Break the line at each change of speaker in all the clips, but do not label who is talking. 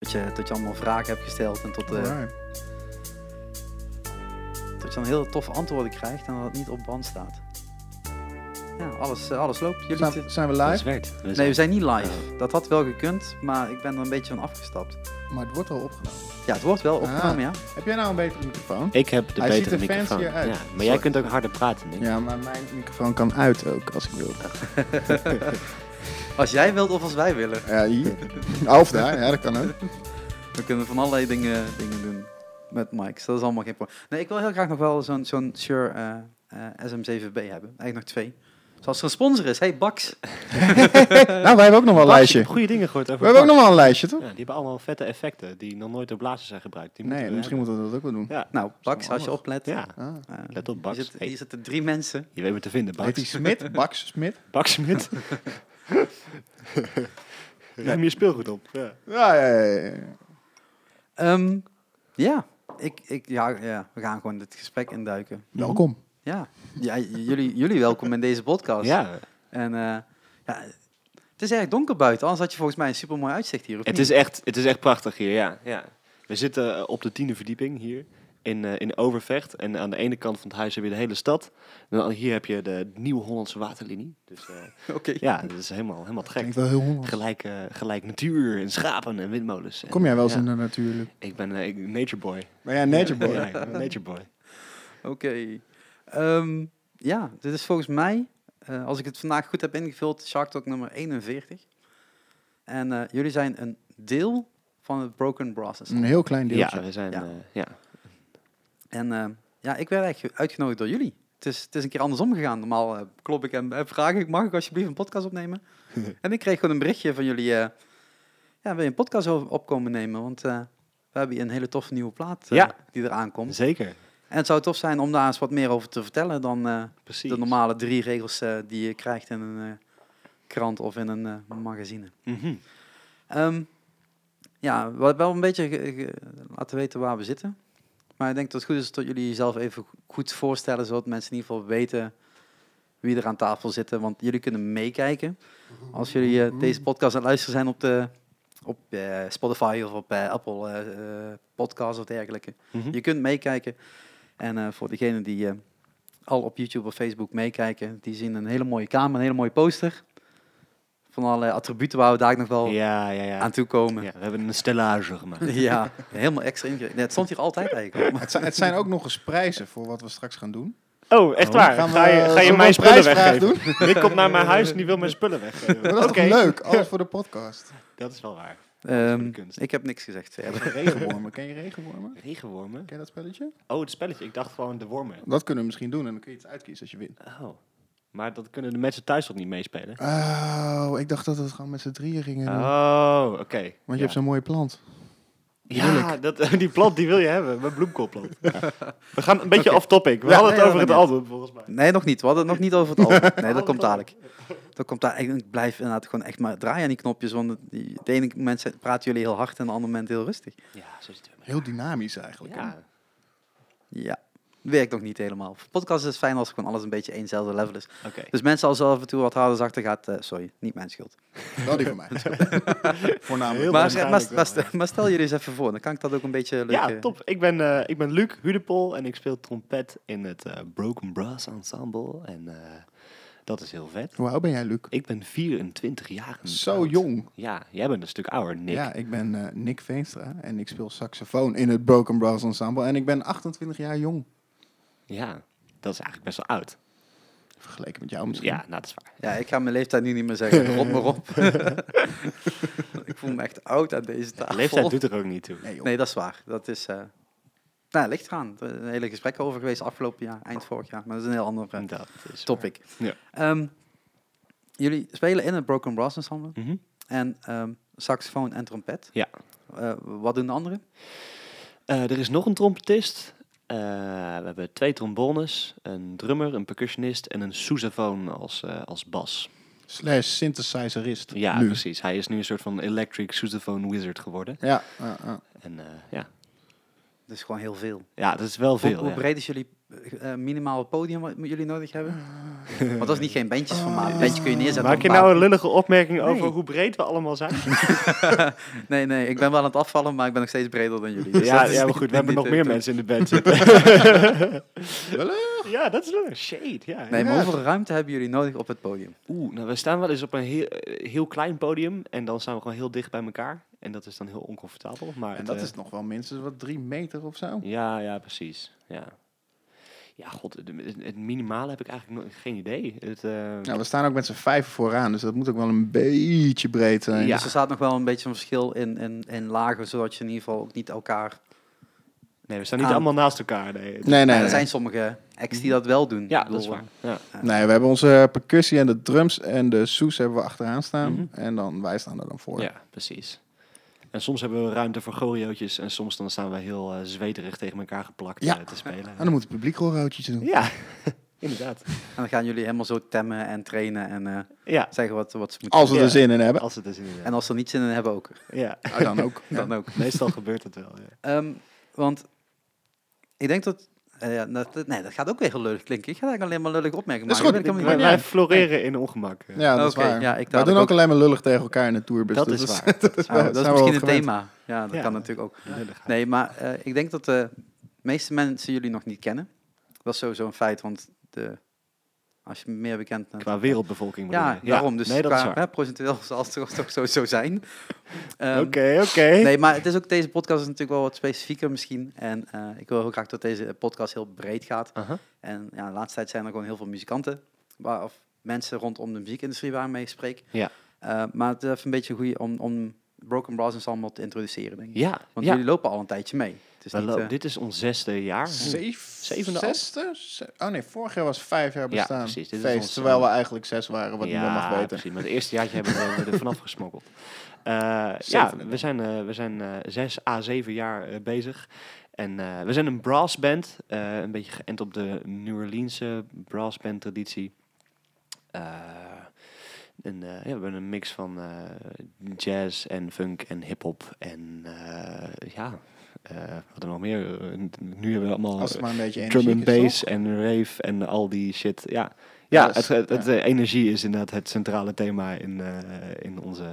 Tot je, tot je allemaal vragen hebt gesteld en tot, eh,
Alright.
tot je dan heel toffe antwoorden krijgt en dat het niet op band staat. Ja, alles, eh, alles loopt. Jullie
Zijn,
zitten-
zijn we
Dat is
live?
werd. We
Nee,
zijn-
we zijn niet live. Dat had wel gekund, maar ik ben er een beetje van afgestapt.
Maar het wordt al opgenomen.
Ja, het wordt wel opgenomen,
Ah.
ja.
Heb jij nou een betere microfoon?
Ik heb de
Hij
betere
ziet er
microfoon.
fancier uit.
Ja, maar
Sorry.
jij kunt ook harder praten, denk ik.
Ja, maar mijn microfoon kan uit ook als ik wil.
Als jij wilt of als wij willen.
Ja, hier. Ah, of daar, ja, dat kan
Eh,
ook.
We kunnen van allerlei dingen, dingen doen met mics. Dat is allemaal geen probleem. Nee, ik wil heel graag nog wel zo'n zo'n Shure eh, eh, SM7B hebben. Eigenlijk nog twee. Zoals er een sponsor is. Hey, Bax.
Nou, wij hebben ook nog wel een
Bas, ik
lijstje.
heb goede dingen gehoord
We
over.
hebben ook
Bas.
nog wel een lijstje, toch?
Ja, die hebben allemaal vette effecten die nog nooit door blazers zijn gebruikt. Die
Nee,
moeten we
misschien moeten we dat ook wel doen.
hebben. Ja,
Nou, Bax, als je
handig.
oplet.
ja.
Ah.
eh,
Let op,
hier,
Bax.
zit,
Hey,
hier zitten drie mensen.
je weet me te vinden,
Heet die
Bax.
Smit? Bax Smit?
Baksmit. Ruim je speelgoed op. Ja.
Ja, ja, ja, ja, ja.
Ehm, ja, ik, ik, ja, ja, we gaan gewoon dit gesprek induiken.
Welkom.
Ja, ja j- jullie, jullie welkom in deze podcast.
ja,
En eh, ja, het is erg donker buiten, anders had je volgens mij een super mooi uitzicht hier. Of
het
niet?
is echt, het is echt prachtig hier, ja. ja. We zitten eh, op de tiende verdieping hier in, eh, in Overvecht. En aan de ene kant van het huis heb je de hele stad. En dan hier heb je de Nieuwe Hollandse Waterlinie. Dus eh,
Oké.
ja, dat is helemaal, helemaal te gek.
Klinkt wel heel honderd.
Gelijk, eh, gelijk natuur en schapen en windmolens. En-
Kom jij wel eens
ja.
in de natuurlijk?
Ik ben eh, ik- nature boy.
Maar ja, Nature Boy.
Ja, ik ben nature boy.
Oké. Ehm, ja, dit is volgens mij, eh, als ik het vandaag goed heb ingevuld, Shark Talk nummer 41. En eh, jullie zijn een deel van het Broken Brasses.
Een heel klein
Ja,
deeltje.
we zijn...
Ja.
Ja. ja.
En eh, ja, ik werd eigenlijk uitgenodigd door jullie. Het is, het is een keer andersom gegaan. Normaal eh, klop ik en, en vraag ik, mag ik alsjeblieft een podcast opnemen? en ik kreeg gewoon een berichtje van jullie, eh, ja, wil je een podcast o- opkomen nemen? Want eh, we hebben hier een hele toffe nieuwe plaat eh,
Ja.
die eraan komt.
Zeker.
En het zou tof zijn om daar eens wat meer over te vertellen dan eh,
Precies.
de normale drie regels eh, die je krijgt in een eh, krant of in een eh, magazine.
Mhm.
Ehm, ja, we wel een beetje ge- ge- laten weten waar we zitten. Maar ik denk dat het goed is dat jullie jezelf even go- goed voorstellen, zodat mensen in ieder geval weten wie er aan tafel zitten. Want jullie kunnen meekijken. Als jullie eh, deze podcast aan het luisteren zijn op, de, op eh, Spotify of op eh, Apple eh eh, Podcasts of dergelijke.
Mhm.
Je kunt meekijken. En eh, voor degenen die eh, al op YouTube of Facebook meekijken, die zien een hele mooie kamer, een hele mooie poster. Van allerlei attributen waar we daar nog wel
Ja, ja, ja.
aan toe komen. Ja,
ja. We hebben een stellage gemaakt.
helemaal extra ingericht. Nee, het stond hier altijd eigenlijk. al.
Het zijn, het zijn ook nog eens prijzen voor wat we straks gaan doen.
Oh, echt
Oh.
waar?
Gaan we-
ga je, ga
zullen
je
we
mijn
een
spullen
prijsvraag
weggeven? Nick komt naar mijn huis en die wil mijn spullen weggeven.
Maar dat is
Oké.
toch leuk? Alles voor de podcast.
Dat is wel waar.
Ehm,
kunst.
ik heb niks gezegd verder.
Regenwormen. Ken je regenwormen?
Regenwormen?
Ken je dat spelletje?
Oh, het spelletje. Ik dacht gewoon de wormen.
Dat kunnen we misschien doen en dan kun je iets uitkiezen als je wint.
Oh. Maar dat kunnen de mensen thuis toch niet meespelen?
Oh, ik dacht dat we het gewoon met z'n drieën gingen doen.
Oh, oké.
Want je
ja.
hebt zo'n mooie plant.
Ja, dat, die plant die wil je hebben. Mijn bloemkoolplant. We gaan een beetje off topic. We
Ja,
hadden het
nee,
over
dat
het
maakt
album volgens mij.
Nee, nog niet. We hadden het nog niet over het album. Nee, dat komt dadelijk. Dat komt daar. Ik blijf inderdaad gewoon echt maar draaien aan die knopjes. Want het- die- het ene moment zijn- praten jullie heel hard en het andere moment heel rustig.
Ja, zo zitten we.
Heel dynamisch eigenlijk. hè?
Ja.
Ja, werkt nog niet helemaal. Voor podcast is het fijn als gewoon alles een beetje éénzelfde level is.
Oké.
Dus mensen als af en toe wat harder zachter gaat, eh, sorry, niet mijn schuld.
Wel die van mij. Voornamelijk.
Heel
Maar, maar,
waarschijnlijk wel,
maar, maar stel jullie eens even voor, dan kan ik dat ook een beetje leuk...
Ja,
eh,
top. Ik ben, eh, ik ben Luc Hudepol en ik speel trompet in het eh, Broken Brass Ensemble. En eh, dat is heel vet.
Hoe oud ben jij, Luc?
Ik ben 24 jaar.
Zo
oud.
jong.
Ja, jij bent een stuk ouder, Nick.
Ja, ik ben eh, Nick Veenstra en ik speel saxofoon in het Broken Brass Ensemble. En ik ben 28 jaar jong.
Ja, dat is eigenlijk best wel oud.
Vergeleken met jou misschien.
Ja, nou, dat is waar.
Ja, ik ga mijn leeftijd nu niet meer zeggen. Rot maar op. ik voel me echt oud aan deze tafel.
De leeftijd doet er ook niet toe.
Nee, joh.
Nee, dat is waar. Dat is... eh nou, ligt eraan. Er is een hele gesprek over geweest afgelopen jaar, eind vorig jaar. Maar dat is een heel ander eh,
Dat is
topic.
Ja.
Ehm, jullie spelen in het Broken Brass Ensemble.
Mhm.
En ehm, saxofoon en trompet.
Ja.
Eh, wat doen de anderen?
Eh, er is nog een trompetist. Eh, we hebben twee trombones, een drummer, een percussionist en een sousaphone als, eh, als bas.
Slash synthesizerist.
Ja,
nu.
precies. Hij is nu een soort van electric sousaphone wizard geworden.
Ja, ja, ja.
En eh, ja.
Dus gewoon heel veel.
ja, dat is wel
Hoe-
veel.
hoe,
ja.
breed is jullie eh, minimaal podium wat jullie nodig hebben? Want dat is niet geen bandjes van maken. Bandje kun je neerzetten.
Maak
op
je
een
nou een lullige opmerking
Nee.
over hoe breed we allemaal zijn?
paar- Nee, nee, ik ben wel aan het afvallen, maar ik ben nog steeds breder dan jullie. Dus
ja,
dat is
ja, maar
niet-
goed, we
niet- niet,
hebben nog
eh,
meer
toe-
mensen in de band zitten. ja, dat is lullig. Shade, ja.
Nee, maar
Ja.
hoeveel ruimte hebben jullie nodig op het podium?
Oeh, nou, we staan wel eens op een heel, eh, heel klein podium en dan staan we gewoon heel dicht bij elkaar. En dat is dan heel oncomfortabel. Maar
En
het,
dat
eh,
is nog wel minstens wat drie meter of zo.
Ja, ja, precies. Ja, ja god, de- het minimale heb ik eigenlijk nog geen idee. Het, eh,
Nou, we staan ook met z'n vijf vooraan, dus dat moet ook wel een beetje breed zijn.
Ja.
Dus er staat nog wel een beetje een verschil in, in, in lagen, zodat je in ieder geval ook niet elkaar...
nee, we staan niet
aan-
allemaal naast elkaar. Nee, Het-
Nee, nee,
Ja,
nee.
er zijn sommige acts die dat wel doen.
ja,
Ik bedoel,
dat is waar. Ja.
Nee, we hebben onze percussie en de drums en de soes hebben we achteraan staan.
Mhm.
En dan, wij staan er dan voor.
ja, precies. En soms hebben we ruimte voor choreootjes en soms dan staan we heel eh, zweterig tegen elkaar geplakt
Ja.
eh, te spelen.
En dan moet het publiek roodjes doen.
Ja, inderdaad.
En dan gaan jullie helemaal zo temmen en trainen en eh,
Ja,
zeggen wat, wat ze moeten
Als we
Ja.
er zin in hebben.
als het is
doen.
inderdaad.
En als ze er niet zin in hebben ook.
ja.
Oh, dan ook. Ja.
Dan ook.
Meestal gebeurt dat wel. Ja.
Ehm, want ik denk dat, eh, ja, dat... dat- Nee, dat gaat ook weer heel lullig klinken. Ik ga eigenlijk alleen maar lullig opmerken.
Dat is
maken.
goed.
Ik ben
Wij,
helemaal
wij
niet
floreren in ongemak. eh.
Ja, dat
Oké,
is waar.
ja, ik
wij doen
dadelijk
ook,
ook.
alleen maar lullig tegen elkaar in de tourbus.
dat,
dus
is
dat
waar. Dat is
bang. Oh,
waar.
Ja,
dat is
zijn we
misschien een
wel gewend.
thema. Ja, dat
Ja.
kan natuurlijk ook.
Lulligheid.
Nee, maar eh, ik denk dat de meeste mensen jullie nog niet kennen. Dat is sowieso een feit, want de, als je meer bekend bent...
Qua wereldbevolking bedoel
Ja,
je?
daarom. Dus
nee, dat is
qua
waar.
hè, procentueel zal het toch- toch sowieso zijn. Ehm,
Oké, oké.
Nee, maar het is ook, deze podcast is natuurlijk wel wat specifieker misschien. En eh, ik wil heel graag dat deze podcast heel breed gaat.
Aha.
En ja, de laatste tijd zijn er gewoon heel veel muzikanten. Waar, of mensen rondom de muziekindustrie waar ik mee spreek.
Ja.
Eh, maar het is even een beetje een goede om, om Broken Brass Ensemble te introduceren, denk ik.
Ja,
Want
ja.
jullie lopen al een tijdje mee. Het is
Wij
niet,
lo-
eh,
dit is ons zesde jaar.
Zeef-
Zevende al?
Zesde? Ze- Oh nee, vorig jaar was vijf jaar
Ja,
bestaan.
precies. Dit is
Feest,
ons-
terwijl we eigenlijk zes waren, wat
ja,
niemand mag weten.
precies. Maar het eerste jaartje hebben we er vanaf gesmokkeld. Eh, ja,
Zevende.
we zijn, eh, we zijn eh, zes à zeven jaar eh, bezig. En eh, we zijn een brassband. eh, een beetje geënt op de New Orleanse brassband traditie. Eh, en, eh, ja, we hebben een mix van eh, jazz en funk en hip-hop. En eh, ja, eh, wat er nog meer. Eh, nu hebben we allemaal
Als het maar een beetje
drum
energie
and
is,
bass
toch?
en rave en al die shit. Ja,
Ja,
ja,
dat is-
het, het, het,
ja.
eh, energie is inderdaad het centrale thema in, eh, in onze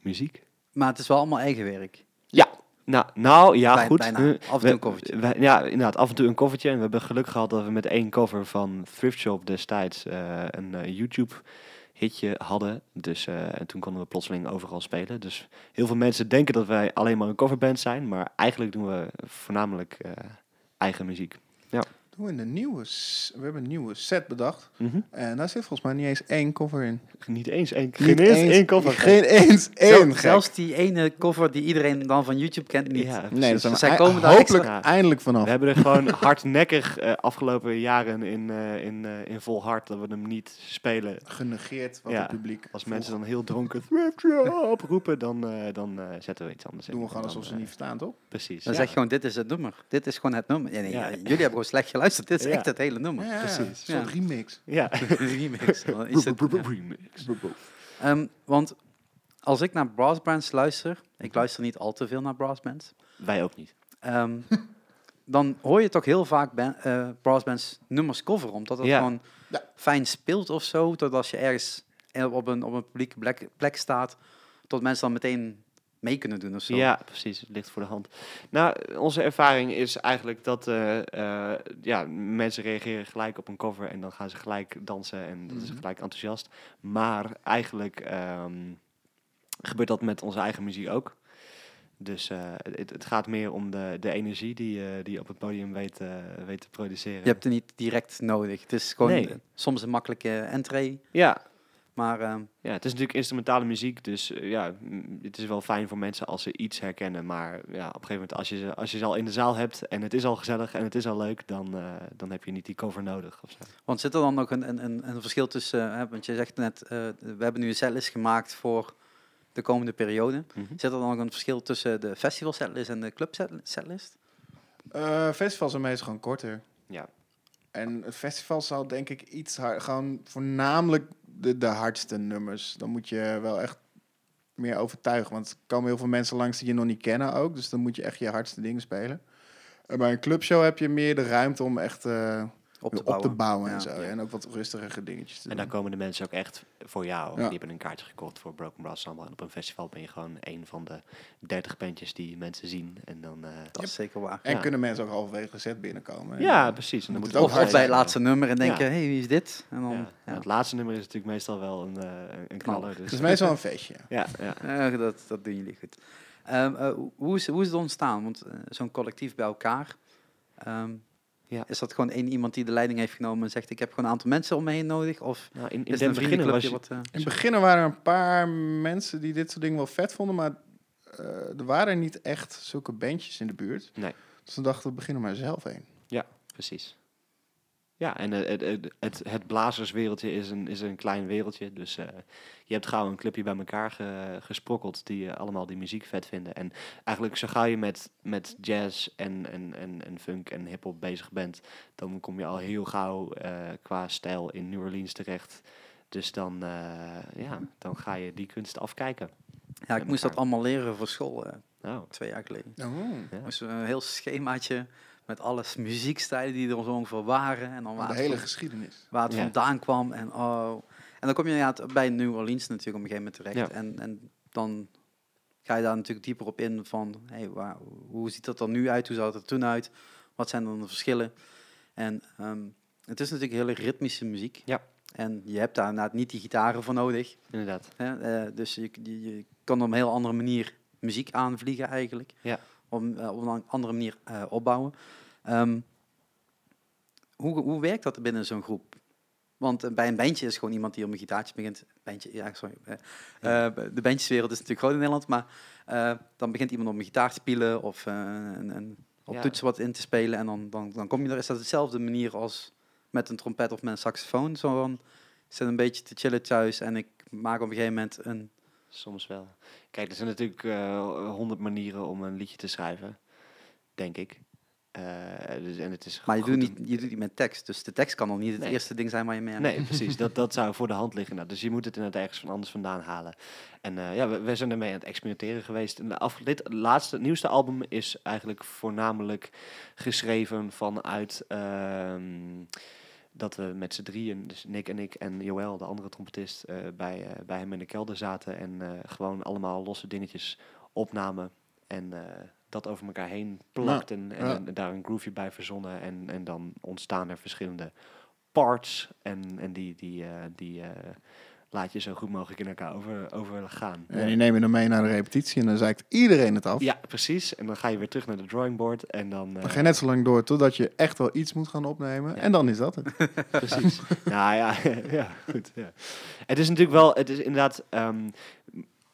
muziek.
Maar het is wel allemaal eigen werk.
Ja. Nou, nou ja,
Bij-
goed.
bijna.
Eh,
Af en toe
we-
een covertje.
we- ja, inderdaad, af en toe een koffertje. En we hebben geluk gehad dat we met één cover van Thrift Shop destijds eh, een YouTube-hitje hadden. Dus eh, en toen konden we plotseling overal spelen. Dus heel veel mensen denken dat wij alleen maar een coverband zijn. Maar eigenlijk doen we voornamelijk eh, eigen muziek.
Doen we in de nieuwe... s- We hebben een nieuwe set bedacht.
Mhm.
En Eh, daar zit volgens mij niet eens één cover in.
Niet eens één.
Niet
Geen eens één cover.
Geen eens één.
Zel-
gek.
zelfs die ene cover die iedereen dan van YouTube kent niet. Dus
Ja,
Nee,
precies.
dat zijn we
Zij
ei-
komen daar
hopelijk
extra-
eindelijk vanaf.
We hebben er gewoon hardnekkig eh, afgelopen jaren in, eh, in, eh, in vol hart dat we hem niet spelen.
Genegeerd wat
Ja,
het publiek
Als
vroeg.
mensen dan heel dronken "Thrift Shop" roepen, dan, eh, dan eh, zetten we iets anders in.
Doen we gewoon
Dan,
alsof ze
eh,
niet verstaan, toch?
Precies.
Dan
ja.
zeg je gewoon, dit is het nummer. Dit is gewoon het nummer. Ja, nee,
Ja.
ja, jullie hebben gewoon slecht geluisterd. Dit is
Ja.
echt het hele nummer.
precies. Een
Ja.
soort remix.
Ja.
Remix. dan is het- ja.
Remix.
Ehm, want als ik naar brassbands luister, ik
Mhm.
luister niet al te veel naar brassbands,
Wij ook niet.
ehm, dan hoor je toch heel vaak ban- eh, brassbands nummers coveren, omdat het
Ja.
gewoon
Ja.
fijn speelt of zo, tot als je ergens eh, op een, op een publieke plek, plek staat, tot mensen dan meteen mee kunnen doen of zo.
Ja, precies. Het ligt voor de hand. Nou, onze ervaring is eigenlijk dat eh, eh, ja, mensen reageren gelijk op een cover en dan gaan ze gelijk dansen en dat is
Mhm.
gelijk enthousiast. Maar eigenlijk ehm, gebeurt dat met onze eigen muziek ook. Dus eh, het, het gaat meer om de, de energie die, eh, die je op het podium weet, eh, weet te produceren.
Je hebt het niet direct nodig. Het is gewoon
Nee.
eh, soms een makkelijke entree,
Ja,
maar ehm,
Ja, het is natuurlijk instrumentale muziek, dus eh, ja, m, het is wel fijn voor mensen als ze iets herkennen. Maar ja, op een gegeven moment, als je ze, als je ze al in de zaal hebt en het is al gezellig en het is al leuk, dan, eh, dan heb je niet die cover nodig. Of zo.
Want zit er dan nog een, een, een, een verschil tussen, hè, want je zegt net, eh, we hebben nu een setlist gemaakt voor de komende periode.
Mhm.
Zit er dan nog een verschil tussen de festival setlist en de club set- setlist?
Eh, festivals zijn meestal gewoon korter.
Ja.
En het festival zal denk ik iets har- gewoon voornamelijk de, de hardste nummers. Dan moet je wel echt meer overtuigen. Want er komen heel veel mensen langs die je nog niet kennen ook. Dus dan moet je echt je hardste dingen spelen. Eh, Bij een clubshow heb je meer de ruimte om echt eh,
Op
op
te
te bouwen,
bouwen.
en
Ja.
zo.
Ja.
En ook wat rustigere dingetjes te
En
doen.
dan komen de mensen ook echt voor jou.
Ja.
Die hebben een kaartje gekocht voor Broken Brass Ensemble. En op een festival ben je gewoon een van de 30 bandjes die mensen zien. En dan... eh,
Dat is zeker waar.
En
Ja.
kunnen mensen ook halverwege de set binnenkomen. En,
ja,
eh,
precies. En
Moet
dan
het
moet
ook
Of,
hard
of bij het
zijn,
laatste nummer en denken,
Ja.
hey, wie is dit? En dan,
Ja.
ja.
Het laatste nummer is natuurlijk meestal wel een, eh, een knaller.
Het
Dus.
is meestal een feestje.
ja, ja.
Eh, dat, dat doen jullie goed. Ehm, eh, hoe, is, hoe is het ontstaan? Want eh, zo'n collectief bij elkaar. ehm,
Ja.
Is dat gewoon één iemand die de leiding heeft genomen en zegt: Ik heb gewoon een aantal mensen om me heen nodig? Of
Nou, in, in
is het
Den
een
Beginnen was
vriendenclubje
je...
wat. eh,
In het begin waren er een paar mensen die dit soort dingen wel vet vonden, maar eh, er waren niet echt zulke bandjes in de buurt.
Nee.
Dus we dachten, we beginnen maar zelf een.
Precies. Ja, en eh, het, het, het, het blazerswereldje is een, is een klein wereldje. Dus eh, je hebt gauw een clubje bij elkaar ge- gesprokkeld die eh, allemaal die muziek vet vinden. En eigenlijk zo gauw je met, met jazz en, en, en, en funk en hiphop bezig bent, dan kom je al heel gauw eh, qua stijl in New Orleans terecht. Dus dan, eh, ja, dan ga je die kunst afkijken.
ja, ik moest dat
elkaar.
allemaal leren voor school eh,
Nou,
twee jaar geleden.
Oh.
Ja.
Dus een heel schemaatje met alles muziekstijlen die er zo ongeveer waren. En dan
De
waar,
hele
het,
geschiedenis.
waar het
Ja.
vandaan kwam. En, oh. en dan kom je inderdaad bij New Orleans natuurlijk op een gegeven moment terecht.
Ja.
En, en dan ga je daar natuurlijk dieper op in van... Hey, waar, hoe ziet dat er nu uit? Hoe zag het er toen uit? Wat zijn dan de verschillen? En ehm, het is natuurlijk hele ritmische muziek.
Ja.
En je hebt daar inderdaad niet die gitaren voor nodig.
inderdaad.
Hè? eh, dus je, je, je kan op een heel andere manier muziek aanvliegen eigenlijk.
Ja.
Om, eh, op een andere manier eh, opbouwen. Ehm, hoe, hoe werkt dat binnen zo'n groep? Want eh, bij een bandje is gewoon iemand die op een gitaartje begint. Bandje, ja, sorry. eh, eh, de bandjeswereld is natuurlijk groot in Nederland, maar eh, dan begint iemand op een gitaar te spelen of eh, een, een, op
Ja.
toetsen wat in te spelen. En dan, dan, dan kom je er. Is dat dezelfde manier als met een trompet of met een saxofoon? Zo van, ik zit een beetje te chillen thuis en ik maak op een gegeven moment een...
Soms wel. Kijk, er zijn natuurlijk eh, honderd manieren om een liedje te schrijven, denk ik. Eh, dus, en het is
Maar je
goed
doet,
om-
niet, je doet niet met tekst, dus de tekst kan al niet het
Nee.
eerste ding zijn waar je mee aan
Nee, precies. Dat, dat zou voor de hand liggen. Nou, dus je moet het inderdaad ergens van anders vandaan halen. En eh, ja, we, we zijn ermee aan het experimenteren geweest. En de af, dit laatste, nieuwste album is eigenlijk voornamelijk geschreven vanuit ehm, dat we met z'n drieën, dus Nick en ik en Joël, de andere trompetist, eh, bij, eh, bij hem in de kelder zaten. En eh, gewoon allemaal losse dingetjes opnamen. En eh, dat over elkaar heen plakten. en,
ja.
en daar een groove bij verzonnen. En, en dan ontstaan er verschillende parts. En, en die, die, eh, die eh, laat je zo goed mogelijk in elkaar over, overgaan.
En die nemen hem mee naar de repetitie en dan zeikt iedereen het af.
Ja, precies. En dan ga je weer terug naar de drawing board. En dan. eh,
Dan ga je net zo lang door totdat je echt wel iets moet gaan opnemen.
Ja.
En dan is dat het.
Precies. nou ja, ja goed. Ja. Het is natuurlijk wel, het is inderdaad ehm,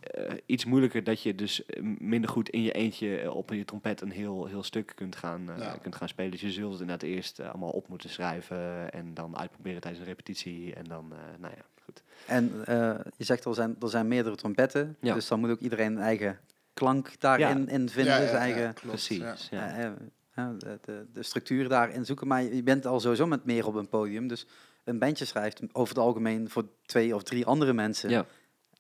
eh, iets moeilijker dat je dus eh, minder goed in je eentje eh, op je trompet een heel, heel stuk kunt gaan, eh,
Ja.
kunt gaan spelen. Dus je zult het inderdaad eerst eh, allemaal op moeten schrijven en dan uitproberen tijdens een repetitie. En dan, eh, nou ja, goed.
En eh, je zegt al, zijn, er zijn meerdere trompetten,
Ja.
dus dan moet ook iedereen een eigen klank daarin in vinden,
Ja, ja, ja,
zijn eigen
klopt, ja.
Precies. Ja.
eh, eh, eh, de, de, de structuur daarin zoeken. Maar je bent al sowieso met meer op een podium, dus een bandje schrijft over het algemeen voor twee of drie andere mensen.
Ja.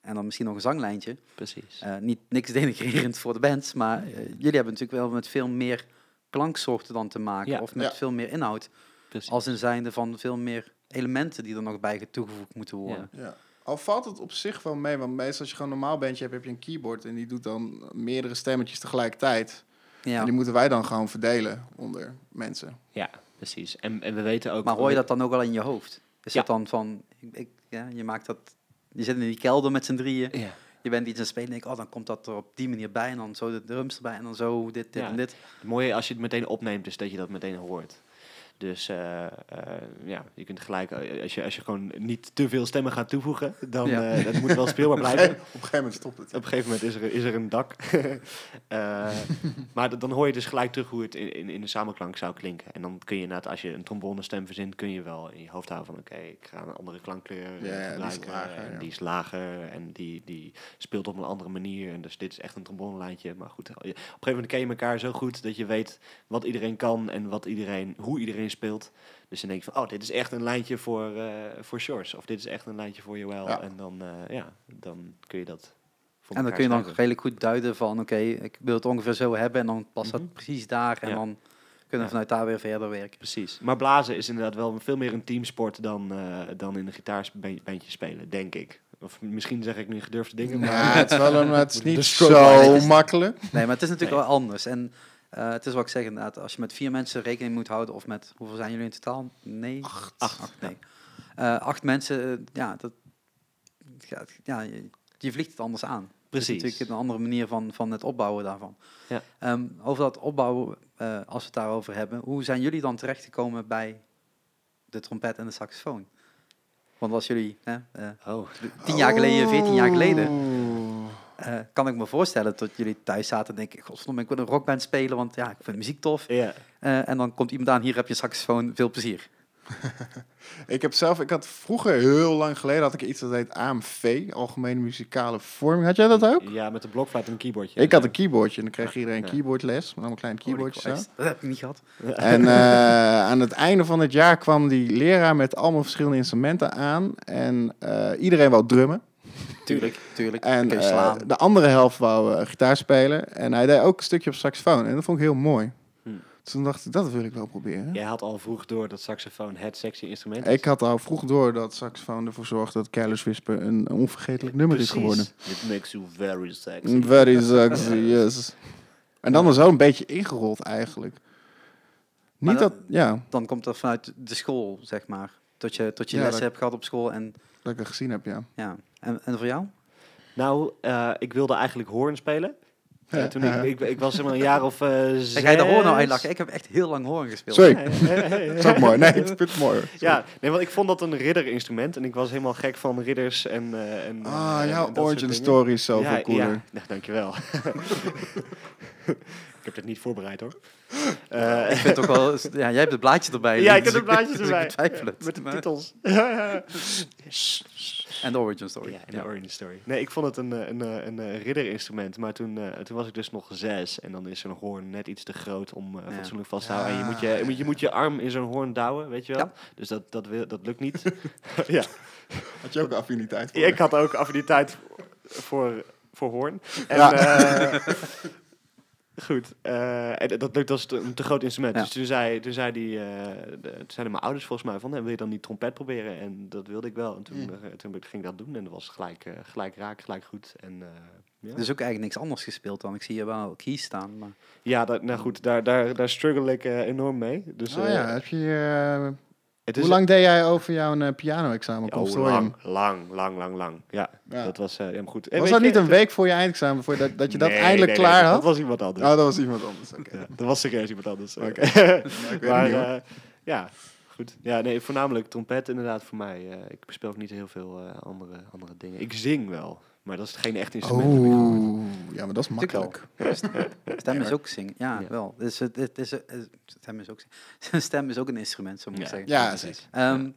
En dan misschien nog een zanglijntje.
precies.
Eh, niet niks denigrerend voor de bands, maar eh, jullie hebben natuurlijk wel met veel meer klanksoorten dan te maken.
Ja.
Of met
Ja.
veel meer inhoud.
precies.
Als in zijnde van veel meer elementen die er nog bij toegevoegd moeten worden.
Ja. Al valt het op zich wel mee, want meestal als je gewoon een normaal bandje hebt, heb je een keyboard en die doet dan meerdere stemmetjes tegelijkertijd.
Ja.
En die moeten wij dan gewoon verdelen onder mensen.
ja, precies. En, en we weten ook...
Maar hoor je dat dan ook wel in je hoofd? Is
Ja.
dat dan van, ik, ik- ja, je maakt dat, je zit in die kelder met z'n drieën.
Ja.
Je bent iets aan het spelen en denk, oh, dan komt dat er op die manier bij. En dan zo de drums erbij en dan zo dit, dit
Ja.
en dit.
Het mooie als je het meteen opneemt is dat je dat meteen hoort. Dus eh, eh, ja, je kunt gelijk, eh, als je, als je gewoon niet te veel stemmen gaat toevoegen, dan
Ja.
eh, dat moet wel speelbaar
op een
blijven.
gegeven op een gegeven moment stopt het.
Op een gegeven moment is er, is er een dak. Eh, maar dat- dan hoor je dus gelijk terug hoe het in, in, in de samenklank zou klinken. En dan kun je inderdaad, als je een trombonestem verzint, kun je wel in je hoofd houden van... oké, ik ga een andere klankkleur eh,
Ja, ja, die is
gebruiken.
lager,
en
ja.
die is lager en die, die speelt op een andere manier. En dus dit is echt een trombonelijntje. Maar goed, je- op een gegeven moment ken je elkaar zo goed dat je weet wat iedereen kan... en wat iedereen, hoe iedereen speelt. Dus dan denk je van, oh, dit is echt een lijntje voor, eh, voor Shores. Of dit is echt een lijntje voor Joël.
Ja.
En dan, eh, ja, dan kun je dat... voor
En dan
elkaar
kun je dan
schrijven.
redelijk goed duiden van, oké, ik wil het ongeveer zo hebben. En dan past
Mhm.
dat precies daar. En
Ja.
dan kunnen
Ja.
vanuit daar weer verder werken.
Precies. Maar blazen is inderdaad wel veel meer een teamsport dan, eh, dan in een gitaarsbandje spelen, denk ik. Of misschien zeg ik nu gedurfde dingen.
Ja,
maar-
het is wel een- het is niet
De
zo
is-
makkelijk.
Nee, maar het is natuurlijk
Nee.
wel anders. En eh, het is wat ik zeg inderdaad, als je met vier mensen rekening moet houden, of met hoeveel zijn jullie in totaal? Nee. Acht. Acht, nee. Eh, acht mensen, eh, ja, dat, ja, ja, je, je vliegt het anders aan. Het is
Precies.
natuurlijk een andere manier van, van het opbouwen daarvan.
Ja.
Ehm, over dat opbouwen, eh, als we het daarover hebben, hoe zijn jullie dan terechtgekomen bij de trompet en de saxofoon? Want als jullie hè, eh,
Oh,
tien jaar geleden, veertien jaar geleden,
Oeh.
eh, kan ik me voorstellen dat jullie thuis zaten en denken, godverdomme, ik wil een rockband spelen, want ja, ik vind muziek tof.
ja.
Eh, en dan komt iemand aan, hier heb je een saxofoon, veel plezier.
Ik heb zelf, ik had vroeger heel lang geleden had ik iets dat heet AMV, Algemene Muzikale Vorming. Had jij dat ook?
ja, met een blokfluit en een keyboardje.
Ik had een keyboardje en dan kreeg iedereen
Ja.
keyboardles, maar dan een
Oh,
klein keyboardje.
Holy Christ, Dat heb ik niet gehad.
En eh, aan het einde van het jaar kwam die leraar met allemaal verschillende instrumenten aan. En eh, iedereen wou drummen.
Tuurlijk, tuurlijk.
En
kun je
eh,
slaan.
de andere helft wou eh, gitaar spelen. En hij deed ook een stukje op saxofoon. En dat vond ik heel mooi.
Hmm.
Dus toen dacht ik, dat wil ik wel proberen.
Jij had al vroeg door dat saxofoon het sexy instrument is.
Ik had al vroeg door dat saxofoon ervoor zorgt dat Careless Whisper een onvergetelijk nummer Mm. is geworden.
It makes you very sexy.
Very sexy, yes. En dan is zo een beetje ingerold eigenlijk.
Maar
Niet
dat-
dat, ja,
Dan komt dat vanuit de school, zeg maar. Dat je, tot je
Ja,
lessen
dat-
hebt gehad op school en
dat ik dat gezien heb, ja.
ja. En, en voor jou?
Nou, eh, ik wilde eigenlijk hoorn spelen. Eh, toen ik, ik, ik was zeg maar een jaar of eh zes.
Kijk, jij de hoorn nou uitlachen. Ik heb echt heel lang hoorn gespeeld.
Sorry,
Eh,
dat is ook mooi. Nee, ik vind het mooi.
Ja, nee, want ik vond dat een ridderinstrument en ik was helemaal gek van ridders en... eh, en
Ah,
eh,
jouw
en dat soort
origin
dingen.
story is zoveel
ja,
cooler.
Ja, nou, dankjewel. ik heb dit niet voorbereid hoor. Eh,
Ik vind het ook wel, ja, jij hebt het blaadje erbij.
ja, ik
dus
heb de blaadjes
dus
erbij.
Ik betwijfel het.
Met de
Maar-
titels. Ja, ja. Sst, sst.
En de origin story.
Ja, in de origin story. Nee, ik vond het een, eh, een, eh, een, eh, ridderinstrument, maar toen, eh, toen was ik dus nog zes en dan is zo'n hoorn net iets te groot om eh,
Ja.
fatsoenlijk vast te houden. En
Ja.
je moet je, je moet, je moet je arm in zo'n hoorn douwen, weet je wel?
Ja.
Dus dat, dat, wil, dat lukt niet. ja.
Had je ook affiniteit voor?
Ja, Ik had ook affiniteit voor, voor hoorn. En,
Ja.
eh, goed. eh, en dat lukt als te- een te groot instrument.
Ja.
Dus toen, zei, toen, zei die, eh, de- toen zeiden mijn ouders volgens mij van... "Nee, wil je dan die trompet proberen? En dat wilde ik wel. En toen,
Hmm.
eh, toen ging ik dat doen en dat was gelijk, eh, gelijk raak, gelijk goed. En, eh, ja.
Dus ook eigenlijk niks anders gespeeld dan. Ik zie hier wel keys staan. Maar...
ja, dat, nou goed, daar, daar, daar struggle ik eh, enorm mee. Dus,
Oh
eh,
ja, heb je, eh,
het
hoe lang deed jij over jouw eh, piano-examen? op
Oh,
consortium?
Dus lang, lang, lang, lang, lang. Ja,
Ja.
dat was eh, helemaal goed. En
Was
weet
dat
je,
niet een
toen-
week voor je eindexamen, voor dat, dat je dat
Nee,
eindelijk
nee, nee,
klaar
dat-
had?
Dat was iemand anders.
Oh, dat was iemand anders. Oké.
Ja, dat was serieus iemand anders.
Oké. ik weet
maar
het niet, hoor.
eh, ja, goed. Ja, nee, voornamelijk trompet inderdaad voor mij. Eh, ik speel ook niet heel veel eh, andere, andere dingen. Ik zing wel, maar dat is geen echt
Oh.
instrument. heb ik gehoord.
Oeh, ja, maar dat is makkelijk.
Stem is ook zingen. Ja,
Ja.
wel. Dus het, het is, het- stem, is ook, zingen. stem is ook een instrument, zo moet ik
Ja.
zeggen.
Ja, zeker.
Ehm,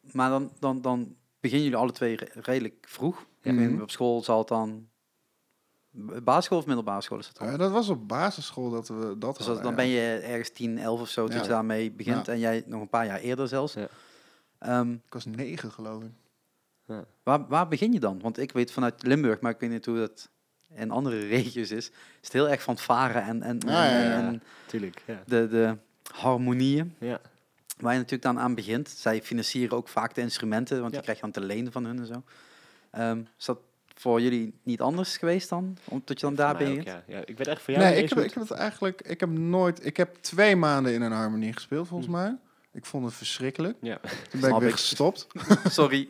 Maar dan, dan, dan beginnen jullie alle twee re- redelijk vroeg. Ik
Mhm.
weet, op school zal het dan... b- Basisschool of middelbare school is het dan?
Eh, dat was op basisschool dat we dat
Dus dat-
hadden,
dan
ja.
ben je ergens 10, 11 of zo, dat
Ja.
je daarmee begint.
Ja.
En jij nog een paar jaar eerder zelfs.
Ja.
Ehm,
Ik was negen, geloof ik.
waar, waar begin je dan? Want ik weet vanuit Limburg, maar ik weet niet hoe dat in andere regio's is. Is het heel erg van varen en, en,
Ah, ja,
en-
ja, ja.
en
Tuurlijk, ja.
de, de harmonieën.
ja.
Waar je natuurlijk dan aan begint. Zij financieren ook vaak de instrumenten, want
Ja.
je krijgt dan te lenen van hun en zo. Ehm, is dat voor jullie niet anders geweest dan? Omdat je dan daar
Voor mij
begint?
ook, ja. ja. Ik weet echt voor jou
Nee,
niet
ik
eens
heb, ik
goed.
heb het eigenlijk... Ik heb nooit... Ik heb twee maanden in een harmonie gespeeld, volgens mij. Ik vond het verschrikkelijk.
Hm. Ja.
Toen ben
Snap
ik weer
ik.
gestopt.
Sorry.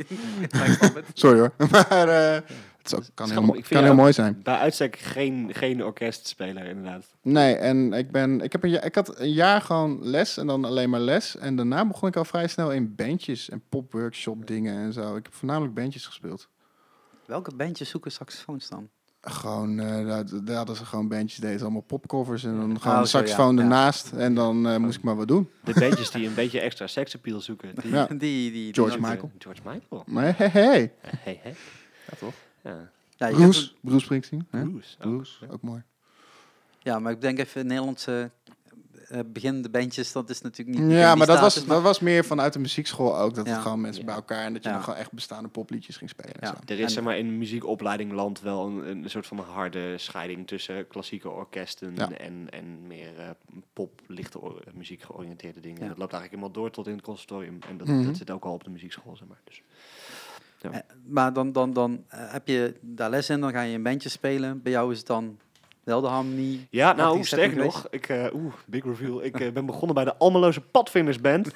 Maar ik snap het.
Sorry hoor. Maar eh, het is ook- kan,
Schat,
heel, mo-
ik vind
kan
jou-
heel mooi zijn.
Bij uitstek geen, geen orkestspeler inderdaad.
Nee, en ik, ben, ik, heb een, ja- ik had een jaar gewoon les en dan alleen maar les. En daarna begon ik al vrij snel in bandjes en popworkshop dingen en zo. Ik heb voornamelijk bandjes gespeeld.
Welke bandjes zoeken saxofoons dan?
Gewoon, eh daar, daar hadden ze gewoon bandjes, deden ze allemaal popcovers en dan
Oh,
gewoon
zo,
saxofoon
ja, ja.
ernaast. En dan eh, moest ik maar wat doen.
De bandjes die een beetje extra seksappeal zoeken. Die
Ja.
Die, die, die-
George
Eh,
Michael.
George Michael.
Maar hey, hey, hey.
Eh, hey, hey.
Ja, toch?
Ja.
Ja, je hebt
Bruce,
een-
Bruce Springsteen. hè?
Blues. ook.
Blues, ook mooi.
ja, maar ik denk even Nederlandse eh, eh, beginnende bandjes, dat is natuurlijk niet...
Ja,
die
maar dat was,
status, maar-
dat was meer vanuit de muziekschool ook. Dat
Ja.
het gewoon mensen bij elkaar en dat je
Ja.
dan gewoon echt bestaande popliedjes ging spelen. en
Ja.
zo.
Er is
En-
zeg maar in muziekopleiding land wel een, een soort van harde scheiding tussen klassieke orkesten
Ja.
en, en meer eh, pop, lichte or- muziek georiënteerde dingen.
Ja.
Dat loopt eigenlijk helemaal door tot in het conservatorium. En dat,
Mhm.
dat zit ook al op de muziekschool, zeg maar. Dus,
Eh, Maar dan, dan, dan eh, heb je daar les in, dan ga je een bandje spelen. Bij jou is het dan wel de harmonie.
ja,
Wat
nou,
is dat
sterker
niet
nog, ik, eh, oeh, big reveal. Ik eh, ben begonnen bij de Almeloze Padvindersband.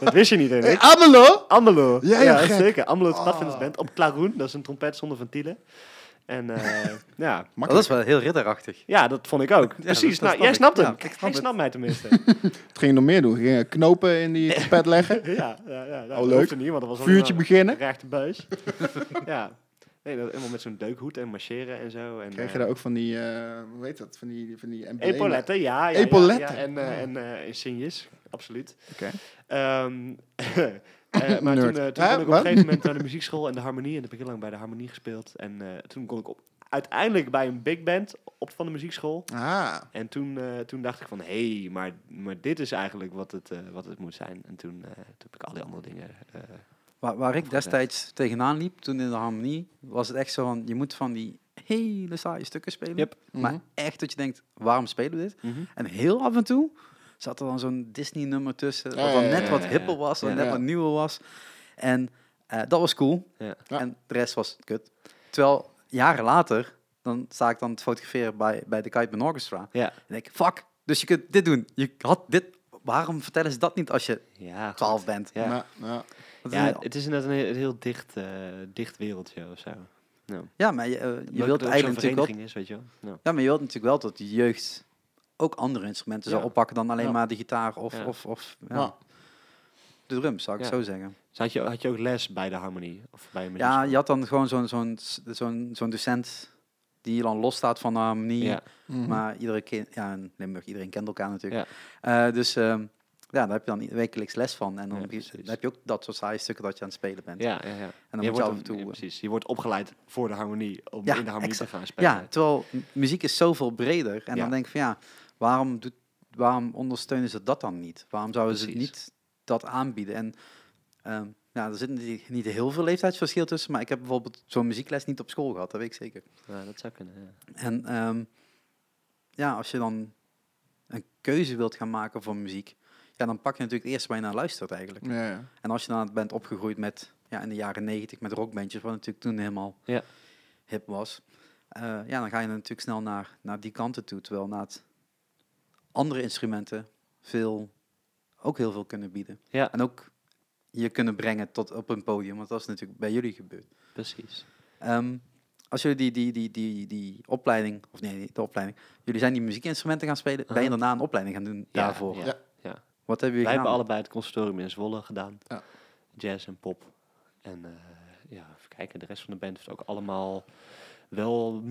dat wist je niet,
Hey,
Henrik.
Amelo!
Amelo.
Ja, ja, gek.
zeker. Amelo's
Oh.
Ah.
Padvindersband op klaroen. Dat is een trompet zonder ventielen. En eh, ja,
Dat is
Makkelijk.
wel heel ridderachtig.
Ja, dat vond ik ook. Precies.
dat- dat snap
nou, jij
ik.
snapt hem.
Ja, ik snap
Hij
het.
snapt mij tenminste.
Het ging je nog meer doen. Ging je knopen in die pet leggen.
ja, ja, ja. ja
Oh,
Dat
leuk.
hoefde niet, want dat was
Vuurtje
al
beginnen.
rechte buis. ja. Nee, dat, helemaal met zo'n deukhoed en marcheren en zo. En,
Kreeg je daar ook van die, eh, hoe heet dat, van die, van die emblemen?
Epauletten, ja. ja, ja,
eh, Epauletten.
ja, en
Ja.
eh en eh insignes, absoluut.
Oké.
Ehm, eh, maar toen,
Nerd.
eh, toen
Hè,
kon ik op een
wat?
gegeven moment naar de muziekschool en de harmonie. En heb ik heel lang bij de harmonie gespeeld. En eh, toen kon ik op, uiteindelijk bij een big band op van de muziekschool.
Ah,
En toen, eh, toen dacht ik van, hé, hey, maar, maar dit is eigenlijk wat het, eh, wat het moet zijn. En toen, eh, toen heb ik al die andere dingen... eh,
Waar, waar ik destijds tegenaan liep, toen in de harmonie, was het echt zo van, je moet van die hele saaie stukken spelen.
Yep.
Maar
Mhm.
echt dat je denkt, waarom spelen we dit? En heel af en toe zat er dan zo'n Disney-nummer tussen,
Ja,
wat dan
ja,
net
ja,
wat
ja, ja.
hipper was, wat
Ja.
net
Ja.
wat nieuwer was. En eh, dat was cool.
Ja.
Ja.
En de rest was kut. Terwijl, jaren later, dan sta ik dan te fotograferen bij, bij de Kite Man Orchestra.
Ja.
En denk ik, fuck, dus je kunt dit doen. Je had dit... Waarom vertellen ze dat niet als je
Ja,
12 bent?
Ja.
nou, nou.
Dat is
ja,
een-
het is inderdaad een heel, een heel dicht, eh, dicht wereldje of zo.
ja, maar je, eh, je
Leuk
wilt
dat er ook zo'n
eigenlijk natuurlijk wel
vereniging is, weet je wel. Nou.
Ja, maar je wilt natuurlijk wel dat de jeugd ook andere instrumenten zou
Ja.
oppakken dan alleen
Ja.
maar de gitaar of,
Ja.
of, of ja,
Ja.
de drums, zou ik
Ja.
zo zeggen.
Dus had, je, had je ook les bij de harmonie? Of bij een
Ja,
muziekschool?
je had dan gewoon zo'n zo'n zo'n zo'n docent die dan los staat van de harmonie.
Ja.
Mhm.
Maar iedere kind, ja, in Limburg, iedereen kent elkaar natuurlijk.
Ja.
Eh, dus ehm, ja, daar heb je dan i- wekelijks les van. En dan,
Ja,
heb, je,
precies.
dan heb je ook dat soort saaie stukken dat je aan het spelen bent.
Ja, ja, ja.
En dan
je
moet je af en
een-
toe...
ja,
eh,
precies. Je wordt opgeleid voor de harmonie om
Ja,
in de harmonie
exact.
te gaan spelen.
Ja, terwijl m- muziek is zoveel breder. En
Ja.
dan denk ik van ja, waarom, doet, waarom ondersteunen ze dat dan niet? Waarom zouden ze
Precies.
niet dat aanbieden? En ehm ja, er zit niet, niet heel veel leeftijdsverschil tussen, maar ik heb bijvoorbeeld zo'n muziekles niet op school gehad, dat weet ik zeker.
Ja, Nou, dat zou kunnen. Ja.
En ehm, ja, als je dan een keuze wilt gaan maken voor muziek, ja, dan pak je natuurlijk eerst waar je naar luistert eigenlijk.
Ja, ja.
En als je dan bent opgegroeid met, ja, in de jaren negentig met rockbandjes, wat natuurlijk toen helemaal
Ja.
hip was. eh, ja, dan ga je natuurlijk snel naar, naar die kanten toe. Terwijl na het andere instrumenten veel, ook heel veel kunnen bieden.
Ja.
En ook je kunnen brengen tot op een podium, want dat is natuurlijk bij jullie gebeurd.
precies.
Ehm, als jullie die, die, die, die, die opleiding, of nee, niet de opleiding, jullie zijn die muziekinstrumenten gaan spelen, ben je
Aha.
daarna een opleiding gaan doen
Uh-huh. Ja,
daarvoor?
Ja,
Ja.
ja.
Wat hebben
Wij
jullie
hebben
gedaan?
allebei het conservatorium in Zwolle gedaan.
Ja.
Jazz en pop. En eh, ja, even kijken. De rest van de band heeft ook allemaal wel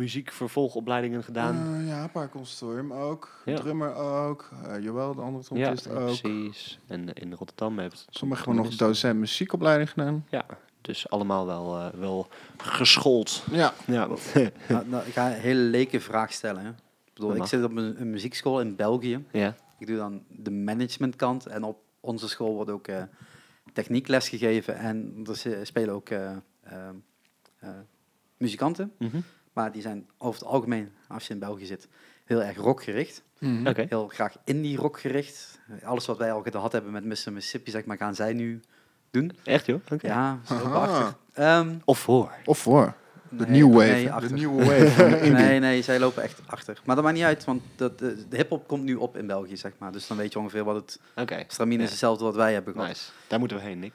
muziekvervolgopleidingen gedaan.
Eh, ja, een paar consortium ook.
Ja.
Drummer ook. eh Joël, de andere
ja,
trompetist ook.
precies. En eh, in Rotterdam hebben we
Sommigen hebben nog docent muziekopleiding gedaan.
Ja, dus allemaal wel, eh, wel geschoold.
Ja.
Ja.
Nou, nou, ik ga een hele leke vraag stellen. Hè. Ik bedoel,
Dat
ik
mag.
zit op een, een muziekschool in België.
ja.
Ik doe dan de managementkant en op onze school wordt ook eh techniekles gegeven en er ze- spelen ook eh, ehm, eh, muzikanten.
Mhm.
Maar die zijn over het algemeen, als je in België zit, heel erg rockgericht.
Oké.
Heel graag indie rockgericht. Alles wat wij al gehad hebben met Mr. Mississippi, zeg maar, gaan zij nu doen.
Echt joh? Oké.
Ja, zo
Aha.
prachtig. Ehm,
Of voor.
Of voor. De
nee,
New Wave.
nee,
de
achter.
New Wave van de indie.
Nee, nee, zij lopen echt achter. Maar dat maakt niet uit, want dat, eh, de, de hip-hop komt nu op in België, zeg maar. Dus dan weet je ongeveer wat het.
Oké.
Stramine
Ja.
is hetzelfde wat wij hebben gehad.
Nice. Daar moeten we heen, Nick.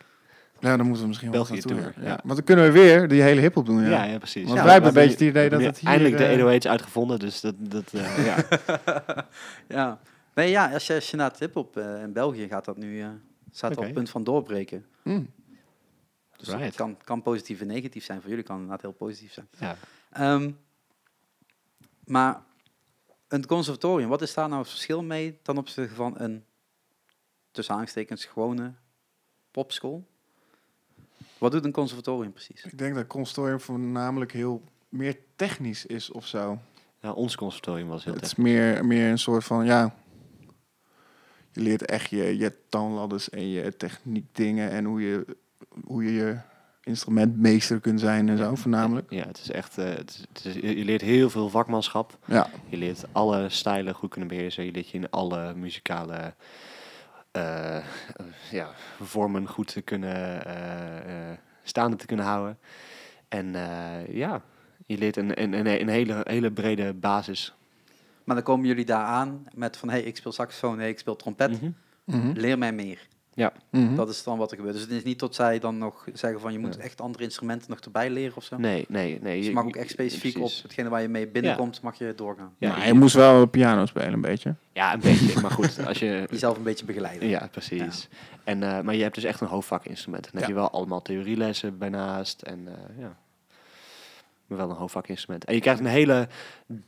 Ja, dan moeten we misschien wel
België
naartoe,
tour,
Ja.
ja.
Want dan kunnen we weer die hele hiphop doen. Ja.
precies.
Want
Ja,
wij
we
hebben een beetje het idee dat
Ja,
het hier...
Eindelijk de
eh,
808 uitgevonden, dus dat... dat eh, ja.
Ja. Nee, ja, als je, als je naar het hip-hop eh, in België gaat, dat nu, eh staat er op
Oké.
het punt van doorbreken.
mm.
Dus dat
Right.
kan, kan positief en negatief zijn. Voor jullie kan het inderdaad heel positief zijn.
ja.
Ehm, maar een conservatorium, wat is daar nou het verschil mee ten opzichte van een tussen aanstekens gewone popschool? Wat doet een conservatorium precies?
Ik denk dat Constorium voornamelijk heel meer technisch is of zo.
Ja, ons conservatorium was heel
Het
technisch.
is meer, meer een soort van, ja... Je leert echt je, je toonladders en je techniek dingen en hoe je hoe je, je instrumentmeester kunt zijn en zo voornamelijk.
Ja, het is echt. eh, het is- het is- je je leert heel veel vakmanschap.
Ja,
Je leert alle stijlen goed kunnen beheersen. Je leert je in alle muzikale eh, ja, vormen goed te kunnen eh, eh, staande te kunnen houden. En eh, ja, je leert een, een, een, een hele, hele brede basis.
Maar dan komen jullie daar aan met van, hey, ik speel saxofoon, hey, ik speel trompet.
Mhm.
Mhm.
Leer mij meer.
Mhm.
Dat is dan wat er gebeurt. Dus het is niet tot zij dan nog zeggen van, je moet
Ja.
echt andere instrumenten nog erbij leren of zo.
Nee, nee, nee.
Dus je mag ook echt specifiek op
precies.
hetgene waar je mee binnenkomt, mag je doorgaan.
Ja,
Maar
je-
hij moest wel piano spelen een beetje.
Ja, een beetje. maar goed, als je
Jezelf een beetje begeleiden.
Ja, precies. En, eh, maar je hebt dus echt een hoofdvakinstrument. Dan heb
Ja.
je wel allemaal theorielessen bijnaast. En eh, ja, maar wel een hoofdvakinstrument. En je krijgt een hele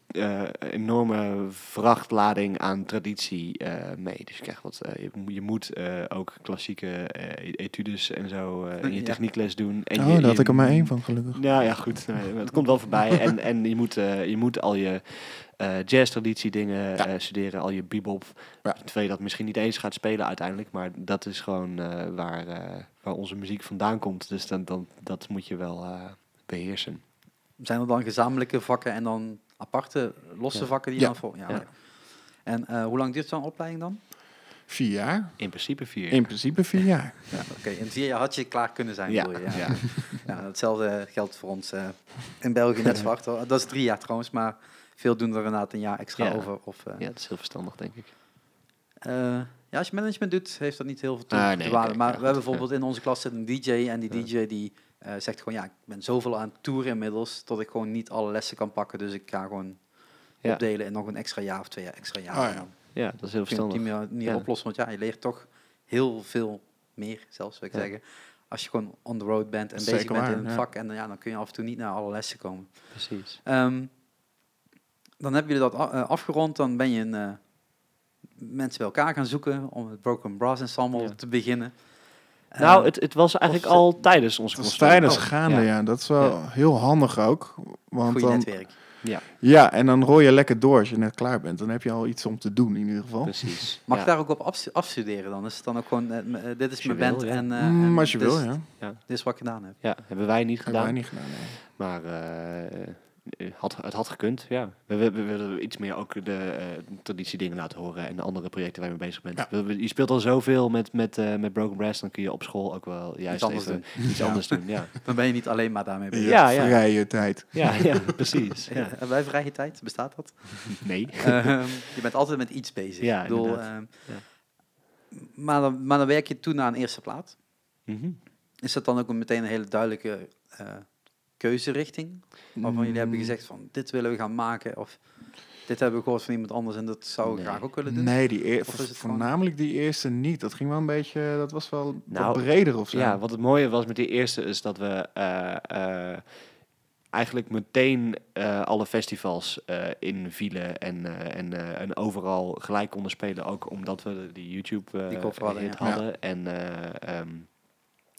eh, enorme vrachtlading aan traditie eh, mee. Dus je krijgt wat, eh, je, mo- je moet eh, ook klassieke eh, etudes en zo eh, in je
Ja.
techniekles doen. En
oh,
je,
daar had
je-
ik er maar één van gelukkig.
nou ja, goed. Nee, maar het komt wel voorbij. En, en je, moet, eh, je moet al je eh jazz-traditie dingen
Ja.
eh, studeren. Al je bebop.
Ja.
Terwijl je dat misschien niet eens gaat spelen uiteindelijk. Maar dat is gewoon eh, waar, eh, waar onze muziek vandaan komt. Dus dan, dan, dat moet je wel eh, beheersen.
Zijn er dan gezamenlijke vakken en dan aparte, losse
Ja.
vakken die
Ja.
je dan voor... Ja,
Ja.
oké. En eh, hoe lang duurt zo'n opleiding dan?
Vier jaar.
In principe vier.
In principe vier jaar.
Ja, Oké, in vier jaar had je klaar kunnen zijn.
ja,
bedoel je,
ja.
ja. Ja, hetzelfde geldt voor ons eh, in België net zwart. hoor. Dat is drie jaar trouwens, maar veel doen er inderdaad een jaar extra
Ja.
over. Of, eh,
Ja, dat is heel verstandig, denk ik.
eh, ja, als je management doet, heeft dat niet heel veel toe
Ah,
te
nee,
waarde.
oké,
maar
ja,
we
goed,
hebben bijvoorbeeld in onze klas zit een DJ en die DJ die eh, zegt gewoon, ja, ik ben zoveel aan het toeren inmiddels, dat ik gewoon niet alle lessen kan pakken. Dus ik ga gewoon
Ja.
opdelen in nog een extra jaar of twee jaar extra jaar.
Ah, ja.
En dan
Ja, dat is heel
kun je het op die
verstandig.
manier, manier
Ja.
oplossen. Want ja, je leert toch heel veel meer, zelfs zou ik
Ja.
zeggen. Als je gewoon on the road bent en
Zeker
bezig bent
waar,
in het
ja.
vak. En eh, ja, dan kun je af en toe niet naar alle lessen komen.
Precies.
Ehm, dan hebben jullie dat a- eh, afgerond. Dan ben je een, eh, mensen bij elkaar gaan zoeken om het Broken Brass Ensemble
Ja.
te beginnen.
nou,
Eh,
het, het was eigenlijk
of ze-
al tijdens onze
Dat is
concerten.
tijdens
Oh,
gaande, ja.
ja.
Dat is wel heel handig ook. Want
goede
dan,
netwerk.
ja, en dan rooi je lekker door als je net klaar bent. Dan heb je al iets om te doen in ieder
Dus,
geval.
Precies.
Mag
ja.
ik daar ook op afstu- afstuderen dan? Is het dan ook gewoon, eh, m- eh, dit is
je
mijn
wil,
band
ja.
en, eh,
Mm,
en
als je
dit,
wil,
is-
ja.
dit is wat ik gedaan heb.
Ja, hebben wij
Hebben
niet dus gedaan.
wij niet gedaan, nee.
Maar eh, eh, had, het had gekund, ja. We, we, we willen iets meer ook de eh traditiedingen laten horen en de andere projecten waar je mee bezig bent.
Ja.
We- we- Je speelt al zoveel met, met, eh, met Broken Brass, dan kun je op school ook wel juist
anders
even iets anders doen. Ja,
Dan ben je niet alleen maar daarmee bezig.
Ja,
Je
ja.
Vrije tijd.
ja, ja precies. Ja.
Eh, Bij vrije tijd, bestaat dat?
Nee.
Ehm, je bent altijd met iets bezig.
Ja,
Ik bedoel,
inderdaad.
ehm,
Ja.
maar, dan, maar dan werk je toe naar een eerste plaat.
Mhm.
Is dat dan ook een- meteen een hele duidelijke eh, keuzerichting? Waarvan jullie hebben
Mm.
gezegd van dit willen we gaan maken of dit hebben we gehoord van iemand anders en dat zou ik
Nee.
graag ook willen doen.
Nee, die eer-
Of is het gewoon-
voornamelijk die eerste niet. Dat ging wel een beetje, dat was wel
Nou,
wat breder of zo.
Ja, wat het mooie was met die eerste is dat we eh, eh, eigenlijk meteen eh, alle festivals eh invielen en, eh, en, eh, en overal gelijk konden spelen. Ook omdat we die YouTube eh
Die cover hadden,
hit
ja.
hadden. En eh, ehm,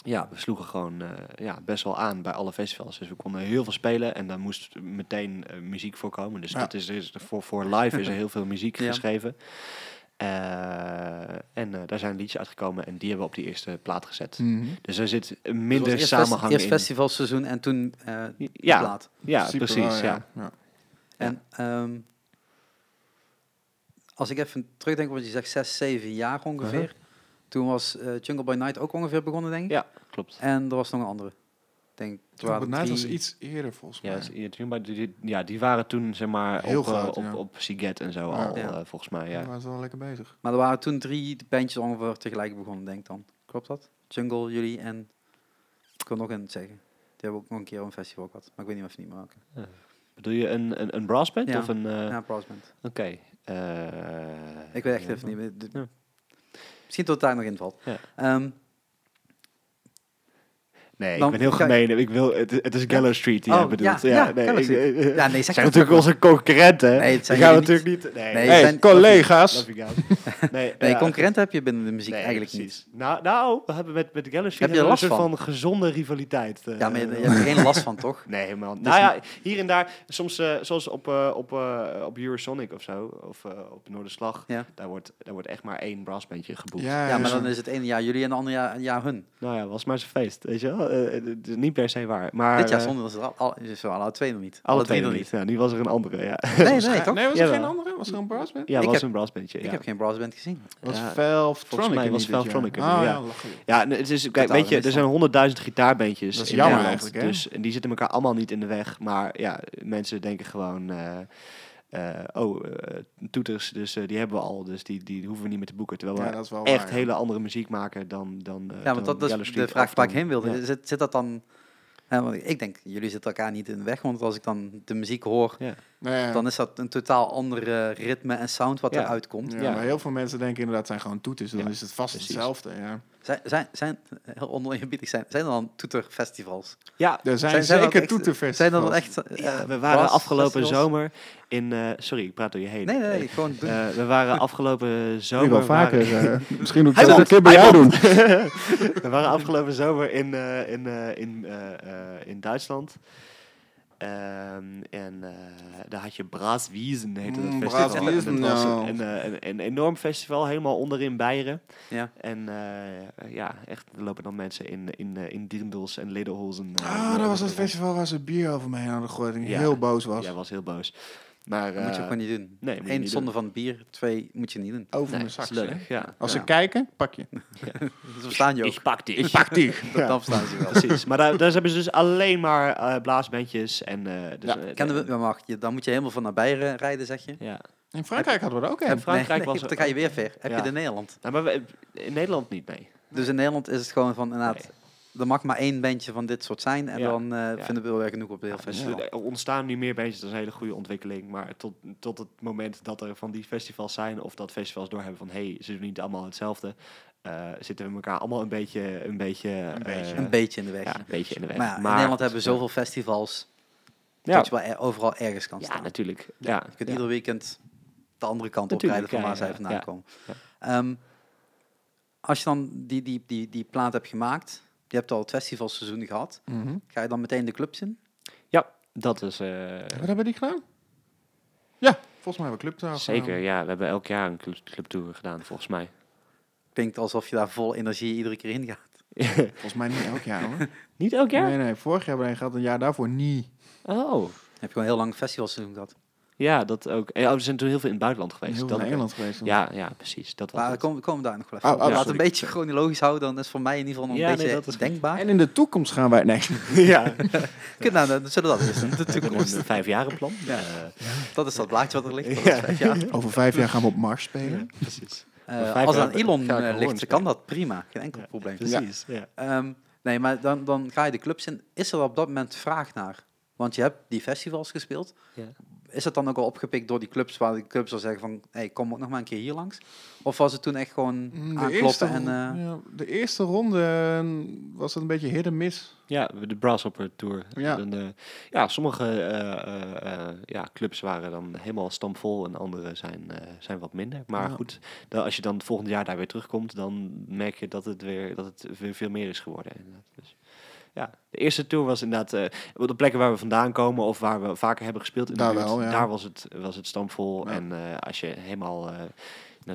ja, we sloegen gewoon eh, ja, best wel aan bij alle festivals. Dus we konden heel veel spelen en daar moest meteen eh, muziek voor komen. Dus
Ja.
dat is, is, voor, voor live is er heel veel muziek
Ja.
geschreven. Eh, en eh, daar zijn liedjes uitgekomen en die hebben we op die eerste plaat gezet.
Mhm.
Dus er zit
Dus het was
minder
eerst fes-
samenhang
Eerst
in.
festivalseizoen en toen eh de
ja,
plaat.
ja,
In principe
precies.
oh,
wel,
ja.
oh, ja.
En ehm, als ik even terugdenk, want je zegt zes, zeven jaar ongeveer.
Uh-huh.
Toen was eh, Jungle by Night ook ongeveer begonnen, denk ik.
Ja, klopt.
En er was nog een andere. Ik Denk, het
Toen
waren
Bad Night nou, was
drie-
iets eerder volgens mij.
Ja, dus hier- toen bij die, ja, die waren toen zeg maar
Heel
op, eh,
groot,
op,
ja.
op Siget en zo
Ja.
al,
Ja.
eh, volgens mij.
We
Ja.
waren wel lekker bezig.
Maar er waren toen drie bandjes ongeveer tegelijk begonnen, denk ik dan. Klopt dat? Jungle, jullie en... Ik wil nog een zeggen. Die hebben ook nog een keer op een festival gehad. Maar ik weet niet of ze niet meer maken.
Bedoel je een, een, een brassband
Ja.
of een... eh,
Ja, Brassband.
Oké. eh,
Ik weet echt
ja.
even niet meer. De-
Ja.
Ehm, Misschien tot daar nog in valt.
Ja.
Ehm,
Nee,
Dan
ik ben heel
ga-
gemeen. Ik wil, het, het is Gallow Street die
Oh,
jij bedoelt.
ja,
Ja,
ja,
nee,
Gallow
ik-
Street.
eh,
Ja, nee, zeg
zijn
dat
natuurlijk
ook
onze concurrenten. hè?
Nee, het zijn
Die gaan we
jullie
natuurlijk niet. Nee,
Nee,
Hey,
het zijn-
collega's.
Love you guys. Nee,
Nee,
ja,
concurrenten heb je binnen de muziek
nee,
Dus eigenlijk niet.
precies. Nou, nou, we hebben met, met Gallow Street
Heb je er
hebben we
last
een soort van gezonde rivaliteit. eh,
Ja, maar je, je hebt er geen Dus last van, toch?
Nee, man.
Dat is
Nou ja, hier en daar, soms eh, zoals op, eh, op, eh, op Eurosonic of zo, of eh, op Noorderslag,
Ja.
daar, wordt, daar wordt echt maar één brassbandje geboekt.
Ja,
Ja, maar dan is het ene jaar jullie en het andere jaar, een jaar hun.
Nou ja, was maar zijn feest, weet je wel? Eh, het is niet per se waar. Maar,
Dit jaar
eh,
zonder dat ze er al, al, is er alle twee nog niet.
alle twee nog niet. Ja, nu was er een andere, ja.
Nee, nee, toch?
Nee, was er
Jawel.
geen andere? Was er een brassband?
Ja,
Ik
was
heb-
een brassbandje,
Ik
ja.
heb geen brassband gezien.
Was
Ja,
Velvetronic
mij
er niet
was
dit jaar?
Velvetronic er
Ah,
niet,
ja,
ja.
lachen.
Ja, nee, het is, kijk,
Totaal
weet je, er
gemist
zijn honderdduizend gitaarbeentjes.
Dat is
in
jammer
Nederland,
eigenlijk, hè?
Dus en die zitten elkaar allemaal niet in de weg. Maar ja, mensen denken gewoon, eh, eh, oh, eh, toeters, dus eh, die hebben we al. Dus die, die hoeven we niet meer te boeken. Terwijl
Ja,
we
dat is wel
echt
waar.
hele andere muziek maken dan... dan eh,
Ja, want
dan
dat, dat
Yellow
is de
Street
vraag
of
waar ik
dan-
heen wilde.
Ja.
Zit, zit dat dan... hè, want ik denk, jullie zitten elkaar niet in de weg. Want als ik dan de muziek hoor,
Nee, ja.
dan is dat een totaal ander eh, ritme en sound wat
Ja.
eruit komt.
Ja,
Ja.
maar heel veel mensen denken inderdaad, het zijn gewoon toeters. Dan
Ja,
is het vast
precies.
hetzelfde, ja.
Zijn, zijn, zijn, eh, heel oneerbiedig, zijn, zijn er dan toeterfestivals?
Ja,
Er zijn,
Zijn- zijn dat
zeker
echt-
toeterfestivals.
Zijn er dan echt... eh,
we waren
brass
afgelopen
festivals?
zomer in... eh, sorry, ik praat door je heen.
Nee, nee, nee, gewoon doen.
Eh, we waren afgelopen zomer...
Nu wel
waren-
vaker. eh, misschien moet ik
Hij
dat een
moet-
keer bij
hij
jou doen.
moet. We waren afgelopen zomer in, eh, in, eh, in, eh, eh, in Duitsland. Ehm, en eh, daar had je Braaswiesen, heette dat
Mm,
festival.
Braaswiesen,
En dat was
nou.
een, eh, een, een enorm festival, helemaal onderin Beieren.
Ja.
En eh, ja, echt, er lopen dan mensen in, in, eh, in dirndls en lederhosen. eh,
Ah, dat was het
rond.
festival waar ze bier over me heen hadden gegooid en ik
Ja.
heel boos was.
Ja, was heel boos. Maar,
Dat moet je
eh,
gewoon niet doen.
nee, moet je
Eén,
niet
zonde van het bier. Twee, moet je niet doen.
Over
nee,
mijn
dat
zak.
is lullig, ja.
Als
Ja.
ze kijken, pak je.
Ze verstaan je ook.
Oh. Ik pak die.
Ik pak die.
Dat- Dan verstaan ze je wel.
Precies, maar daar, daar hebben ze dus alleen maar eh blaasbandjes en... eh, dus,
Ja,
eh,
Kennen we, maar mag je, dan moet je helemaal van naar Beieren rijden, zeg je?
Ja.
In Frankrijk hadden we dat ook
En
een.
Frankrijk
nee,
was er
dan ga je weer ver. Heb
Ja.
je de Nederland.
Nou, maar we- in Nederland niet mee.
Dus in Nederland is het gewoon van, inderdaad, er mag maar één bandje van dit soort zijn. En
Ja.
dan eh,
Ja.
vinden we wel weer genoeg op de heel
Dus
festival.
er ontstaan nu meer bandjes, dat is een hele goede ontwikkeling. Maar tot, tot het moment dat er van die festivals zijn, of dat festivals doorhebben van hé, hey, ze doen niet allemaal hetzelfde, eh, zitten we elkaar allemaal een beetje, een beetje,
Een beetje.
eh,
Een beetje in de weg.
ja, een beetje in de weg.
Maar, ja, in Nederland hebben we zoveel festivals
ja,
dat je wel er- overal ergens kan
ja,
staan.
natuurlijk. Ja,
je kunt
ja.
ieder weekend de andere kant op rijden
Natuurlijk,
van
ja,
waar
ja,
zij vandaan
ja.
komen.
Ja.
Ehm, als je dan die, die, die, die plaat hebt gemaakt, je hebt al het festivalseizoen gehad,
Mhm.
ga je dan meteen de clubs in?
Ja, dat is eh,
Wat hebben die gedaan? Ja, volgens mij hebben we clubtaal
zeker. Ja, we hebben elk jaar een club, clubtour gedaan, volgens mij.
Klinkt alsof je daar vol energie iedere keer in gaat.
Volgens mij niet elk jaar hoor.
niet elk jaar?
Nee, nee, vorig jaar hebben we een gehad, een jaar daarvoor niet.
Oh,
Dan heb je gewoon heel lang festivalseizoen gehad.
ja, dat ook. Eh, Oh, we zijn toen heel veel in het buitenland
Heel
geweest.
veel
dat,
naar Engeland geweest. dan.
Ja, ja, precies. Dat was
Maar we
het.
komen, we komen daar nog wel even
Oh,
op.
oh,
Laat een
sorry.
beetje chronologisch houden, dan is voor mij in ieder geval nog
Ja,
een
nee, dat
beetje
is goed.
denkbaar.
En in de toekomst gaan wij... Nee,
ja.
Goed, nou, dan zullen we dat eerst doen. De toekomst.
Een vijfjarenplan.
Ja.
Eh,
Dat is dat blaadje wat er ligt. Dat
Ja.
is vijf jaar.
over vijf jaar gaan we op Mars spelen.
ja, precies.
Eh,
Over vijf
als het
jaar
aan Elon
ga ik
eh,
een hoorn
ligt, dan kan dat prima. Geen enkel probleem.
Precies. Ja.
Ehm, nee, maar dan, dan ga je de clubs in. Is er op dat moment vraag naar? Want je hebt die festivals gespeeld.
Ja.
Is dat dan ook al opgepikt door die clubs waar de clubs al zeggen van... Hey, kom ook nog maar een keer hier langs? Of was het toen echt gewoon
Mm, De eerste,
aankloppen en... eh,
ja, de eerste ronde eh, was het een beetje hit en miss.
Ja, de Brasshopper Tour.
Ja.
Dan, eh, ja, sommige eh, eh, eh, ja, clubs waren dan helemaal stampvol en andere zijn, eh, zijn wat minder. Maar
Ja.
goed, dan, als je dan het volgende jaar daar weer terugkomt, dan merk je dat het weer, dat het weer veel meer is geworden. inderdaad. Dus, ja, de eerste tour was inderdaad, eh, op de plekken waar we vandaan komen of waar we vaker hebben gespeeld in de
Daar
buurt,
wel, ja.
daar was het, was het stampvol.
Ja.
En eh, als je helemaal... eh, naar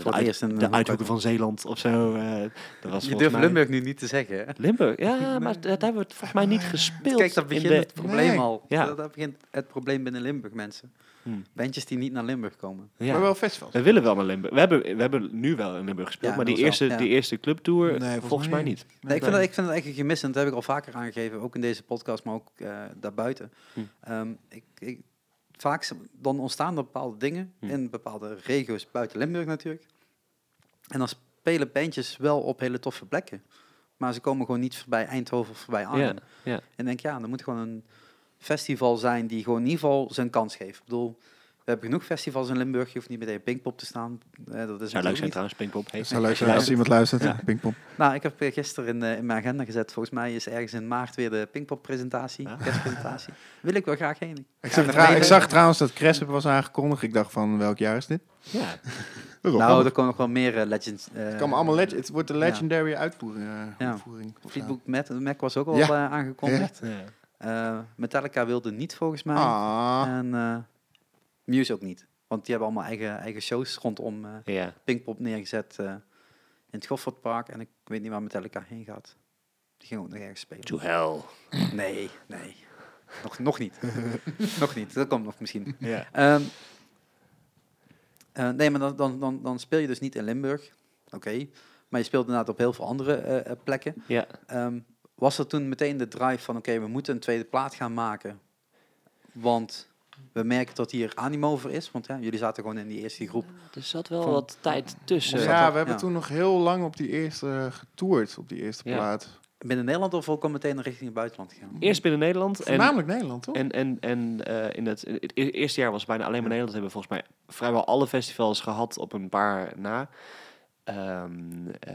Voor
de,
het
uit-
eerst in,
de
eh,
uithoeken van Zeeland of zo. eh, dat was
je
volgens
durft
mij-
Limburg nu niet te zeggen, hè?
Limburg, ja, maar dat hebben we het volgens mij niet gespeeld.
Kijk, dat
in
begint
de-
het probleem
Nee.
al.
Ja.
Dat, dat begint het probleem binnen Limburg, mensen.
Hmm.
Bandjes die niet naar Limburg komen.
Ja.
Maar wel festivals.
We willen wel naar Limburg. We hebben, we hebben nu wel in Limburg gespeeld,
Ja,
maar die
dat is
eerste,
wel, ja.
die eerste clubtour
Nee,
volgens,
volgens
mij
mij
niet.
Nee, ik, vind dat, ik vind dat echt een gemis en dat heb ik al vaker aangegeven, ook in deze podcast, maar ook eh, daarbuiten.
Hmm.
Ehm, ik, ik, vaak z- dan ontstaan er bepaalde dingen
Hmm.
in bepaalde regio's buiten Limburg natuurlijk. En dan spelen bandjes wel op hele toffe plekken. Maar ze komen gewoon niet voorbij Eindhoven of voorbij Arnhem.
Ja, ja.
En denk, ja, er moet gewoon een festival zijn die gewoon in ieder geval zijn kans geeft. Ik bedoel, We hebben genoeg festivals in Limburg. Je hoeft niet meteen Pinkpop te staan. Eh, dat is
Zou leuk
natuurlijk
zijn
niet.
trouwens, Pinkpop. Hey.
Het zou leuk zijn als iemand luistert. Pingpong.
Nou, ik heb eh, gisteren in, eh, in mijn agenda gezet. Volgens mij is ergens in maart weer de Pinkpop-presentatie,
Ah.
kerstpresentatie. Wil ik wel graag heen. Ik
Ik,
ga
zag
er
trouw-
even-
ik zag trouwens dat Cresp was aangekondigd. Ik dacht van, welk jaar is dit?
Ja.
Nou, er komen nog wel meer eh, legends. eh,
het, kan me allemaal leg- het wordt de legendary uitvoering. eh,
Ja.
uitvoering of zo.
Fleetwood Mac, Mac was ook al
Ja.
eh, aangekondigd.
Ja.
Eh, Metallica wilde niet, volgens mij.
Ah,
En eh, Muse ook niet. Want die hebben allemaal eigen, eigen shows rondom eh,
ja.
Pinkpop neergezet eh, in het Goffertpark. En ik weet niet waar Metallica heen gaat. Die ging ook nog ergens spelen.
To hell.
Nee, nee. Nog, nog niet. nog niet. Dat komt nog misschien.
Ja.
Ehm, eh, nee, maar dan, dan, dan, dan speel je dus niet in Limburg. Oké. Maar je speelt inderdaad op heel veel andere eh, eh, plekken.
Ja.
Ehm, was er toen meteen de drive van... Oké, we moeten een tweede plaat gaan maken. Want we merken dat hier animo voor is. Want ja, jullie zaten gewoon in die eerste groep.
Er zat wel
Van-
wat tijd tussen.
Zo.
ja, we hebben
Ja.
toen nog heel lang op die eerste eh, getoerd, op die eerste
Ja.
plaat.
Binnen Nederland of ook al meteen richting het buitenland gegaan?
Eerst binnen Nederland. En,
Voornamelijk Nederland, toch?
en, en, en eh, in het, het e- eerste jaar was het bijna alleen maar Nederland. Hebben we volgens mij vrijwel alle festivals gehad op een paar na. Ehm, eh,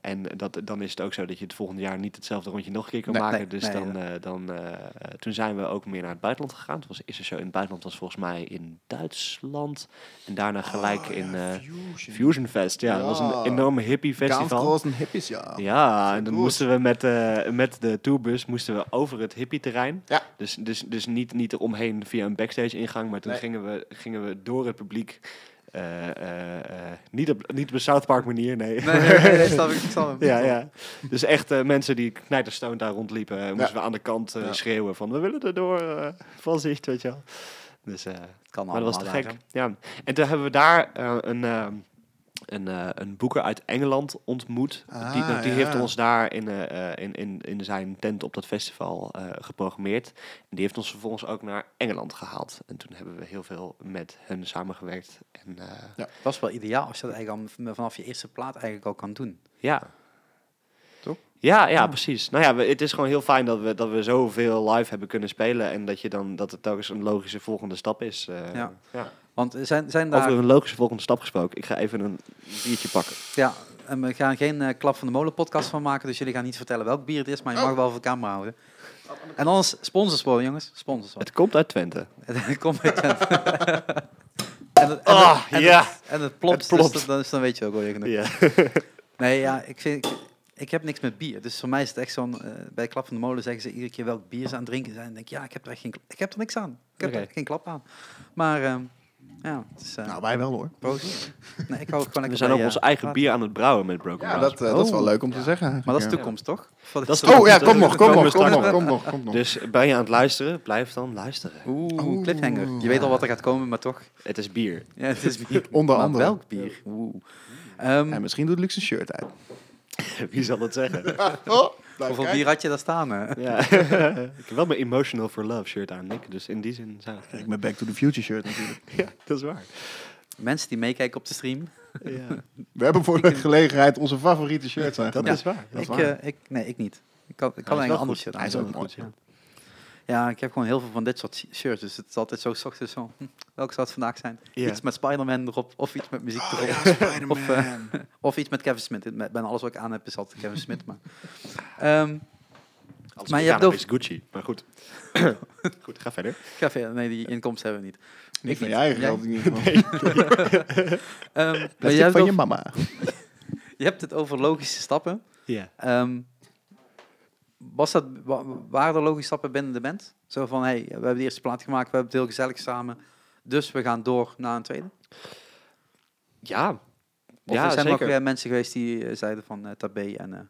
en dat, dan is het ook zo dat je het volgende jaar niet hetzelfde rondje nog een keer kan
Nee,
maken.
nee,
dus
nee,
dan, eh, dan, eh, toen zijn we ook meer naar het buitenland gegaan. Het was de eerste show in het buitenland was volgens mij in Duitsland. En daarna gelijk
Oh, ja,
in eh,
Fusion.
Fusion Fest. Ja, dat was
Ja.
een enorme hippie festival.
Downfrozen hippies, ja.
Ja, en dan
Oh, Goed.
moesten we met, eh, met de tourbus moesten we over het hippie-terrein.
Ja.
Dus, dus, dus niet, niet eromheen via een backstage-ingang, maar toen
Nee.
gingen, we, gingen we door het publiek. eh, eh, eh, niet, op, niet op de South Park manier, nee.
Nee, nee, nee, nee, snap ik, ik snap hem.
ja, ja. Dus echt eh, mensen die knijterstoond daar rondliepen, eh, moesten we aan de kant eh,
Ja.
schreeuwen van we willen er door, eh, van zicht, weet je wel. Dus eh,
Het kan
maar dat was te
allemaal
gek.
daar,
Ja. En toen hebben we daar eh, een, eh, een, eh, een boeker uit Engeland ontmoet.
Ah,
die die
ja.
heeft ons daar in, eh, eh, in, in, in zijn tent op dat festival eh, geprogrammeerd. En die heeft ons vervolgens ook naar Engeland gehaald. En toen hebben we heel veel met hen samengewerkt. En eh,
hè. Dat is wel ideaal als je dat eigenlijk al vanaf je eerste plaat eigenlijk al kan doen.
ja.
Toch?
Ja, ja, precies. Nou ja, we- het is gewoon heel fijn dat we, dat we zoveel live hebben kunnen spelen. En dat, je dan, dat het telkens een logische volgende stap is. eh.
Ja.
ja.
Want er zijn, zijn daar...
Over een logische volgende stap gesproken. Ik ga even een biertje pakken.
Ja, en we gaan geen eh, Klap van de Molen podcast van maken, dus jullie gaan niet vertellen welk bier het is,
Oh.
maar je mag wel voor de camera houden. En anders sponsors worden, jongens. Sponsors worden.
Het komt uit Twente.
Het komt met Twente. En het, en het-
Ah,
en
ja.
het- en het plopt,
Het
dus
plopt.
dat- dan, dus dan weet je ook wel je genoeg.
Ja.
Nee, ja, ik, vind, ik, ik heb niks met bier. Dus voor mij is het echt zo'n... eh, bij Klap van de Molen zeggen ze iedere keer welk bier ze aan het drinken zijn. En denk ik, ja, ik heb er, echt geen, ik heb er niks aan. Ik heb
Oké.
er echt geen klap aan. Maar ehm, ja, het is... eh,
Nou, wij wel hoor.
proost. Nee, ik hou ook gewoon lekker
We zijn
bij,
ook ons
eh,
eigen
praten.
bier aan het brouwen met Broken
Ja,
Brothers.
dat, eh, dat is wel
Oh.
leuk om te zeggen.
Maar dat is
eigenlijk,
toekomst, toch? Voor de
Dat is
ja.
toekomst.
Oh ja, kom nog, kom
Komen
nog,
we
kom nog,
straks nog.
kom nog, kom nog.
Dus ben je aan het luisteren? Blijf dan luisteren.
Oeh,
Oeh.
cliffhanger. Je weet al wat er gaat komen, maar toch.
Het is bier.
Ja, het is bier.
Onder
Maar
andere.
welk bier? Oeh. Ehm,
En misschien doet Lux een shirt uit.
Wie zal het zeggen?
hoeveel bier had je daar staan? hè?
Ja. ik heb wel mijn Emotional for Love shirt aan, Nick. Dus in die zin zou
Ik
ik...
ben Back to the Future shirt natuurlijk.
Ja, dat is waar.
Mensen die meekijken op de stream.
Ja,
We hebben voor de gelegenheid onze favoriete shirts aan.
dat
Ja.
is waar. Dat is
Ik,
waar.
eh, ik, nee, ik niet. Ik kan, ik
Hij
kan eigenlijk
is wel
een ander
goed.
shirt
Hij is ook
aan.
mooi.
ja.
Ja, ik heb gewoon heel veel van dit soort shi- shirts. Dus het is altijd zo 's ochtends zo. hm, welke zou het vandaag zijn?
Ja. Oh,
Iets met Spider-Man erop. Of iets met muziek erop. Of, eh, of iets met Kevin Smith. Ik ben- Bijna alles wat ik aan heb is altijd Kevin Smith. Maar, Ehm,
Als
maar
ik
je
aan
hebt
heb, is Gucci. Maar goed. goed, ga verder.
ga verder. Nee, die inkomsten hebben we niet.
Niet van
niet.
je eigen
Jij-
geld in ieder geval.
Ehm, maar
Dat
je, hebt het
van je
over-
mama.
je hebt het over logische stappen.
Ja.
Ehm, was dat, wa- waren er logische stappen binnen de band? Zo van, hey, we hebben de eerste plaat gemaakt, we hebben het heel gezellig samen, dus we gaan door naar een tweede?
Ja.
Of
ja,
er zijn
zeker.
ook weer mensen geweest die eh, zeiden van eh tabé en eh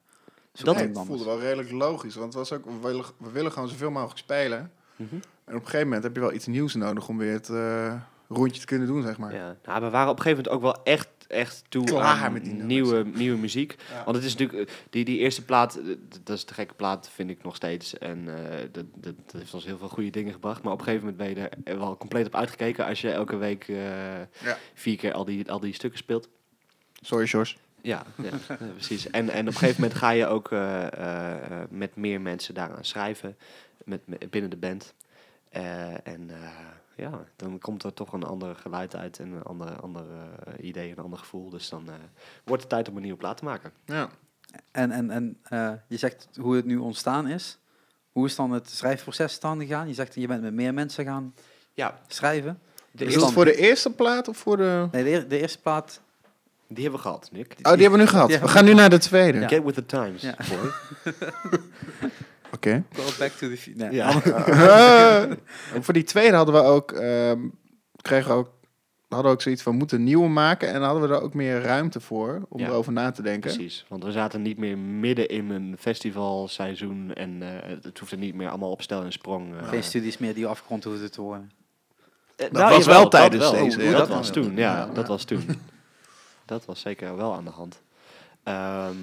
zoek
Dat-
Nee,
iemand
het voelde
anders.
wel redelijk logisch. Want het was ook, we willen, we willen gewoon zoveel mogelijk spelen.
Mhm.
En op een gegeven moment heb je wel iets nieuws nodig om weer het eh, rondje te kunnen doen, zeg maar.
Ja, nou, we waren op een gegeven moment ook wel echt, echt toe
Klaar
aan
met die nummers.
nieuwe, nieuwe muziek.
Ja.
Want het is natuurlijk, eh, die, die eerste plaat, eh, d- dat is de gekke plaat, vind ik nog steeds. En eh, dat, dat, dat heeft ons heel veel goede dingen gebracht. Maar op een gegeven moment ben je er wel compleet op uitgekeken als je elke week eh, vier keer al die, al die stukken speelt.
Sorry, Sjors.
Ja, ja, ja, precies. En, en op een gegeven moment ga je ook eh, eh, eh, met meer mensen daaraan schrijven, met, met- binnen de band. Eh, en eh, ja, dan komt er toch een ander geluid uit en een ander, ander eh, idee, een ander gevoel. Dus dan eh, wordt het tijd om een nieuwe plaat te maken.
Ja.
En, en, en eh, je zegt hoe het nu ontstaan is. Hoe is dan het schrijfproces dan gegaan? Je zegt je bent met meer mensen gaan
Ja,
schrijven.
de
Is
eerste-
dat voor de eerste plaat of voor de...
Nee, de, eer- de eerste plaat.
die hebben we gehad, Nick.
Oh, die hebben we nu gehad.
Ja.
We gaan nu naar de tweede.
Get with the times,
Ja.
boy.
Oké.
Go back to the... fu- Nee,
Ja.
ander-
En voor die tweede hadden we ook, ehm, kregen we ook, hadden we ook zoiets van moeten nieuwe maken. En hadden we er ook meer ruimte voor om
Ja.
erover na te denken.
Precies, want we zaten niet meer midden in een festivalseizoen en eh, het hoefde niet meer allemaal op stel en sprong. eh.
Geen studies meer die afgerond hoefden te worden.
Eh,
Dat was wel tijdens
dat
deze,
Oeh,
ja.
Dat,
Dat
was
wel.
toen, ja,
Ja.
dat was toen. dat was zeker wel aan de hand. Ehm,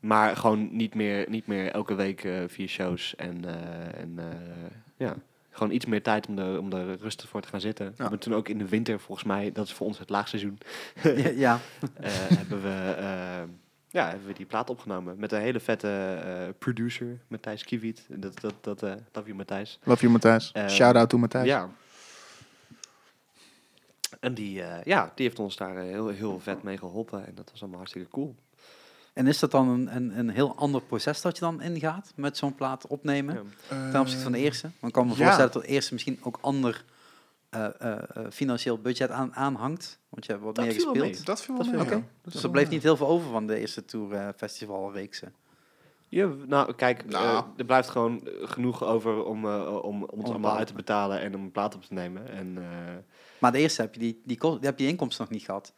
maar gewoon niet meer, niet meer elke week eh, vier shows en, eh, en eh, ja, gewoon iets meer tijd om er, om er rustig voor te gaan zitten. We hebben toen ook in de winter, volgens mij, dat is voor ons het laagseizoen,
Ja, ja.
eh, hebben, we, eh, ja, hebben we die plaat opgenomen met een hele vette eh, producer, Matthijs Kiewiet. Dat, dat, dat, eh love you, Matthijs.
Love you, Matthijs.
Eh,
Shout-out to Matthijs.
Ja. En die, eh, ja, die heeft ons daar eh, heel, heel vet mee geholpen. En dat was allemaal hartstikke cool.
En is dat dan een, een, een heel ander proces dat je dan ingaat met zo'n plaat opnemen
Ja.
Eh,
Eh,
ten opzichte van de eerste? Want ik kan me
ja.
voorstellen dat de eerste misschien ook ander eh, eh, eh, financieel budget aan, aanhangt. Want je hebt wat
Dat
meer
viel wel
gespeeld.
mee.
Dat viel
Dat
mee,
viel
ja.
mee. Dus
Dat
er
viel wel
bleef
mee.
niet heel veel over van de eerste tour eh, festivalreeksen.
Ja, nou, kijk,
Nou.
eh, er blijft gewoon eh, genoeg over om, eh, om, om het
een
allemaal
plaat.
uit te betalen en om een plaat op te nemen. En, eh,
Maar de eerste heb je die, die, ko- die heb je inkomsten nog niet gehad.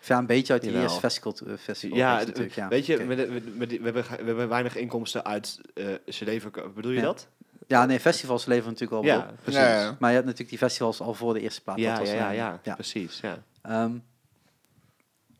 Of ja, een beetje uit die
Jawel.
eerste festival, eh, festival
ja, het-
natuurlijk. Ja,
weet je,
Oké.
met, de- met, met die- we, hebben, ge- we hebben weinig inkomsten uit eh cd-verkoop. Bedoel je
Ja.
dat?
ja, nee, festivals leveren natuurlijk al
Ja,
op.
precies.
Ja, ja.
Maar je hebt natuurlijk die festivals al voor de eerste plaat.
Ja,
dat was
ja, ja,
een-
ja,
ja.
precies. Ja.
Ehm,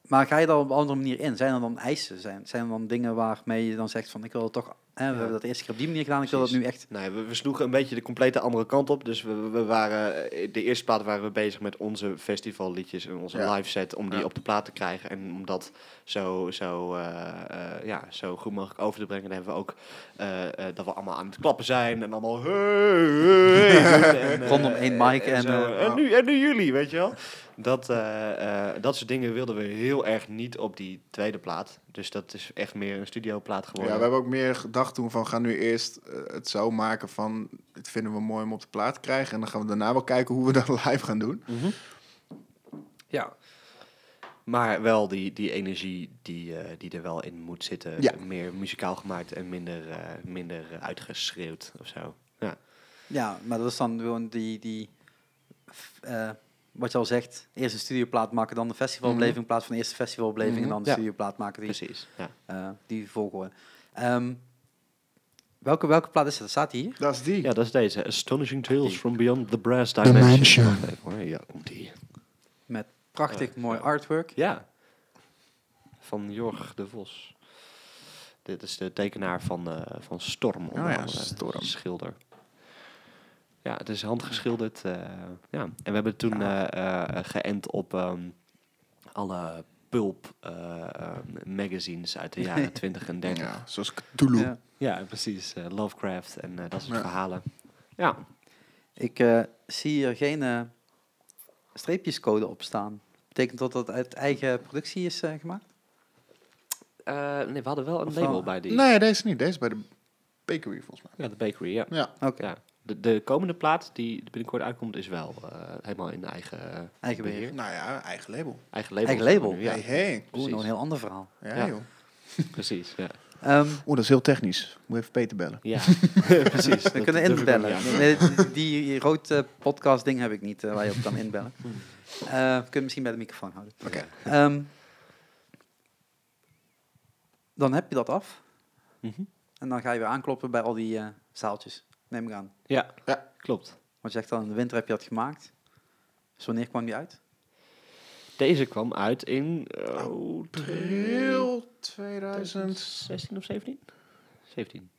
maar ga je daar op een andere manier in? Zijn er dan eisen? Zijn, zijn er dan dingen waarmee je dan zegt van ik wil het toch... Hè, we hebben dat eerst op die manier gedaan, ik wil dat nu
Precies.
echt...
Nee, we, we sloegen een beetje de complete andere kant op. Dus we, we waren, eh, de eerste plaat waren we bezig met onze festivalliedjes en onze
Ja.
live set. Om die
Ja.
op de plaat te krijgen en om dat zo, zo, eh, eh, ja, zo goed mogelijk over te brengen. Dan hebben we ook eh, eh, dat we allemaal aan het klappen zijn en allemaal... Hey, hey, doen en, eh,
Rondom één mic en,
zo.
eh,
en, nu, en nu jullie, weet je wel. Dat, eh, eh, dat soort dingen wilden we heel erg niet op die tweede plaat. Dus dat is echt meer een studioplaat
Ja,
geworden.
we hebben ook meer gedacht toen van gaan nu eerst eh, het zo maken van dit vinden we mooi om op de plaat te krijgen. En dan gaan we daarna wel kijken hoe we dat live gaan doen.
Ja. Maar wel die, die energie die, eh, die er wel in moet zitten.
Ja.
Meer muzikaal gemaakt en minder, eh, minder eh, uitgeschreeuwd of zo. Ja.
Ja, maar dat is dan gewoon die... die f- eh, wat je al zegt, eerst een studioplaat maken, dan de festivalbeleving... in plaats van eerst de festivalbeleving
Mhm.
en dan de
Mhm. Ja.
studioplaat maken. Die,
Precies. Ja.
eh, die volgorde. Ehm, welke, welke plaat is dat? Staat die hier?
Dat is die.
ja, dat is deze. Astonishing Tales from Beyond the Brass Dimension. Wacht even hoor. Ja, komt die.
Met prachtig mooi artwork.
Eh, Ja. Van Jorg de Vos. Dit is de tekenaar van, eh, van Storm. onder
Oh ja,
andere.
Storm.
Schilder. Ja, het is handgeschilderd. eh, ja. En we hebben het toen eh, eh, geënt op ehm, alle pulp eh, eh, magazines uit de jaren 20 en 30.
Ja, zoals Cthulhu.
Ja.
Ja, precies. eh, Lovecraft en eh, dat soort
Ja.
verhalen. Ja,
Ik eh, zie hier geen eh, streepjescode op staan. Betekent dat dat uit eigen productie is eh, gemaakt?
eh, nee, we hadden wel een
Of
label
wel-
bij die.
Nee, deze niet. Deze bij de bakery volgens
Ja, de bakery, ja.
mij. Ja.
Oké,
Ja. De, de komende plaat die binnenkort uitkomt is wel eh, helemaal in de eigen, eh,
eigen beheer.
Nou ja, eigen label.
eigen label.
Eigen label.
Ja,
Hey, hey.
Oeh, nog nou, een heel ander verhaal.
Ja,
Ja.
joh.
precies. Ja,
Ehm,
Oeh, dat is heel technisch. Moet even Peter bellen.
ja. precies.
we kunnen inbellen. Nee, die- die rood eh, podcast ding heb ik niet eh, waar je op kan inbellen. Eh we kunnen misschien bij de microfoon houden.
Oké.
Ehm, dan heb je dat af.
Mhm.
En dan ga je weer aankloppen bij al die eh, zaaltjes. Neem ik aan.
Ja,
Ja.
klopt.
Want je zegt dan, in de winter heb je dat gemaakt. Dus wanneer kwam die uit?
Deze kwam uit in eh, oh,
April 2000.
16 of 17? 17.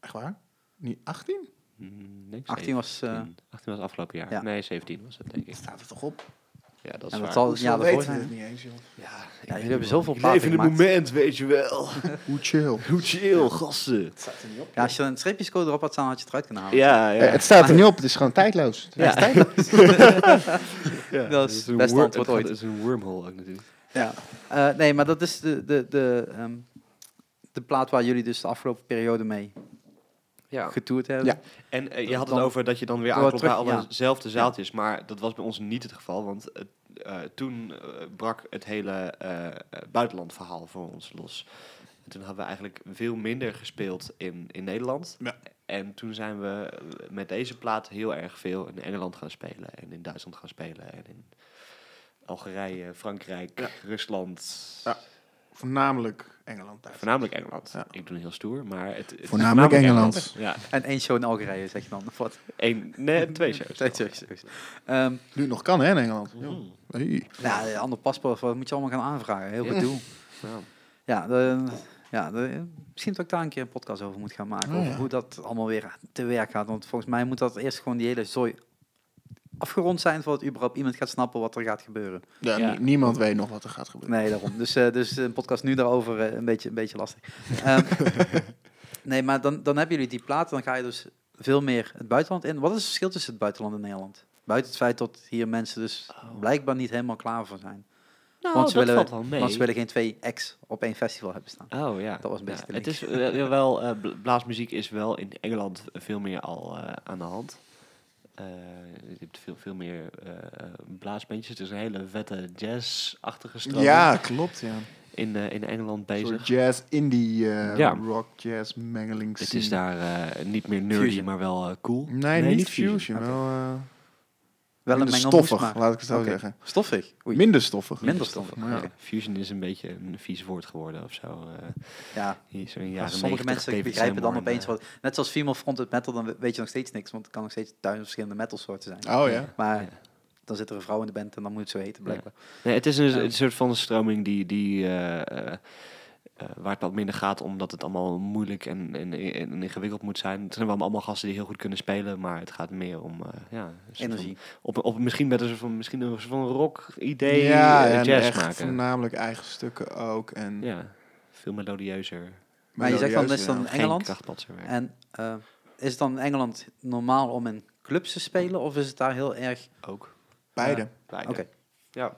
Echt waar? Niet 18?
Mm, nee,
18 was, eh,
Hmm, 17. 18 was afgelopen jaar.
ja.
Nee, 17 was het denk ik.
Staat er toch op?
Ja, dat is
En dat
waar.
zal
Hoezo
ja, dat
weten
hoort
we
zijn.
het niet eens, joh.
Ja, ik
Ja,
weet
jullie hebben
niet, man.
zoveel
Ik
platen
Leef in het
gemaakt.
moment, weet je wel.
Hoe chill.
Hoe chill, gasten.
Het staat er niet op.
Ja, als je een streepjescode erop had staan, had je het eruit kunnen halen.
Ja,
Eh,
ja.
het staat er niet op, het is gewoon tijdloos. Het
Ja.
is tijdloos.
ja.
dat is
het
het beste
wor-
antwoord
het-
ooit.
Het is een wormhole ook natuurlijk.
Ja. Eh, nee, maar dat is de, de, de, ehm, de plaat waar jullie dus de afgelopen periode mee
Ja.
getoerd hebben.
Ja.
En eh, je had het
Dan-
over dat je dan weer
Dan
aanklopt bij
terug- ja.
allezelfde zaaltjes. Maar dat was bij ons niet het geval. Want het, eh, toen eh, brak het hele eh buitenlandverhaal voor ons los. En toen hadden we eigenlijk veel minder gespeeld in, in Nederland.
Ja.
En toen zijn we eh, met deze plaat heel erg veel in Engeland gaan spelen. En in Duitsland gaan spelen. En in Algerije, Frankrijk,
Ja.
Rusland.
Ja. Voornamelijk Engeland. Duitsland.
Voornamelijk Engeland.
Ja.
Ik doe het heel stoer, maar het, het is
Voornamelijk Engeland.
Ja,
En één show in Algerije, zeg je dan. Of Wat?
één, nee, twee shows.
Twee shows. Ehm,
Nu het nog kan, hè, in Engeland.
Mhm.
Hey.
nou, een ander paspoort, wat moet je allemaal gaan aanvragen? Heel
Ja.
gedoe.
Ja.
Ja, de- ja de- misschien dat ik daar een keer een podcast over moet gaan maken.
Oh,
over
ja.
hoe dat allemaal weer te werk gaat. Want volgens mij moet dat eerst gewoon die hele zooi afgerond zijn voordat überhaupt iemand gaat snappen wat er gaat gebeuren.
Ja,
Ja.
nie- Niemand weet nog wat er gaat gebeuren.
Nee, daarom. Dus, eh, dus een podcast nu daarover eh, een, beetje, een beetje lastig. Ehm, nee, maar dan, dan hebben jullie die platen. Dan ga je dus veel meer het buitenland in. Wat is het verschil tussen het buitenland en Nederland? Buiten het feit dat hier mensen dus blijkbaar niet helemaal klaar voor zijn.
Nou,
want, ze
Oh. dat
willen,
valt wel mee.
want ze willen geen twee ex op één festival hebben staan.
Oh ja.
Dat was een beetje
Ja,
te
het is eh, wel, eh, bla- blaasmuziek is wel in Engeland veel meer al eh, aan de hand. Eh, je hebt veel, veel meer eh, blaasbandjes. Het is een hele vette jazz-achtige stroming
Ja, klopt, ja.
in, eh, in Engeland
Een
bezig.
soort jazz, indie, eh,
Ja.
rock, jazz, mengeling
het
scene.
is daar eh, niet meer nerdy,
Fusion.
maar wel eh, cool.
Nee, niet, fusion. Wel, eh,
Wel een
minder
mengelmoes,
stoffig,
maar-
laat ik het zo
Oké.
zeggen.
Stoffig? Oei.
Minder stoffig.
Minder stoffig.
Maar
Ja,
ja.
fusion is een beetje een vies woord geworden of zo. eh,
Ja,
hier is een
ja
jaren
sommige
90
mensen
David
begrijpen dan
Seymour en,
opeens
eh,
wat. Net zoals female fronted metal, dan we- weet je nog steeds niks. Want het kan nog steeds duizend verschillende metalsoorten zijn.
Oh ja.
Maar
Ja.
dan zit er een vrouw in de band en dan moet het zo heten, blijkbaar.
Nee, het is een,
Ja.
een soort van stroming die, die, eh, eh, eh, waar het wat minder gaat omdat het allemaal moeilijk en, en, en ingewikkeld moet zijn. Het zijn wel allemaal gasten die heel goed kunnen spelen, maar het gaat meer om eh, ja, een soort van-
Energie.
Op, op, misschien met een soort van, misschien een soort van rock idee
ja,
eh,
en
jazz
echt
maken.
voornamelijk eigen stukken ook. En
Ja, veel melodieuzer.
Maar je zegt dan, dat is
melodieuzer,
dan
ja.
Engeland?
Engeland. En eh, is het dan in Engeland normaal om in clubs te spelen? Of is het daar heel erg...
ook.
Beide.
Oké,
Beide. Ja.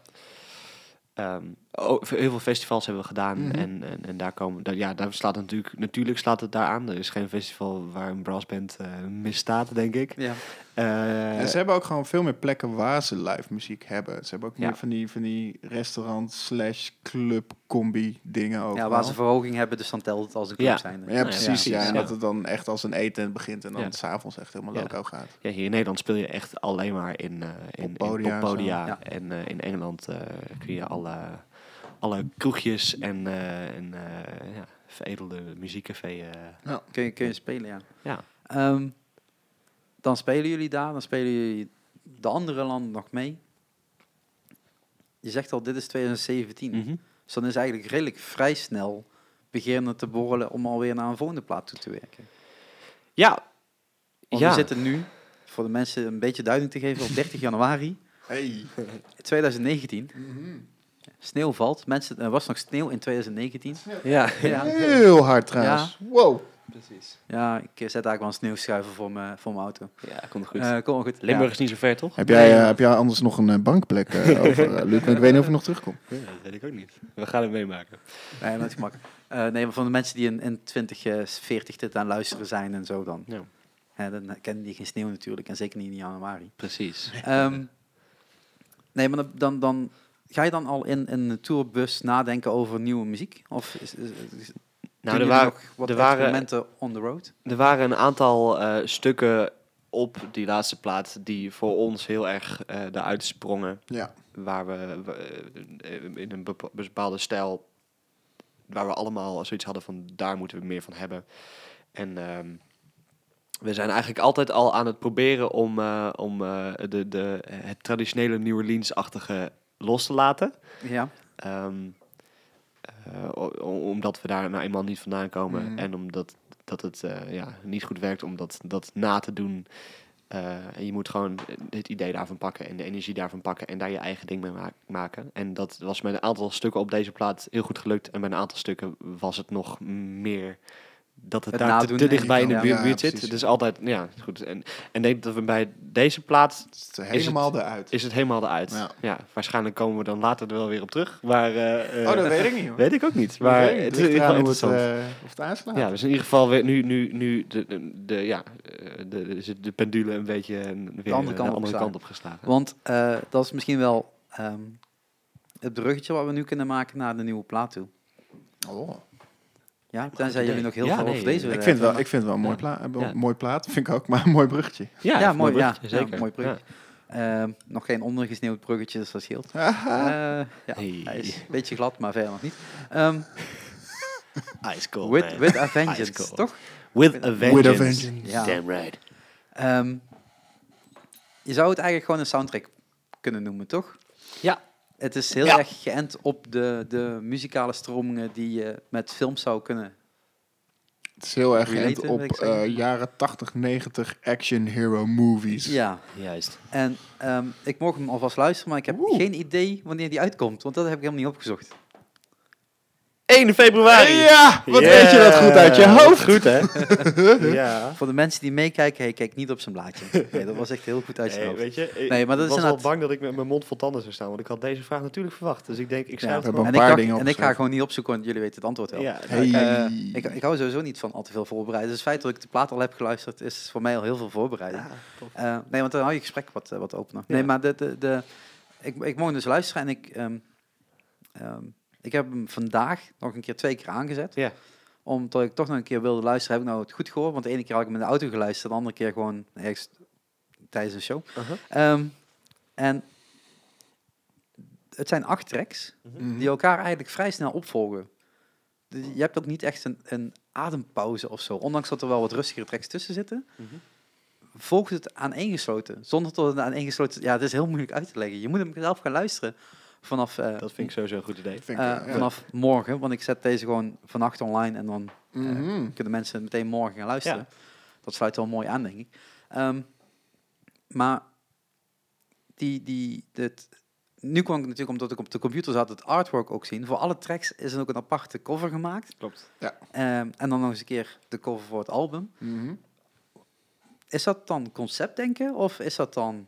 Ehm, oh, veel- heel veel festivals hebben we gedaan
Mhm.
en, en, en daar komen, daar, ja, daar slaat het natuurlijk, natuurlijk slaat het daar aan. Er is geen festival waar een brassband eh, misstaat, denk ik.
ja.
Eh,
en ze hebben ook gewoon veel meer plekken waar ze live muziek hebben. Ze hebben ook
Ja.
meer van die, van die restaurant slash club combi dingen ook.
ja, waar ze verhoging hebben, dus dan telt het als een club
Ja.
zijn. dus.
Ja,
Nou ja,
precies. Ja,
precies,
en
ja.
dat het dan echt als een eten begint en dan
Ja.
s'avonds echt helemaal
Ja.
loco gaat.
ja, hier in Nederland speel je echt alleen maar in, eh, in, in
Poppodia en
poppodia.
zo.
Ja.
En eh, in Engeland eh, kun je alle, alle kroegjes en, eh, en eh, ja, veredelde muziekcafé. eh,
Kun je, kun je spelen, ja.
Ja.
Ehm, dan spelen jullie daar, dan spelen jullie de andere landen nog mee. Je zegt al, dit is 2017.
mhm.
Dus dan is eigenlijk redelijk vrij snel beginnen te borrelen om alweer naar een volgende plaat toe te werken.
Ja.
Want we zitten nu, voor de mensen een beetje duiding te geven, op 30 januari
Hey.
2019. Sneeuw valt. Mensen, er was nog sneeuw in 2019.
ja.
Ja,
Heel hard trouwens. Wow.
Precies.
ja ik zet eigenlijk wel een sneeuwschuiver voor mijn, voor mijn auto.
Ja, komt goed.
Eh, kom goed.
Limburg is niet zo ver, toch?
Heb jij, eh, heb jij anders nog een eh, bankplek eh, over, eh, Luc? Want ik weet niet of ik nog terugkom.
dat weet ik ook niet. We gaan het meemaken.
Ja, nee, dat is makkelijk. Eh, nee, maar van de mensen die in, in 2040 dit aan luisteren zijn en zo dan.
Ja.
Hè, dan kennen die geen sneeuw natuurlijk. En zeker niet in januari.
Precies.
Ehm, nee, maar dan, dan, dan ga je dan al in, in een tourbus nadenken over nieuwe muziek? Of is, is, is- doen
Nou, er
jullie
waren,
nog wat
er waren-
experimenten on the road?
er waren een aantal eh, stukken op die laatste plaat die voor ons heel erg eh eruit sprongen.
Ja.
Waar we we- in een bepa- bepaalde stijl, waar we allemaal zoiets hadden van daar moeten we meer van hebben. En ehm, we zijn eigenlijk altijd al aan het proberen om, eh, om eh, de, de, het traditionele New Orleans-achtige los te laten.
Ja.
Ehm, eh, o- o- omdat we daar nou eenmaal niet vandaan komen.
Mhm.
En omdat dat het eh, ja, niet goed werkt om dat, dat na te doen. eh, Eh, en je moet gewoon het idee daarvan pakken en de energie daarvan pakken en daar je eigen ding mee ma- maken. En dat was met een aantal stukken op deze plaat heel goed gelukt. En bij een aantal stukken was het nog meer dat het,
Het
daar te,
nadoen
te
en-
dichtbij in de
ja.
buurt
Ja,
buurt zit.
precies.
Het is altijd, ja, goed. En, en ik denk dat we bij deze plaat
Het is helemaal eruit.
is het helemaal eruit. Ja.
Ja.
waarschijnlijk komen we dan later er wel weer op terug. Maar, eh,
oh, dat
eh,
weet ik niet hoor.
weet ik ook niet. Maar
weet
het
niet.
is in ieder
Ligt
geval
eraan hoe
interessant.
het, eh, of het aanslaat.
Ja, dus in ieder geval weer nu, nu, nu de, de, de- ja, eh, de, de, de- de pendule een beetje eh, weer de andere
andere kant
kant,
opgeslagen.
op geslagen.
Want eh, dat is misschien wel ehm, het bruggetje wat we nu kunnen maken naar de nieuwe plaat toe.
Oh.
Ja, tenzij
idee.
jullie nog heel
Ja,
veel
nee,
over deze
Ik
willen
vind, wel,
hebben.
ik vind het wel een mooi,
Ja.
pla- eh,
Ja.
mooi plaat. Vind ik ook, maar een mooi bruggetje.
Ja,
even een
mooi, ja.
bruggetje,
Ja, mooi bruggetje. Ehm, nog geen ondergesneeuwd bruggetje, dus dat scheelt. Eh, ja,
Hey.
hij is een beetje glad, maar verder nog niet. Ehm,
Ja. Ice cold,
with,
man.
with a
Ice
Vengeance,
cold.
toch?
With a vengeance.
With a vengeance.
Ja.
Damn right.
Ehm, je zou het eigenlijk gewoon een soundtrack kunnen noemen, toch?
Ja.
Het is heel
Ja.
erg geënt op de, de muzikale stromingen die je met film zou kunnen.
Het is heel erg
Related,
geënt op
wil ik zeggen.
eh, jaren 80, 90 action hero movies.
Ja.
Juist.
En ehm, ik mocht hem alvast luisteren, maar ik heb
Oeh.
geen idee wanneer die uitkomt, want dat heb ik helemaal niet opgezocht.
1 februari.
Ja, wat weet je dat goed uit je
Ja,
hoofd?
Goed, hè? ja.
Voor de mensen die meekijken, hey, kijk niet op zijn blaadje. Nee, dat was echt heel goed uit zijn
Nee,
hoofd.
weet je, ik
Nee, maar dat is
was al
inderdaad-
bang dat ik met mijn mond vol tanden zou staan, want ik had deze vraag natuurlijk verwacht. Dus ik denk, ik schrijf
Ja,
het
we
gewoon.
En ik,
hebben een paar
dacht-
dingen
en ik ga
opgeschreven.
gewoon niet opzoeken, want jullie weten het antwoord wel.
Ja,
Hey.
Eh, ik, ik hou sowieso niet van al te veel voorbereiden. Dus het feit dat ik de plaat al heb geluisterd, is voor mij al heel veel voorbereiding.
ja, tof.
Eh, nee, want dan hou je gesprek wat, eh, wat opener.
Ja.
Nee, maar de, de, de, ik, ik mocht dus luisteren en ik, ehm, ehm, ik heb hem vandaag nog een keer twee keer aangezet.
Ja.
Omdat ik toch nog een keer wilde luisteren, heb ik nou het goed gehoord. Want de ene keer had ik hem in de auto geluisterd, de andere keer gewoon ergens tijdens de show.
Aha.
Ehm, en het zijn acht tracks
Mhm.
Mhm.
die elkaar eigenlijk vrij snel opvolgen. Dus je hebt ook niet echt een, een adempauze of zo. Ondanks dat er wel wat rustigere tracks tussen zitten,
Mhm.
volgt het aaneengesloten. Zonder dat het aaneengesloten Ja, het is heel moeilijk uit te leggen. Je moet hem zelf gaan luisteren vanaf, eh,
Dat vind ik sowieso een goed idee.
Vind ik,
eh,
ja.
vanaf morgen. Want ik zet deze gewoon vannacht online en dan eh,
Mhm.
kunnen mensen meteen morgen gaan luisteren. Dat sluit wel mooi aan, denk ik. Ehm, maar die, die, dit, nu kon ik natuurlijk, omdat ik op de computer zat, het artwork ook zien. Voor alle tracks is er ook een aparte cover gemaakt.
Klopt.
Ehm, en dan nog eens een keer de cover voor het album.
Mhm.
Oh.
Is dat dan conceptdenken of is dat dan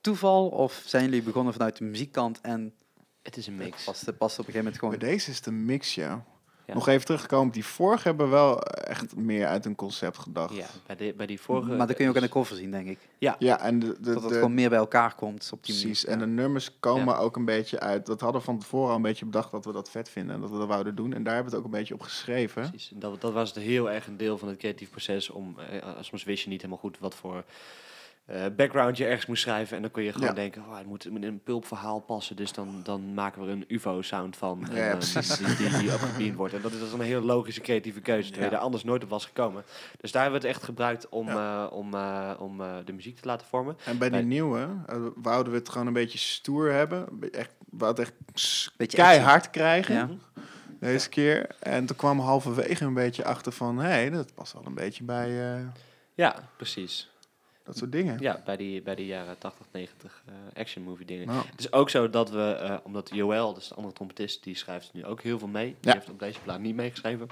toeval? Of zijn jullie begonnen vanuit de muziekkant en
Het is een
past,
mix.
past op een gegeven moment gewoon...
Maar deze is de mix, ja.
Ja.
Nog even teruggekomen op die vorige hebben we wel echt meer uit een concept gedacht.
Ja, bij, de, bij die vorige...
Maar dat kun je ook aan de cover zien, denk ik.
Ja, en de, de,
dat het
de-
gewoon meer bij elkaar komt op die
precies. En
manier.
de nummers komen ook een beetje uit. Dat hadden we van tevoren al een beetje bedacht dat we dat vet vinden en dat we dat wouden doen. En daar hebben we het ook een beetje op geschreven.
Precies. En Dat, dat was het heel erg een deel van het creatief proces. Om, eh, soms wist je niet helemaal goed wat voor eh, background je ergens moest schrijven. En dan kon je gewoon
Ja.
denken, oh, het moet in een pulpverhaal passen. Dus dan, dan maken we er een ufo-sound van.
Ja,
en, eh,
precies.
Die, die, die opgediend wordt. En dat is, dat is een heel logische creatieve keuze. Terwijl je
Ja.
daar anders nooit op was gekomen. Dus daar hebben we het echt gebruikt om, eh, om, eh, om eh, de muziek te laten vormen.
En bij die
Bij-
nieuwe eh, wouden we het gewoon een beetje stoer hebben. Een be- Echt, we hadden echt s-
Beetje
keihard krijgen
Ja.
deze keer. En toen kwam halverwege een beetje achter van... hé, hey, dat past wel een beetje bij eh,
Ja, precies.
dat soort dingen.
Ja, bij die, bij die jaren 80, 90 eh, action movie dingen.
Nou,
Het is ook zo dat we, eh, omdat Joël, dus de andere trompetist, die schrijft nu ook heel veel mee. Die
Ja.
heeft op deze plaat niet meegeschreven.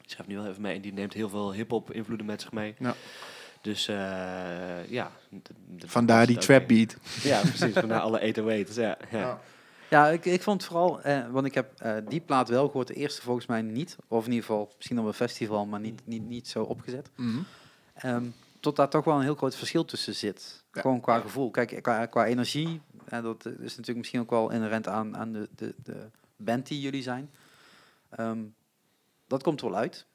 Die schrijft nu wel even mee en die neemt heel veel hip-hop invloeden met zich mee.
Ja.
Dus eh, ja. d- d-
vandaar
was
die
het
trap
ook weer.
beat.
Ja, precies. Vandaar alle 808's. Ja, ja.
Ja.
Ja, ik, ik vond vooral, eh, want ik heb eh, die plaat wel gehoord, de eerste volgens mij niet. Of in ieder geval misschien op een festival, maar niet, niet, niet zo opgezet.
Mhm.
Ehm, tot daar toch wel een heel groot verschil tussen zit.
Ja.
Gewoon qua gevoel. Kijk, eh, qua, qua energie, eh, dat is natuurlijk misschien ook wel inherent aan, aan de, de, de band die jullie zijn. Ehm, dat komt wel uit.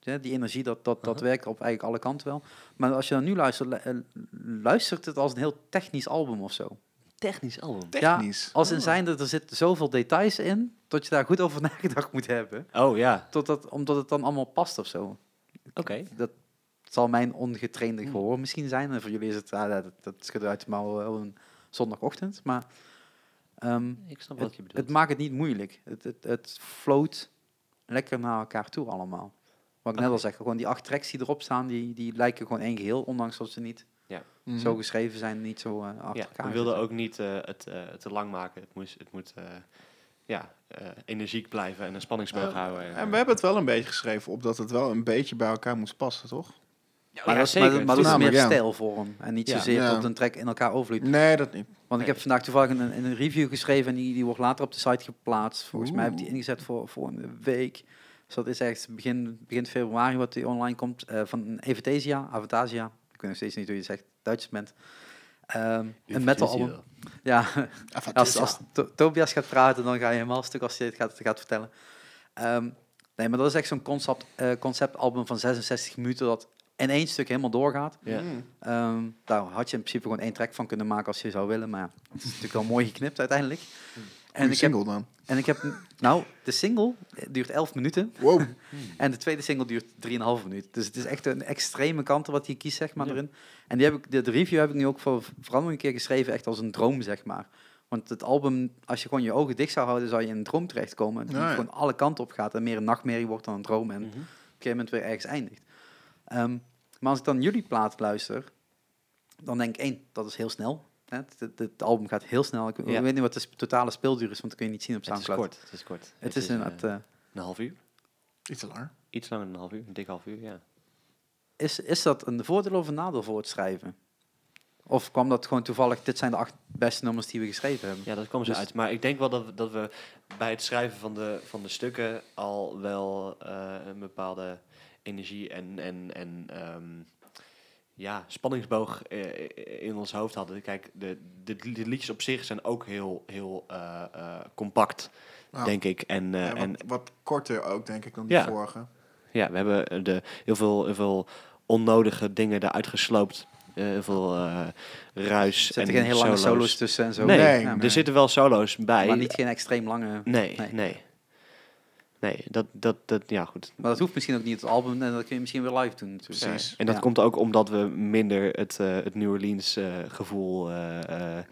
Ja, die energie, dat, dat, dat
Aha.
werkt op eigenlijk alle kanten wel. Maar als je dan nu luistert, lu- eh, luistert het als een heel technisch album of zo.
Technisch Ah. album.
Technisch.
Als in zijnde, er zitten zoveel details in, dat je daar goed over nagedacht moet hebben.
Oh ja,
Tot dat, omdat het dan allemaal past of zo.
oké.
Dat zal mijn ongetrainde
Hmm.
gehoor misschien zijn. En voor jullie is het, ah, dat, dat schudt uit de mouw wel een zondagochtend. Maar ehm,
Ik snap wat
het,
je bedoelt.
het maakt het niet moeilijk. Het, het, het floot lekker naar elkaar toe allemaal. Wat ik net al zeg, gewoon die acht tracks die erop staan, die, die lijken gewoon één geheel, ondanks dat ze niet
Ja.
Mhm.
zo geschreven zijn, niet zo eh, achter
Ja,
elkaar.
we wilden
zitten.
ook niet eh, het eh, te lang maken. Het, moest, het moet eh, ja, eh, energiek blijven en een spanningsboog
Eh,
houden.
En we hebben het wel een beetje geschreven op dat het wel een beetje bij elkaar moest passen, toch?
Ja,
Maar,
ja,
dat, is- maar,
zeker.
maar dat is meer
Namelijk, ja.
stijlvorm en niet
Ja.
zozeer
Ja.
dat een track in elkaar overvloeit.
Nee, dat niet.
Want ik heb vandaag toevallig een, een review geschreven en die, die wordt later op de site geplaatst. Volgens mij heb ik die
Oeh.
ingezet voor, voor een week. Dus dat is echt begin, begin februari wat die online komt. eh, van Evatasia, Avatasia. Ik weet nog steeds niet hoe je het zegt, Duits bent. Ehm, een metal album. Ja, als, als To- Tobias gaat praten, dan ga je helemaal stuk als je dit gaat, gaat vertellen. Ehm, nee, maar dat is echt zo'n concept, eh, conceptalbum van 66 minuten dat in één stuk helemaal doorgaat.
Ja.
Mm.
Ehm, daar had je in principe gewoon één track van kunnen maken als je zou willen, maar ja, het is natuurlijk wel mooi geknipt uiteindelijk. En ik, heb,
single dan.
en ik heb, nou, de single duurt 11 minuten
Wow.
en de tweede single duurt 3,5 minuut. Dus het is echt een extreme kant wat je kiest, zeg maar, erin. En die heb ik, de, de review heb ik nu ook voor, vooral nog een keer geschreven, echt als een droom, zeg maar. Want het album, als je gewoon je ogen dicht zou houden, zou je in een droom terechtkomen. Die
Ja, ja.
gewoon alle kanten op gaat en meer een nachtmerrie wordt dan een droom. En op een gegeven moment weer ergens eindigt. Ehm, maar als ik dan jullie plaat luister, dan denk ik, één, dat is heel snel. Hè, Het, het- het album gaat heel snel. Ik, ik
Ja.
weet niet wat de sp- totale speelduur is, want dat kun je niet zien op
Het is
Soundcloud.
kort. Het is kort.
Het is
eh,
inderdaad... eh,
een half uur.
Iets te langer.
Iets langer dan een half uur. Een dik half uur, ja.
Is, is dat een voordeel of een nadeel voor het schrijven? Of kwam dat gewoon toevallig, dit zijn de acht beste nummers die we geschreven hebben?
Ja, dat kwam zo
Dus-
uit. Maar ik denk wel dat we, dat we bij het schrijven van de, van de stukken al wel eh, een bepaalde energie en, en, en ehm, ja, spanningsboog eh, in ons hoofd hadden. Kijk, de, de, de liedjes op zich zijn ook heel, heel eh, eh, compact,
Nou,
denk ik. En, eh,
ja,
en
wat, wat korter ook, denk ik, dan
Ja.
die vorige.
ja, we hebben eh, de, heel, veel, heel veel onnodige dingen eruit gesloopt. Eh, heel veel eh, ruis.
Er zitten
en
geen heel lange
solo's.
solo's tussen en zo.
Nee,
Nee,
Ja.
nee.
er zitten wel solo's bij.
Maar niet geen extreem lange...
Nee,
Nee.
nee. Nee, dat, dat, dat, ja goed.
Maar dat hoeft misschien ook niet, het album, en dat kun je misschien weer live doen natuurlijk.
Precies.
En dat
Ja.
komt ook omdat we minder het, eh, het New Orleans eh, gevoel eh, eh,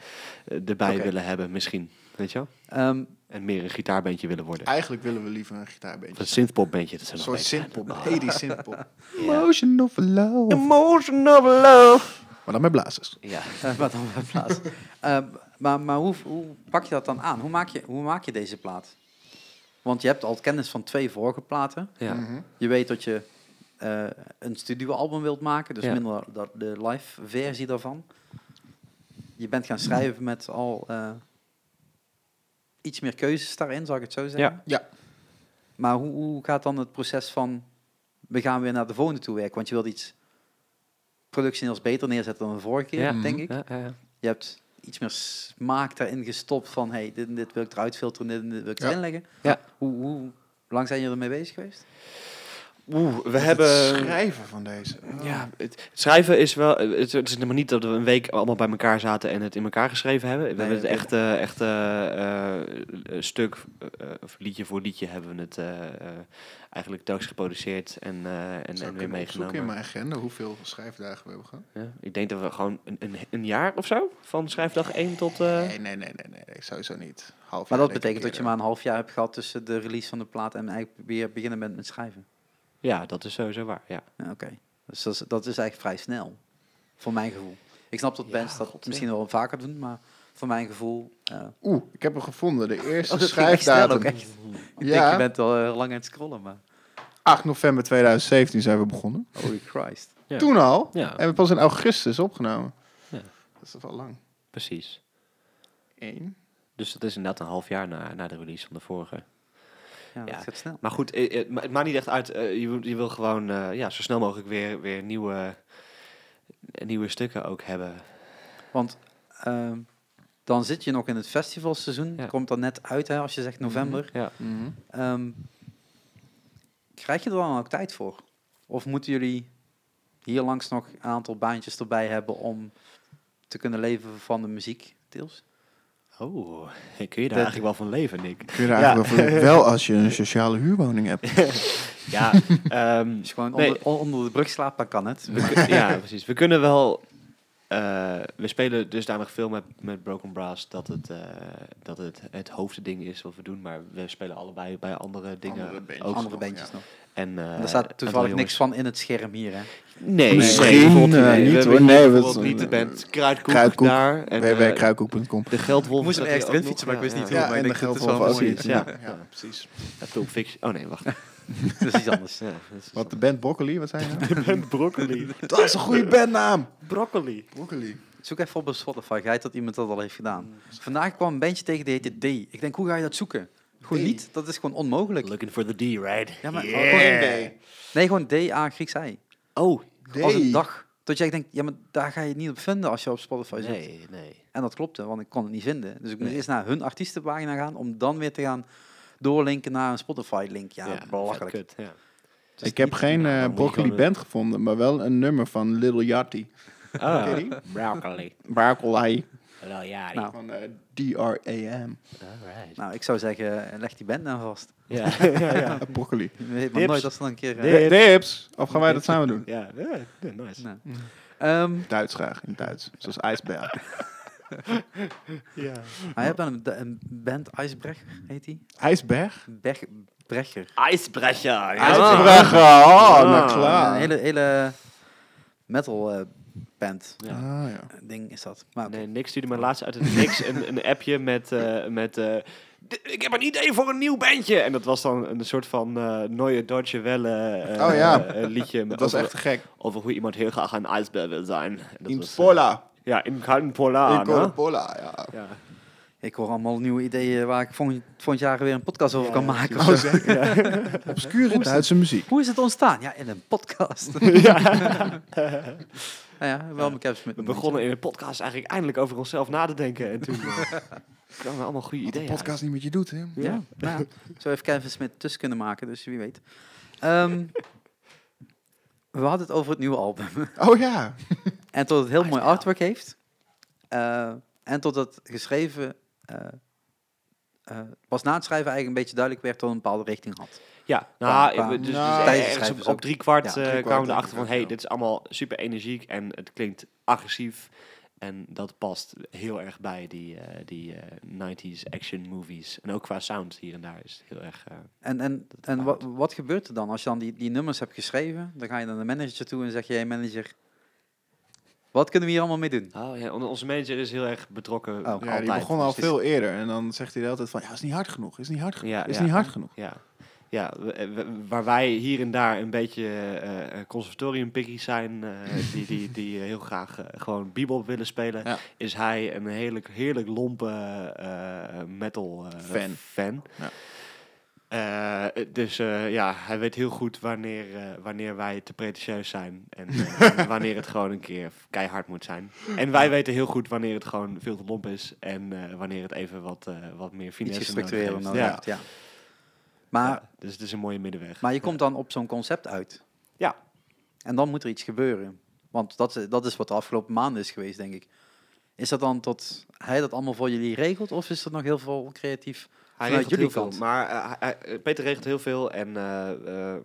erbij
Oké.
willen hebben, misschien. Weet je wel?
Ehm,
En meer een gitaarbandje willen worden.
Ah,
Eigenlijk willen we liever een
Of
gitaarbeentje.
een synthpopbandje, dat
Een
zijn nog
soort
beter.
simpel. Nee, die simpel.
Ja.
Motion of love.
Emotion of love.
Maar dan met blazers.
Ja.
eh, maar dan maar plaats. Ehm, maar maar hoe, hoe pak je dat dan aan? Hoe maak, je, hoe maak je deze plaat? Want je hebt al kennis van twee vorige platen.
ja.
Mhm.
Je weet dat je eh, een studioalbum wilt maken, dus
Ja.
minder dat, de live versie daarvan. Je bent gaan schrijven met al eh, iets meer keuzes daarin, zou ik het zo zeggen.
Ja.
Ja.
Maar hoe, hoe gaat dan het proces van we gaan weer naar de volgende toe werken? Want je wilt iets productioneels beter neerzetten dan de vorige keer,
Ja. Mhm.
denk ik.
Ja, ja, ja.
Je hebt iets meer smaak daarin gestopt van hey, dit, en dit wil ik eruit filteren, dit, en dit wil ik
Ja.
erin leggen.
Ja.
Hoe, hoe lang zijn jullie ermee bezig geweest?
Oeh, we
Het
hebben...
schrijven van deze. Oh.
Ja, het schrijven is wel. eh, Het, het is helemaal niet dat we een week allemaal bij elkaar zaten en het in elkaar geschreven hebben. We
Nee,
hebben het
oké.
echt, eh, echt eh, eh, stuk eh, of liedje voor liedje hebben we het eh, eh, eigenlijk thuis geproduceerd en, eh, en,
Zou
en
ik
weer
kunnen opzoeken in
meegenomen.
mijn agenda hoeveel schrijfdagen we hebben gehad.
Ja, ik denk dat we gewoon een, een, een jaar of zo van schrijfdag 1 tot. eh,
Nee, nee, nee, nee, nee, nee, sowieso niet. Half
Maar dat
jaar, denk
betekent
ik
dat je maar
eerder.
een half jaar hebt gehad tussen de release van de plaat en eigenlijk weer beginnen bent met schrijven.
Ja, dat is sowieso waar. Ja.
Ja, Oké. Dus dat is, dat is eigenlijk vrij snel. Voor mijn gevoel. Ik snap dat
Ja,
bands dat
god,
misschien wel vaker doen, maar voor mijn gevoel. eh,
Oeh, ik heb hem gevonden. De eerste
oh, dat ging echt snel ook
schrijfdatum.
echt. Ik denk,
Ja.
je bent al heel lang aan het scrollen, maar.
8 november 2017 zijn we begonnen.
Holy Christ.
Ja.
Toen al.
Ja.
En we hebben pas in augustus opgenomen.
Ja.
Dat is toch wel lang.
Precies.
Eén.
Dus dat is inderdaad een half jaar na, na de release van de vorige.
Ja,
Ja.
dat gaat snel.
Maar goed, eh, eh, ma- het maakt niet echt uit. eh, je, wil- je wil gewoon eh, ja, zo snel mogelijk weer, weer nieuwe, nieuwe stukken ook hebben.
Want ehm, dan zit je nog in het festivalseizoen.
Ja.
Komt dat net uit, hè, als je zegt november.
Ja.
Ehm, krijg je er dan ook tijd voor? Of moeten jullie hier langs nog een aantal baantjes erbij hebben om te kunnen leven van de muziek, deels?
Oh, kun je daar
Dat-
eigenlijk wel van leven, Nick?
Kun je daar eigenlijk wel voor- wel als je een sociale huurwoning hebt.
Ja, ehm,
Als je gewoon
Nee.
onder, on- onder de brug slaapt, dan kan het.
we kun- ja, precies. We kunnen wel Eh, we spelen dusdanig veel met, met Broken Brass dat het, eh, dat het het hoofdding is wat we doen. Maar we spelen allebei bij andere dingen
Andere bandjes.
ook.
Andere
nog,
bandjes nog.
En, eh,
En daar staat toevallig
en
niks van in het scherm hier, hè?
Nee,
Misschien,
nee, bijvoorbeeld
eh,
we
niet,
hebben
hoor.
hier
Nee, we-
bijvoorbeeld niet de band Kruidkoek,
Kruidkoek.
daar. En, eh,
www.kruikhoek.com.
de Geldwolf.
Ik moest er
staat
ergens
hier
erin
ook
fietsen,
nog.
maar ik wist niet
Ja,
hoe. Maar
en
ik
de
denk dat het wel
Geldwolf
mooi
ook
is.
iets,
Ja,
ja.
Ja,
Ja.
precies.
Dat is ook fictie. Oh nee, wacht.
dat is iets anders.
Ja, dat is-
Wat, de band Broccoli? Wat zei je nou?
broccoli.
dat is een goede bandnaam!
Broccoli.
Broccoli.
Zoek even op op Spotify. Ga je dat iemand dat al heeft gedaan. Vandaag kwam een bandje tegen, die heette D. Ik denk, hoe ga je dat zoeken? Gewoon
D.
niet. Dat is gewoon onmogelijk.
Looking for the D, right?
Ja, maar
Yeah.
Nee, gewoon D-A Grieks I.
Oh,
Als een dag. Dat jij denkt, ja, maar daar ga je het niet op vinden als je op Spotify zit.
nee, nee.
En dat klopte, want ik kon het niet vinden. Dus ik moest
Nee.
eerst naar hun artiestenpagina gaan om dan weer te gaan doorlinken naar een Spotify-link. Ja, belachelijk.
vet kut, ja.
Het is
Ik heb
niet-
geen
nou,
eh,
dan moet je
Broccoli
gewoon-
band gevonden, maar wel een nummer van Little Yachty. Ken je die?
Ah, broccoli.
Broccoli.
Hallo, ja.
Nou.
Van eh, D-R-A-M.
Alright.
Nou, ik zou zeggen, eh, leg die band nou vast.
Ja, ja, ja.
Eh, broccoli.
Je weet maar
Dips.
nooit als ze dan een keer... eh,
Dips.
Tips! Of gaan wij dat samen doen?
Ja, ja, ja, nice.
Nee. ehm,
Duits graag, in Duits. Zoals ijsberg.
Ja.
Hij heeft een, de- een band, Icebrecher heet die.
Ijsberg?
Berg, Brecher.
Ijsbrecher. Ja.
Ijsberg!
Ah,
Oh, nou
Een
klaar.
hele, hele metal eh, band
Ja.
Ah, ja.
ding is dat. Maar
Nee, Nick stuurde me laatst uit het niks een, een appje met... eh, met eh, "D- ik heb een idee voor een nieuw bandje. En dat was dan een soort van eh Neue Deutsche Welle eh,
Oh ja.
eh, liedje.
Dat was
over,
echt te gek.
over hoe iemand heel graag een ijsbeer wil zijn. En dat
In
was, Ah, eh,
Pola.
ja, in Kalten Polar.
in
hè?
Pola, ja.
Ja.
ik hoor allemaal nieuwe ideeën waar ik volgend, volgend jaar weer een podcast over kan maken. of zo.
Obscure Duitse muziek.
Hoe is het ontstaan? Ja, in een podcast. nou ja, wel mijn caps met
We
een
begonnen in de podcast eigenlijk eindelijk over onszelf na te denken. En toen eh, kwamen allemaal goede
Wat de
ideeën.
podcast niet met je doet, hè?
beetje. Ja, nou ja. Zo heeft Kevin Smit tussen kunnen maken, dus wie weet. Ehm, we hadden het over het nieuwe album.
Oh ja.
En tot het heel mooi artwork heeft. Eh, en tot het geschreven... eh, eh, pas na het schrijven eigenlijk een beetje duidelijk werd dat het een bepaalde richting had.
Ja, nou,
Qua-
eh, dus, dus
Nou,
ergens
tijdens schrijven
op,
is
op
ook-
drie kwart
ja,
eh,
drie
kwart
kwamen we
denk
erachter
ik
van...
ook,
hey,
ja.
dit is allemaal super energiek en het klinkt agressief. En dat past heel erg bij die, eh, die eh, 90s action movies. En ook qua sound hier en daar is het heel erg... eh,
En, en,
Dat
en wat,
houdt.
wat gebeurt er dan? Als je dan die, die nummers hebt geschreven, dan ga je naar de manager toe en zeg je, hey manager, wat kunnen we hier allemaal mee doen?
oh, ja, on- onze manager is heel erg betrokken.
die
Oh. Ja,
altijd.
die begon al
Dus het is-
veel eerder. En dan zegt hij de hele tijd van, ja, is niet hard genoeg. Is niet hard genoeg.
Ja,
Is
ja.
niet hard genoeg.
Ja, ja we- we- waar wij hier en daar een beetje eh eh, conservatoriumpikkies zijn, eh, die, die, die heel graag eh, gewoon bebop willen spelen,
Ja.
is hij een heerlijk, heerlijk lompe eh, eh, metal eh,
Fan.
fan.
Ja.
Eh, dus eh, ja, hij weet heel goed wanneer, eh, wanneer wij te pretentieus zijn en eh, en wanneer het gewoon een keer keihard moet zijn. En wij weten heel goed wanneer het gewoon veel te lomp is en eh, wanneer het even wat, eh, wat meer
Iets
finesse nodig
gestructureerd
heeft.
nodig
Ja.
hebt, ja. Maar,
Ja, dus het is een mooie middenweg.
maar je komt dan op zo'n concept uit.
Ja.
En dan moet er iets gebeuren. Want dat, is- dat is wat de afgelopen maanden is geweest, denk ik. Is dat dan tot hij dat allemaal voor jullie regelt? Of is er nog heel veel creatief?
hij
vanuit
regelt
jullie
heel veel,
kant.
maar eh, hij- hij- Peter regelt heel veel en eh, eh, eh,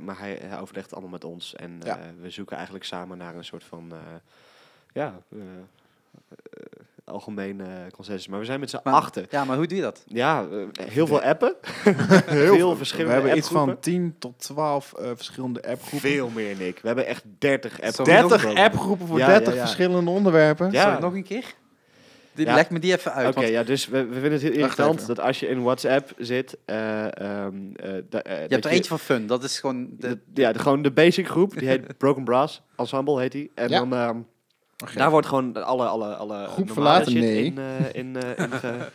maar hij, hij overlegt het allemaal met ons en
Ja.
eh, we zoeken eigenlijk samen naar een soort van eh, ja eh eh, algemene consensus. Maar we zijn met z'n
Maar-
achten.
Ja, maar hoe doe je dat?
Ja, eh, heel veel appen,
Heel
veel
We
verschillende
hebben iets van
appgroepen.
10 tot 12 eh, verschillende appgroepen.
veel meer Nick. We hebben echt 30 app.
Zo.
30 appgroepen voor
Ja,
30
ja, ja.
verschillende onderwerpen.
Ja.
Sorry, nog een keer? Die-
Ja.
Leg me die even
Oké,
uit. want
ja, dus we, we vinden het heel
Wacht
irritant
even.
dat als je in WhatsApp zit, eh, ehm, eh, da- eh,
je
dat
hebt er eentje van fun. Dat is gewoon... De,
De- ja, de- gewoon de basic groep, die heet Broken Brass Ensemble heet die. En
Ja.
dan ehm, daar wordt gewoon alle, alle, alle
Groep
normale
verlaten,
shit
nee.
in, eh, in, eh, in, ge-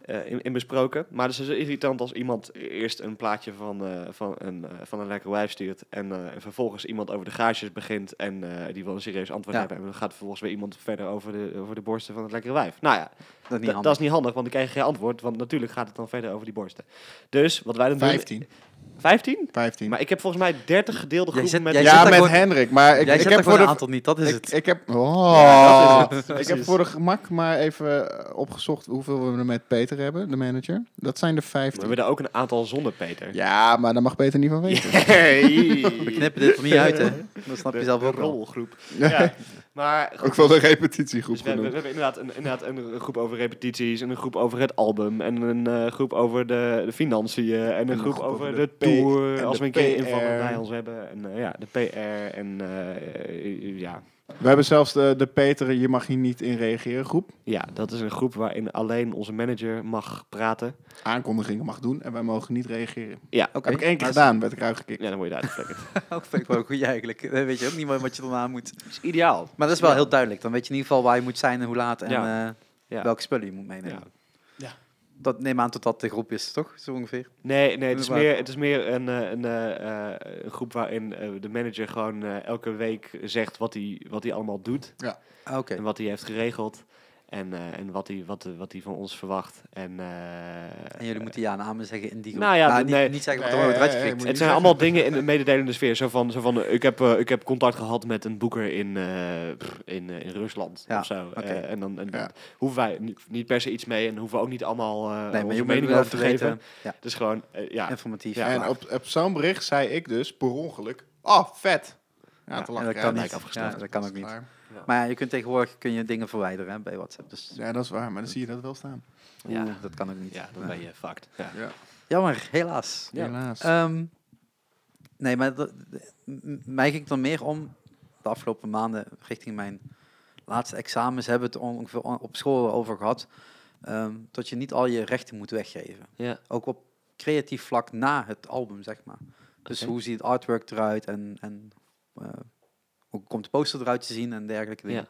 eh, in, in besproken. Maar het is dus irritant als iemand eerst een plaatje van, eh, van, een, eh, van een lekker wijf stuurt en, eh, en vervolgens iemand over de gaasjes begint en eh, die wil een serieus antwoord
Ja.
hebben. En dan gaat vervolgens weer iemand verder over de, over de borsten van het lekkere wijf. Nou ja,
dat is niet
da-
handig.
dat is niet handig, want dan krijg je geen antwoord, want natuurlijk gaat het dan verder over die borsten. Dus wat wij dan doen...
15.
15?
15.
Maar ik heb volgens mij 30 gedeelde
Jij
groepen
zit-
met...
jij
ja,
zit
met
daar gewoon-
Hendrik. Maar ik,
Jij
ik
zet
heb
er
voor
gewoon
de...
een aantal niet, dat is
ik,
het.
ik heb...
Ja,
Oh.
dat is het.
ik heb
Precies.
voor de gemak maar even eh, opgezocht hoeveel we er met Peter hebben, de manager. Dat zijn er
We
15.
hebben er ook een aantal zonder Peter.
Ja, maar daar mag Peter niet van weten.
Hey.
We knippen dit er niet uit, hè? Dat snap je
De-
zelf
de
ook wel.
rolgroep. Ja. Maar goed,
Ook wel een repetitiegroep
dus we, hebben, we
genoemd.
hebben inderdaad een, inderdaad een groep over repetities, en een groep over het album, en een eh, groep over de, de financiën, en een, groep, over de,
P-
tour,
en
als
de
we een keer
PR.
invallen bij ons hebben. En eh, ja, de PR en eh, ja,
We hebben zelfs de, de Peter, je mag hier niet in reageren groep.
Ja, dat is een groep waarin alleen onze manager mag praten.
Aankondigingen mag doen en wij mogen niet reageren.
Ja,
Oké.
Heb ik één keer
Maar-
gedaan, werd ik uitgekikt.
ja dan word je daar uitgeflikkerd.
Ook vind ik wel goed eigenlijk. Dan weet je ook niet meer wat je daarna moet.
Dat is ideaal.
Maar dat is wel heel duidelijk. Dan weet je in ieder geval waar je moet zijn en hoe laat en
Ja.
eh,
Ja.
welke spullen je moet meenemen.
Ja.
Dat neem aan tot dat de groep is, toch? Zo ongeveer.
Nee, nee het, is
Maar-
meer, het is meer een, eh, een, eh, eh, een groep waarin eh, de manager gewoon eh, elke week zegt wat hij, wat hij allemaal doet
Ah, Oké.
en wat hij heeft geregeld. En, eh, en wat hij wat, wat hij van ons verwacht. En, eh,
En jullie moeten ja en amen zeggen in die groep.
Nou ja,
Nou,
d-
niet,
nee.
niet zeggen wat
Nee,
er wordt
nee,
uitgekikt.
moet
Het zijn allemaal dingen in de mededelende sfeer. Zo van, zo van eh, ik, heb, eh, ik heb contact gehad met een boeker in, eh, pff, in, eh, in Rusland
Ja,
of zo.
oké.
Eh, en dan en
Ja.
hoeven wij ni- niet per se iets mee en hoeven we ook niet allemaal eh
Nee, maar
onze
je moet
mening
wel
over te
even weten.
geven.
Ja.
Dus gewoon, eh, ja.
Informatief.
Ja,
en
maar-
op, op zo'n bericht zei ik dus per ongeluk, oh vet. Ja,
Ja,
te
en
lachen.
dat
Ja,
kan
nee,
niet.
ik had
Ja, dat kan ook niet.
Klaar.
Maar ja, je kunt tegenwoordig kun je dingen verwijderen hè, bij WhatsApp. Dus
Ja, dat is waar, maar dan zie je dat wel staan.
Ja.
oeh, dat kan ook niet.
ja, dan ben je fucked. Ja.
Jammer, helaas.
Ja.
Helaas.
Ehm, nee, maar dat- m- mij ging het dan meer om de afgelopen maanden richting mijn laatste examens hebben we het ongeveer op school over gehad. ehm, dat je niet al je rechten moet weggeven.
Ja.
Ook op creatief vlak na het album, zeg maar. Dus
Oké.
hoe ziet het artwork eruit en, en eh, hoe komt de poster eruit te zien en dergelijke dingen.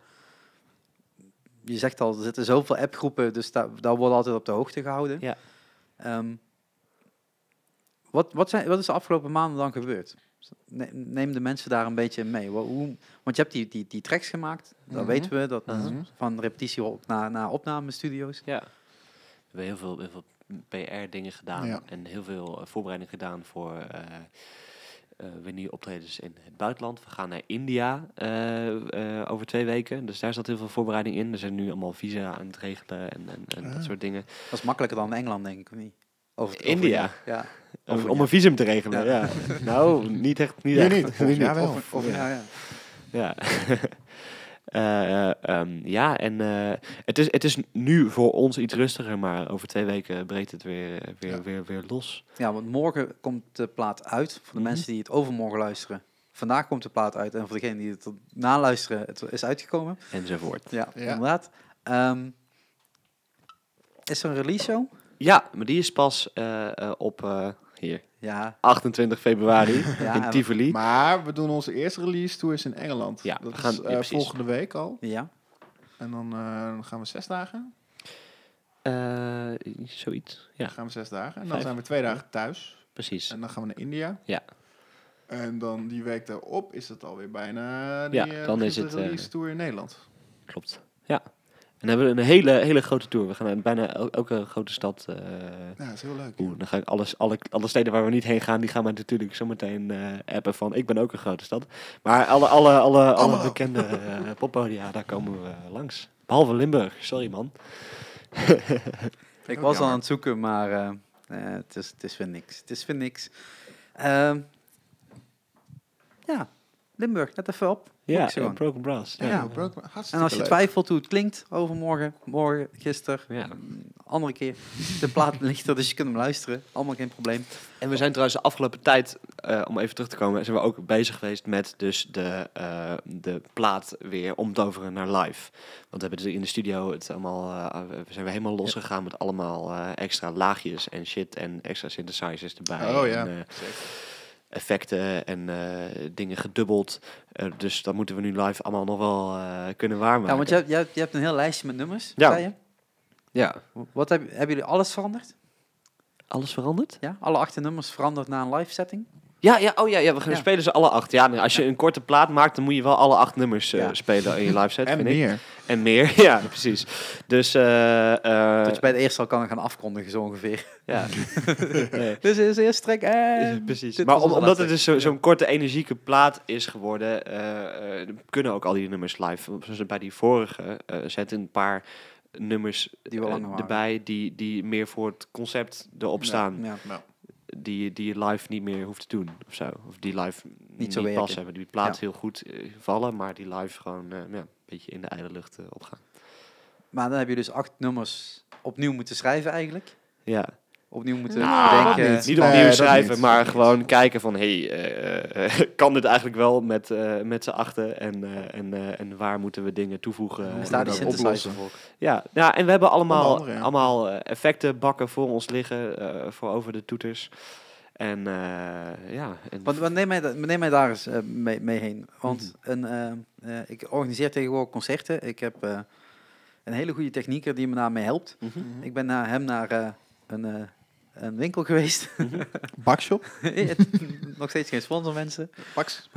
Je zegt al, er zitten zoveel appgroepen, dus daar, daar worden altijd op de hoogte gehouden.
Ja.
Ehm, wat, wat, zijn, wat is de afgelopen maanden dan gebeurd? Ne- Neem de mensen daar een beetje in mee. Wa- Hoe, want je hebt die, die, die tracks gemaakt, dat
Mhm.
weten we, dat,
Mhm.
van repetitie op- naar, naar opnamestudio's.
Ja. We hebben heel veel, heel veel PR-dingen gedaan
Ja.
en heel veel eh, voorbereiding gedaan voor eh eh, wanneer optredens in het buitenland. We gaan naar India eh, eh, over twee weken, dus daar zat heel veel voorbereiding in. Er zijn nu allemaal visa aan het regelen en, en, en dat
Ah.
soort dingen.
Dat is makkelijker dan in Engeland, denk ik, of niet? Over het-
India?
over- ja.
Om,
Over-
om
ja.
een visum te regelen, ja. nou, niet echt. Niet
Hier
echt.
niet. Oh.
Hier
Ja, wel.
Of, ja, ja.
Ja. Eh, eh, ehm, ja, en eh, het, is, het is nu voor ons iets rustiger, maar over twee weken breekt het weer, eh, weer,
Ja.
weer, weer los.
Ja, want morgen komt de plaat uit. Voor de
Mhm.
mensen die het overmorgen luisteren. Vandaag komt de plaat uit. En voor degenen die het na luisteren, het is uitgekomen.
Enzovoort.
Ja,
Ja.
inderdaad. Ehm, is er een release show?
Ja, maar die is pas eh, eh, op eh, hier,
Ja.
28 februari
Ja,
in
en-
Tivoli.
Maar we doen onze eerste release tour is in Engeland.
Ja,
dat
we gaan-
is
ja,
eh,
precies.
volgende week al.
Ja.
En dan eh, dan gaan we zes dagen.
Eh, zoiets. Ja,
Dan gaan we zes dagen. En dan
Vijf.
zijn we twee dagen thuis.
precies.
En dan gaan we naar India.
Ja.
En dan die week daarop is het alweer bijna die,
Ja,
eh,
dan
begint
is
de
het, eh,
release tour in Nederland.
Klopt. Ja. En dan hebben we een hele, hele grote tour. We gaan naar bijna el- elke grote stad. eh,
Ja, dat is heel leuk.
Oeh, dan ga ik alles, alle, alle steden waar we niet heen gaan, die gaan we natuurlijk zometeen eh appen van ik ben ook een grote stad. Maar alle, alle, alle, alle
Allemaal.
bekende eh, poppodia, daar komen we langs. Behalve Limburg, sorry man.
Ik
ook
was al
jammer.
aan het zoeken, maar eh, eh, het, is, het is weer niks. Het is weer niks. Ehm, ja, Limburg, let even op. Boek
Ja,
ze gewoon.
eh, Broken Brass.
Ja,
Ja.
ja.
bro, hartstikke
En als je
leuk.
twijfelt hoe het klinkt overmorgen, morgen, gisteren, mm,
Ja.
andere keer. De plaat ligt er, dus je kunt hem luisteren. Allemaal geen probleem.
En we zijn trouwens de afgelopen tijd, eh, om even terug te komen, zijn we ook bezig geweest met dus de, eh, de plaat weer omtoveren naar live. Want we hebben dus in de studio het allemaal, eh, we zijn we helemaal losgegaan met allemaal eh, extra laagjes en shit en extra synthesizers erbij.
Oh, ja.
En, eh, effecten en eh, dingen gedubbeld. Eh, dus dat moeten we nu live allemaal nog wel eh, kunnen waarmaken.
Ja, want je, hebt- je, hebt- je hebt een heel lijstje met nummers,
Ja.
zei je?
Ja.
Wat heb, hebben jullie alles veranderd?
Alles veranderd?
Ja? Alle acht nummers veranderd naar een live setting?
Ja, ja, oh ja, ja we gaan
Ja.
spelen ze alle acht. Ja, nee, als je een korte plaat maakt, dan moet je wel alle acht nummers eh,
Ja.
spelen in je live set.
En
vind ik.
eh,
meer.
En meer, ja, precies. Dus, eh, eh,
dat je bij het eerste al kan gaan afkondigen, zo ongeveer.
ja. Nee.
Dus is de eerste track en...
Precies.
dit
Maar
was
om-
onze
omdat
laatste.
het dus zo- zo'n korte, energieke plaat is geworden, eh, eh, kunnen ook al die nummers live. Zoals bij die vorige eh zetten een paar nummers
Die wel
eh,
langer waren.
erbij die, die meer voor het concept erop
Ja.
staan.
Ja.
Nou,
Die, die je live niet meer hoeft te doen of zo. Of die live
Niet zo werken.
pas hebben. Die plaat heel goed eh, vallen, maar die live gewoon eh, ja, een beetje in de ijle lucht eh, opgaan.
Maar dan heb je dus acht nummers opnieuw moeten schrijven eigenlijk.
Ja.
Opnieuw moeten
Nou,
bedenken.
niet.
Niet
Nee,
opnieuw
dat
schrijven,
niet.
maar
Dat
gewoon kijken van... hey, eh, eh, kan dit eigenlijk wel met, eh, met z'n achten? En, eh, en, eh, en waar moeten we dingen toevoegen?
Er
en
staat die
dat
synthesizer
oplossen?
voor.
Ja, ja, en we hebben allemaal,
andere, ja.
allemaal eh, effectenbakken voor ons liggen, eh, voor over de toeters. En eh, ja, en
Want, want neem, mij, da- neem mij daar eens eh, mee, mee heen. Want een, eh, eh, ik organiseer tegenwoordig concerten. Ik heb eh, een hele goede technieker die me daarmee helpt.
Mhm.
Ik ben naar hem naar eh, een, eh, een winkel geweest.
Bakshop?
Nog steeds geen sponsor, mensen.
Baks.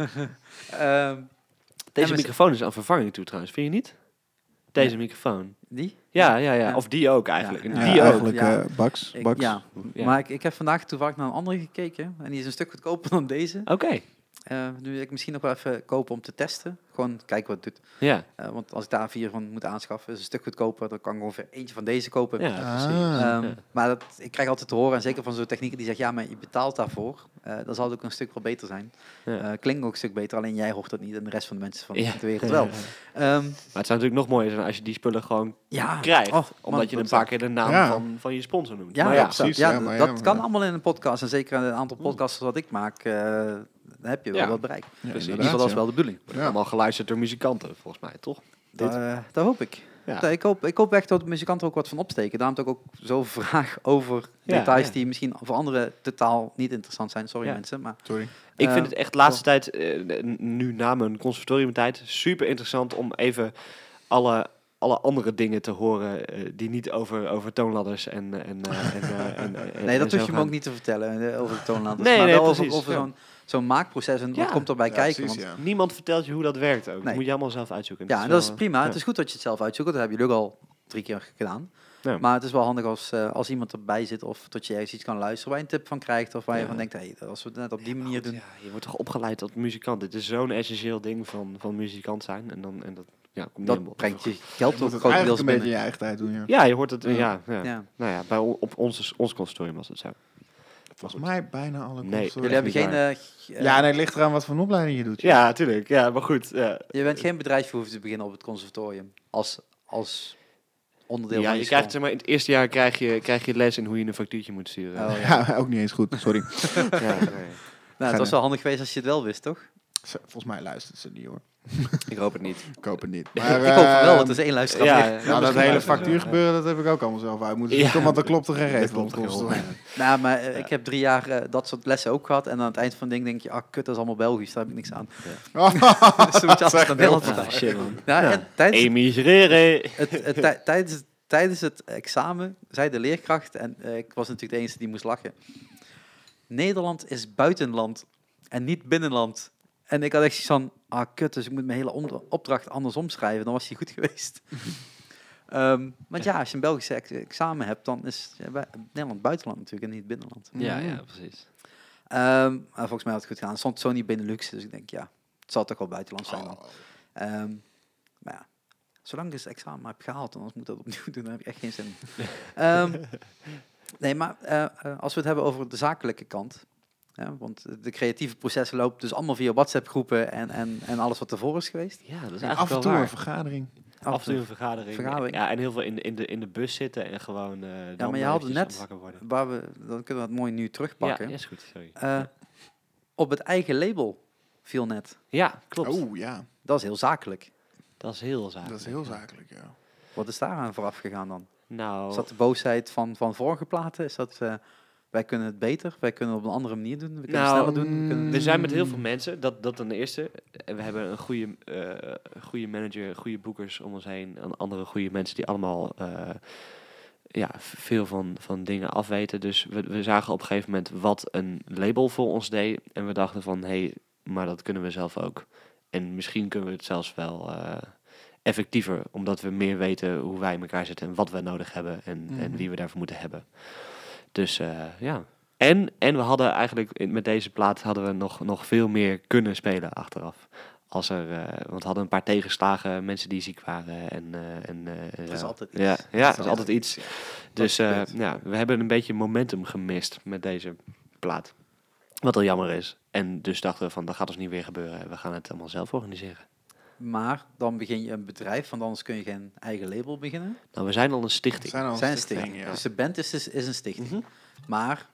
Ehm,
deze
en we-
microfoon is aan vervanging toe trouwens, vind je niet? Deze microfoon.
die?
Ja, ja, ja,
Ja.
Of die ook eigenlijk.
Ja,
En
Ja,
die ook.
eigenlijk
ja.
eh, Baks.
Ik-
Baks.
ja.
Ja.
Maar ik, ik heb vandaag toevallig naar een andere gekeken. En die is een stuk goedkoper dan deze.
Oké,
Eh nu wil ik misschien nog wel even kopen om te testen. Gewoon kijken wat het doet.
ja.
Eh, want als ik daar vier van moet aanschaffen, is het een stuk goedkoper. Dan kan ik ongeveer eentje van deze kopen.
ja.
Ah.
Ehm,
Ja.
Maar dat, ik krijg altijd te horen, en zeker van zo'n technieker die zegt, ja, maar je betaalt daarvoor. Eh dan zal het ook een stuk wel beter zijn.
Ja.
Eh, klinkt ook een stuk beter, alleen jij hoort dat niet en de rest van de mensen van
Ja.
de wereld wel. Ehm,
Maar het zou natuurlijk nog mooier zijn als je die spullen gewoon
ja,
krijgt.
Oh, man,
omdat je
dat
een paar keer de naam
Ja.
van, van je sponsor noemt.
Ja,
Maar
ja,
ja, precies,
ja,
ja, maar ja,
dat
maar
kan
ja.
allemaal in een podcast. En zeker een aantal podcasts wat ik maak, eh, dan heb je wel
Hm. Ja.
wat bereik.
Ja,
In
precies.
ieder geval,
inderdaad,
dat is
ja.
wel de bedoeling.
wordt allemaal geluisterd door muzikanten, volgens mij, toch? Dit.
Eh, dat hoop ik.
Ja.
Ja, Ik, hoop, ik hoop echt dat de muzikanten er ook wat van opsteken. Daarom heb ik ook zo'n vraag over
Ja,
details
ja.
die misschien voor anderen totaal niet interessant zijn. Sorry
Ja.
mensen, maar
Sorry.
Ik
Eh,
vind het echt de laatste tijd, eh, n- nu na mijn conservatoriumtijd, super interessant om even alle, alle andere dingen te horen eh, die niet over, over toonladders en... eh, en, eh, en, eh, en, eh,
Nee,
en
dat
zo
hoef je me
gaan.
ook niet te vertellen eh, over de toonladers.
Nee,
maar
nee,
wel over,
precies,
over
ja.
zo'n zo'n maakproces en
Ja.
wat komt erbij
Ja,
kijken.
precies,
want,
ja.
Niemand vertelt je hoe dat werkt ook.
Nee.
Dat moet je allemaal zelf uitzoeken.
ja, en
wel,
dat is
eh,
prima.
ja.
Het is goed dat je het zelf uitzoekt. Dat hebben jullie ook al drie keer gedaan.
Ja.
Maar het is wel handig als, eh, als iemand erbij zit of dat je ergens iets kan luisteren waar je een tip van krijgt. Of waar je
Ja.
van denkt, hey, als we het net op die manier doen.
Ja, je wordt toch opgeleid tot muzikant. Dit is zo'n essentieel ding van, van muzikant zijn. En, dan, en dat ja, komt niet helemaal
Dat brengt je geld
Je
toch
moet het
grotendeels
eigenlijk een beetje
binnen.
in je eigen tijd doen, ja.
Ja, je hoort het. Ja, ja,
Ja.
Nou ja, bij, o- op ons, ons consortium was het zo.
Volgens mij bijna alle
Nee.
consoles.
Jullie hebben
Echt
geen...
niet
eh, g- eh,
Ja, nee, het ligt eraan wat voor een opleiding je doet. joh.
Ja, tuurlijk. Ja, maar goed. Ja,
Je bent geen bedrijfsvoer te beginnen op het conservatorium. Als, als onderdeel
ja
van je
je
school.
krijgt zeg maar in het eerste jaar krijg je, krijg je les in hoe je een factuurtje moet sturen.
Oh, ja.
Ja, ook niet eens goed. Sorry.
Ja, nee.
Nou, het was
Gaan,
wel handig geweest als je het wel wist, toch?
Zo, Volgens mij luistert ze niet hoor.
Ik hoop het niet.
Ik hoop het niet. Maar,
ik hoop van wel,
ehm,
want er is één luisteraar
ja,
meer.
ja.
Nou, dat
misschien
hele
luisteren ze wel,
factuur gebeuren, dat heb ik ook allemaal zelf uit moeten
Ja.
zoeken, want dat klopt er geen
Dat
reet van.
klopt
op
er
ons
geen hol
door.
van.
Nou, maar eh, ik heb drie jaar eh, dat soort lessen ook gehad. En aan het eind van het ding denk je, ah, kut, dat is allemaal Belgisch, daar heb ik niks aan. Dus dan moet je altijd naar Nederland
Ja,
vertalen.
shit, man.
Nou, en tijdens,
Emigreren.
het, het, tij- tijdens, tijdens het examen zei de leerkracht, en eh, ik was natuurlijk de enige die moest lachen. Nederland is buitenland en niet binnenland. En ik had echt zoiets van, ah, kut, dus ik moet mijn hele onder- opdracht anders omschrijven. Dan was die goed geweest. Ehm, want ja, als je een Belgische ex- examen hebt, dan is eh, wij- Nederland buitenland natuurlijk en niet binnenland.
Ja, ja, precies.
Ehm, maar volgens mij had het goed gedaan. Het stond Sony Benelux, dus ik denk, ja, het zal toch wel buitenland
Oh,
zijn dan. Ehm, maar ja, zolang ik dus het examen maar heb gehaald, anders moet ik dat opnieuw doen, dan heb ik echt geen zin in. Ehm, nee, maar eh, eh, als we het hebben over de zakelijke kant, hè, want de creatieve processen loopt dus allemaal via WhatsApp-groepen en, en, en alles wat ervoor is geweest.
Ja, dat is eigenlijk
Af en
wel
toe
waar.
een vergadering.
Af en toe een vergadering.
Vergadering.
Ja, en heel veel in, de- in, de, in de bus zitten en gewoon. eh, dan
maar je had het
eventjes
net
wakker worden.
Waar we, dan kunnen we het mooi nu
Ja,
terugpakken.
ja, is goed. Sorry.
Eh, op het eigen label viel net.
Ja, klopt.
Oh ja,
Dat is heel zakelijk.
Dat is heel zaak.
dat is heel zakelijk. Ja.
Wat is daaraan vooraf gegaan dan?
Nou,
Is dat de boosheid van, van vorige platen? Is dat eh, wij kunnen het beter, wij kunnen het op een andere manier doen, we kunnen het
Nou,
sneller doen? We kunnen...
we zijn met heel veel mensen, dat, dat dan de eerste. En we hebben een goede, eh, goede manager, goede boekers om ons heen. En andere goede mensen die allemaal eh, ja, v- veel van, van dingen afweten. Dus we, we zagen op een gegeven moment wat een label voor ons deed. En we dachten van, hé, hey, maar dat kunnen we zelf ook. En misschien kunnen we het zelfs wel eh, effectiever. Omdat we meer weten hoe wij in elkaar zitten en wat we nodig hebben. En, en
Mhm.
wie we daarvoor moeten hebben. Dus eh, ja, en, en we hadden eigenlijk in- met deze plaat hadden we nog, nog veel meer kunnen spelen achteraf. Als er, eh, want we hadden een paar tegenslagen, mensen die ziek waren. En, eh, en, eh, en
is
zo.
altijd
Ja,
iets.
ja dat is altijd iets. Dus
Dat
eh,
gebeurt.
ja, we hebben een beetje momentum gemist met deze plaat. Wat al jammer is. En dus dachten we van, dat gaat ons niet weer gebeuren. We gaan het allemaal zelf organiseren.
Maar dan begin je een bedrijf, want anders kun je geen eigen label beginnen.
Nou, we zijn al een stichting.
al
Zijn
stichtingen,
stichting.
ja.
Dus de band is, is, is een stichting.
Mhm.
Maar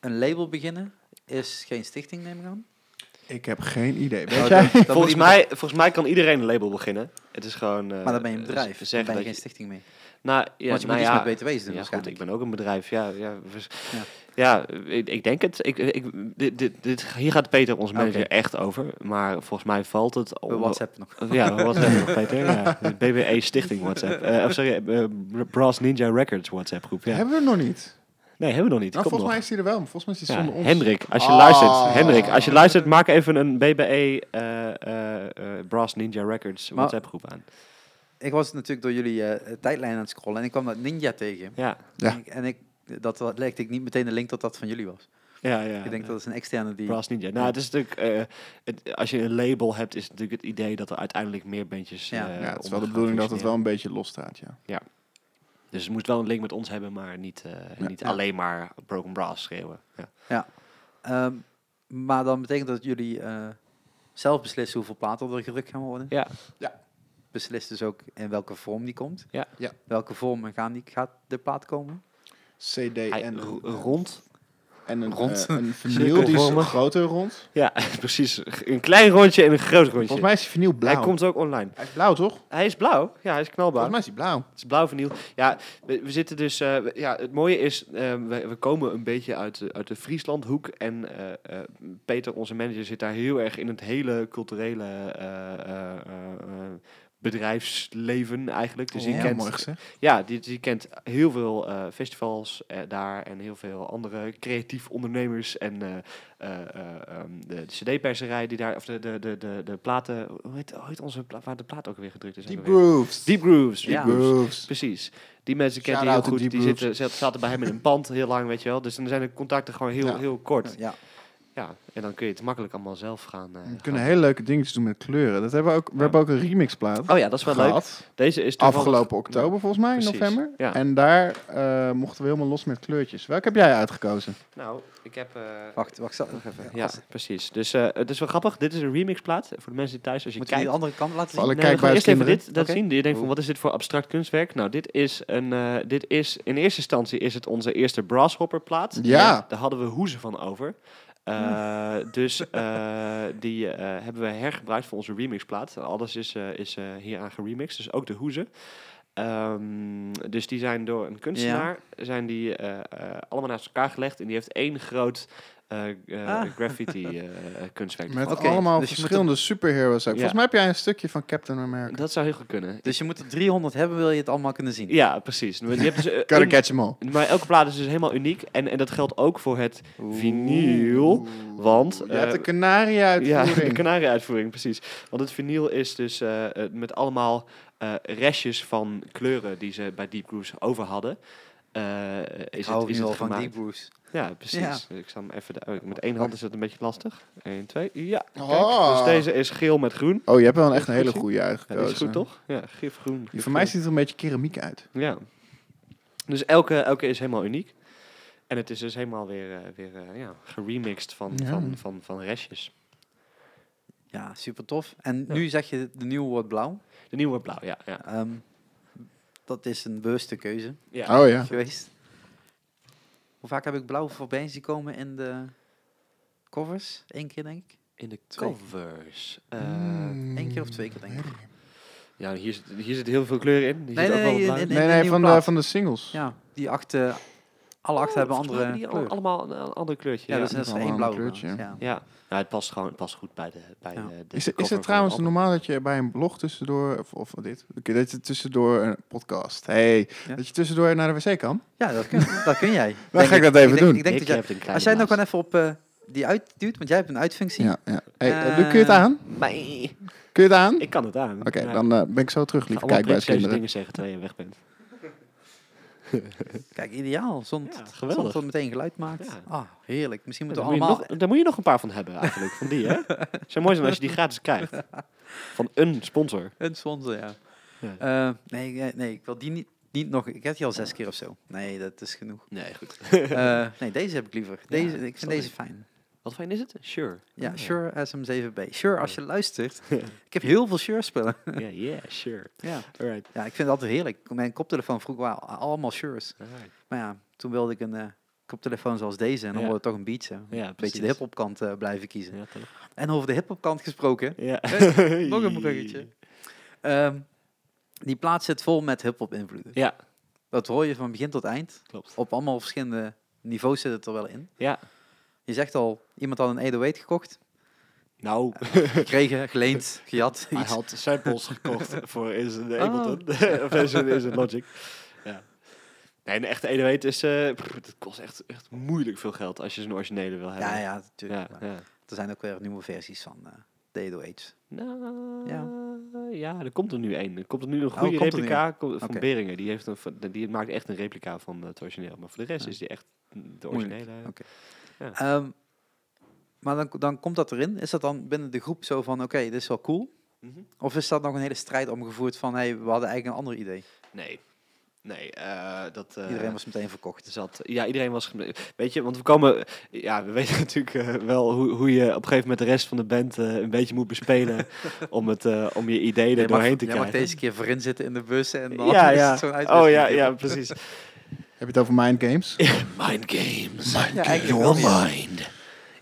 een label beginnen is geen stichting, neem ik aan.
dus-
Ik heb geen idee.
Nou, dat-
Weet jij?
dat moet
Volgens
je-
mij, volgens mij kan iedereen een label beginnen. Het is gewoon... eh,
Maar dan ben je een
z-
bedrijf, dan
zeggen
ben je
dat
geen stichting meer.
Nou, ja,
Want je
nou
moet
ja,
iets met BTW's doen
ja, goed,
waarschijnlijk.
ik ben ook een bedrijf. Ja, ja, vers-
Ja.
ja. ik, ik denk het. Ik, ik, dit, dit, dit- hier gaat Peter, onze manager,
Oké.
echt over. Maar volgens mij valt het...
We
onder-
WhatsApp nog.
Ja, WhatsApp nog, Peter. Ja. De BBE Stichting WhatsApp. Eh, of sorry, eh, Br- Brass Ninja Records WhatsApp groep. Ja.
Hebben we nog niet?
Nee, hebben we nog niet.
Nou,
Komt
volgens
nog.
mij is die er wel, maar volgens mij is die
Ja,
zonder ons.
Hendrik, als je
Ah.
luistert, Hendrik, als je luistert, maak even een BBE eh, eh, eh, Brass Ninja Records
Maar-
WhatsApp groep aan.
Ik was natuurlijk door jullie eh, tijdlijn aan het scrollen en ik kwam dat ninja tegen.
Ja,
Ja.
En ik- En ik, dat wa- legde ik niet meteen de link tot dat van jullie was.
ja, ja.
ik denk
ja.
dat is een externe die...
Brass Ninja. Nou, het is natuurlijk, eh, het- als je een label hebt, is het natuurlijk het idee dat er uiteindelijk meer bandjes.
Ja.
Ja, het
eh,
is wel
onder
de
gaan
bedoeling dat het wel
functioneren.
een beetje los staat, ja.
Dus het moet wel een link met ons hebben, maar niet, eh,
Ja.
niet
Ja.
alleen maar Broken Brass schreeuwen. Ja.
Ehm, maar dan betekent dat jullie eh, zelf beslissen hoeveel platen er gedrukt gaan worden.
Ja.
Ja.
Beslist dus ook in welke vorm die komt.
Ja.
Ja.
Welke vorm en gaan die, gaat de plaat komen?
CD
Hij-
en,
ro- rond.
en een,
rond.
rond. een vinyl die is
Cirkelvormig.
groter rond.
Ja, precies. Een klein rondje en een groot rondje.
Volgens mij is die vinyl blauw.
Hij komt ook online.
Hij is blauw, toch?
Hij is blauw. Ja, hij is knalblauw.
Volgens mij is die blauw.
Het is blauw vinyl. Ja, we, we zitten dus. eh, we- ja, het mooie is, eh, we, we komen een beetje uit, de- uit de Frieslandhoek. En eh, eh, Peter, onze manager, zit daar heel erg in het hele culturele eh, eh, eh, eh, bedrijfsleven eigenlijk. Dus die
Ja,
Heel
kent,
Oh, mooi gezegd.
ja, die, die kent heel veel eh, festivals eh, daar en heel veel andere creatief ondernemers en eh, eh, eh, ehm, de, de CD-perserij die daar, of de, de, de, de, de platen, hoe heet, hoe heet onze plaat, waar de plaat ook weer gedrukt is?
Deep
ook weer?
Grooves.
Deep Grooves. Deep
Ja.
Grooves.
Grooves.
Precies. Die mensen kent hij heel
Shout-out to
goed.
Deep
Die
Roots.
zitten, zat- zaten bij hem in een pand heel lang, weet je wel. Dus dan zijn de contacten gewoon heel,
Ja.
heel kort.
Ja.
Ja, en dan kun je het makkelijk allemaal zelf gaan... eh,
We
gaan-
kunnen hele leuke dingetjes doen met kleuren. Dat hebben we, ook, we
Ja.
hebben ook een remixplaat
Oh ja, dat is wel leuk.
gehad.
Deze is toevallig-
Afgelopen oktober volgens mij, in
Precies,
november.
ja.
En daar eh, mochten we helemaal los met kleurtjes. Welke heb jij uitgekozen?
Nou, ik heb... eh,
Wacht, wacht. Zal,
nog even.
ja,
Ja,
als-
precies. Dus eh, het is wel grappig. Dit is een remixplaat. Voor de mensen die thuis, als je
moet je die
kijkt...
de andere kant laten
Voor
zien?
alle
Nee, we gaan
kijkbaar
eerst even dit dat
Oké.
zien. Je denkt van,
Oeh.
wat is dit voor abstract kunstwerk? Nou, dit is een... eh, dit is, in eerste instantie is het onze eerste Brasshopper plaat.
Ja.
Daar hadden we hoezen van over. Eh, dus eh, die eh, hebben we hergebruikt voor onze remixplaat. Alles is, eh is eh, hieraan geremixed, dus ook de hoezen. Ehm, dus die zijn door een kunstenaar zijn die, eh, eh, allemaal naast elkaar gelegd. En die heeft één groot eh, eh,
Ah.
graffiti eh, kunstwerk.
Met
Oké,
allemaal
dus je moet
verschillende superheroes ook. Volgens
Ja.
mij heb jij een stukje van Captain America.
Dat zou heel goed kunnen.
Dus je moet er 300 hebben, wil je het allemaal kunnen zien.
Ja, precies. Je hebt dus, eh,
Gotta
een-
catch 'em all.
maar elke plaat is dus helemaal uniek. En, en dat geldt ook voor het vinyl. Want,
Je hebt
eh,
de kanarie
Ja, de
uitvoering.
kanarie-uitvoering, precies. Want het vinyl is dus eh, eh, met allemaal eh, restjes van kleuren die ze bij Deep Grooves over hadden. Eh,
Ik
is
hou
het, is
nu
het
al van
gemaakt.
die Bruce.
Ja, precies. Ik zal hem even... de- oh, met één hand is het een beetje lastig. 1, 2, ja. Kijk,
Oh.
Dus deze is geel met groen.
Oh, je hebt wel echt een
Goed
hele
zien.
goede
Ja,
uitgekozen.
dat is goed, toch? Ja, gif groen.
Die
gif
voor mij
groen.
ziet er een beetje keramiek uit.
Ja. Dus elke, elke is helemaal uniek. En het is dus helemaal weer, eh, weer eh, ja, geremixed van,
Ja.
van, van, van restjes.
Ja, super tof. En nu zeg je de nieuwe wordt blauw.
De nieuwe wordt blauw, ja. ja.
Ehm, dat is een bewuste keuze
ja.
Oh ja.
geweest. Hoe vaak heb ik blauw voorbij zien komen in de covers? Eén keer, denk ik.
In de
Twee.
covers. Eh,
Eén keer of twee keer, denk ik.
Hmm.
Ja, hier zit, hier zit heel veel kleur in. Hier
Nee,
zit
nee,
ook wel
nee,
wat blauw
in- in-
in.
Nee,
een
nee,
nieuwe
van de,
plaat.
van de singles.
Ja, die acht, eh, alle acht
Oh,
hebben
volgens mij
andere
hebben die
kleur.
al- allemaal een, een ander kleurtje.
ja,
Ja,
dus dat is er één
allemaal
blauw.
een kleurtje.
Ja. Ja.
ja. Nou, het past gewoon het past goed bij de bij
Ja.
de, de
Is,
de
het- is
cover
het trouwens
van het
normaal dat je bij een blog tussendoor, of, of dit, dat je tussendoor een podcast, hey,
Ja.
dat je tussendoor naar de wc kan?
dat, kun, dat kun jij.
Dan
Denk
ga ik dat
ik
even
denk-
doen.
Ik denk
album.
dat jij,
Ik heb een
als jij nou
nog
gewoon even op eh, die uitduwt, want jij hebt een uitfunctie.
Ja, ja. Hey, eh,
Eh,
Luc, kun je het aan?
Nee,
Kun je het aan? Oké,
ik kan het aan. Ja.
dan eh, ben ik zo terug,
Ik ga
lieve
allemaal prinsesjes
kijkbuiskinderen.
dingen zeggen terwijl je weg bent.
Kijk, ideaal. Zon,
Ja,
zon
geweldig.
dat meteen geluid maakt.
Ja.
Ah, heerlijk. Misschien
Ja,
moeten we
Daar moet, je
allemaal...
nog, daar moet je nog een paar van hebben eigenlijk, van die hè. Het zou mooi zijn als je die gratis krijgt. Van een sponsor.
Een sponsor, ja.
Ja.
Eh, nee, nee, nee, ik wil die niet, niet nog... Ik heb die al zes keer of zo. Nee, dat is genoeg.
Nee, goed.
Eh, nee, deze Eh, heb ik liever. Deze, ik vind
sorry.
deze fijn.
Wat fijn is het? Sure.
Ja,
Ah,
Sure SM7B. Sure,
Oh.
als je luistert. ik heb heel veel Sure spullen.
Ja, yeah, sure.
ja.
Alright.
ja, ik vind het altijd heerlijk. Mijn koptelefoon vroeger waren allemaal Sures.
Alright.
Maar ja, toen wilde ik een eh, koptelefoon zoals deze. En dan
Ja.
wilde ik toch een Beats. Een
Ja,
beetje de
precies.
hip-hop kant eh, blijven kiezen.
Ja, toch?
En over de hip-hop kant gesproken.
Ja.
nog een bruggetje. ehm, die plaat zit vol met hip-hop invloeden.
Ja,
Dat hoor je van begin tot eind.
klopt.
Op allemaal verschillende niveaus zit het er wel in.
Ja.
Je zegt al, iemand had een 808 gekocht.
Nou,
Gekregen, geleend, gejat.
hij
iets.
had samples gekocht voor is een
Oh.
Ableton. of is een, is een Logic. Ja. Nee, een echte Edeweit is... eh pff, dat kost echt, echt moeilijk veel geld als je zijn originele wil hebben.
Ja, ja, natuurlijk.
ja,
Maar
ja.
Er zijn ook weer nieuwe versies van eh de 808's.
Nou,
Ja.
ja. er komt er nu één. Er komt er nu een
Oh,
goede
komt er nu
replica ko- van
Oké.
Beringen. Die, heeft een, van- die maakt echt een replica van eh, het origineel. Maar voor de rest
Ja.
is die echt de
Moeilijk.
originele.
Oké. Ehm, maar dan, dan komt dat erin. Is dat dan binnen de groep zo van, oké, dit is wel cool?
Mhm.
Of is dat nog een hele strijd omgevoerd van, hey, we hadden eigenlijk een ander idee.
Nee. Nee, eh, dat... eh,
Iedereen was meteen verkocht.
Zat. Ja, iedereen was... gem- Weet je, want we komen... Ja, we weten natuurlijk eh, wel hoe, hoe je op een gegeven moment de rest van de band eh, een beetje moet bespelen om, het, eh, om je ideeën
Jij
er doorheen
mag,
te
jij mag
krijgen.
deze keer voorin zitten in de bus en dan
ja,
is
ja.
het zo'n
oh ja,
uitwisseling.
ja, precies.
Heb je het over mind games?
Mind games.
Ja, eigenlijk wel, ja.
mind.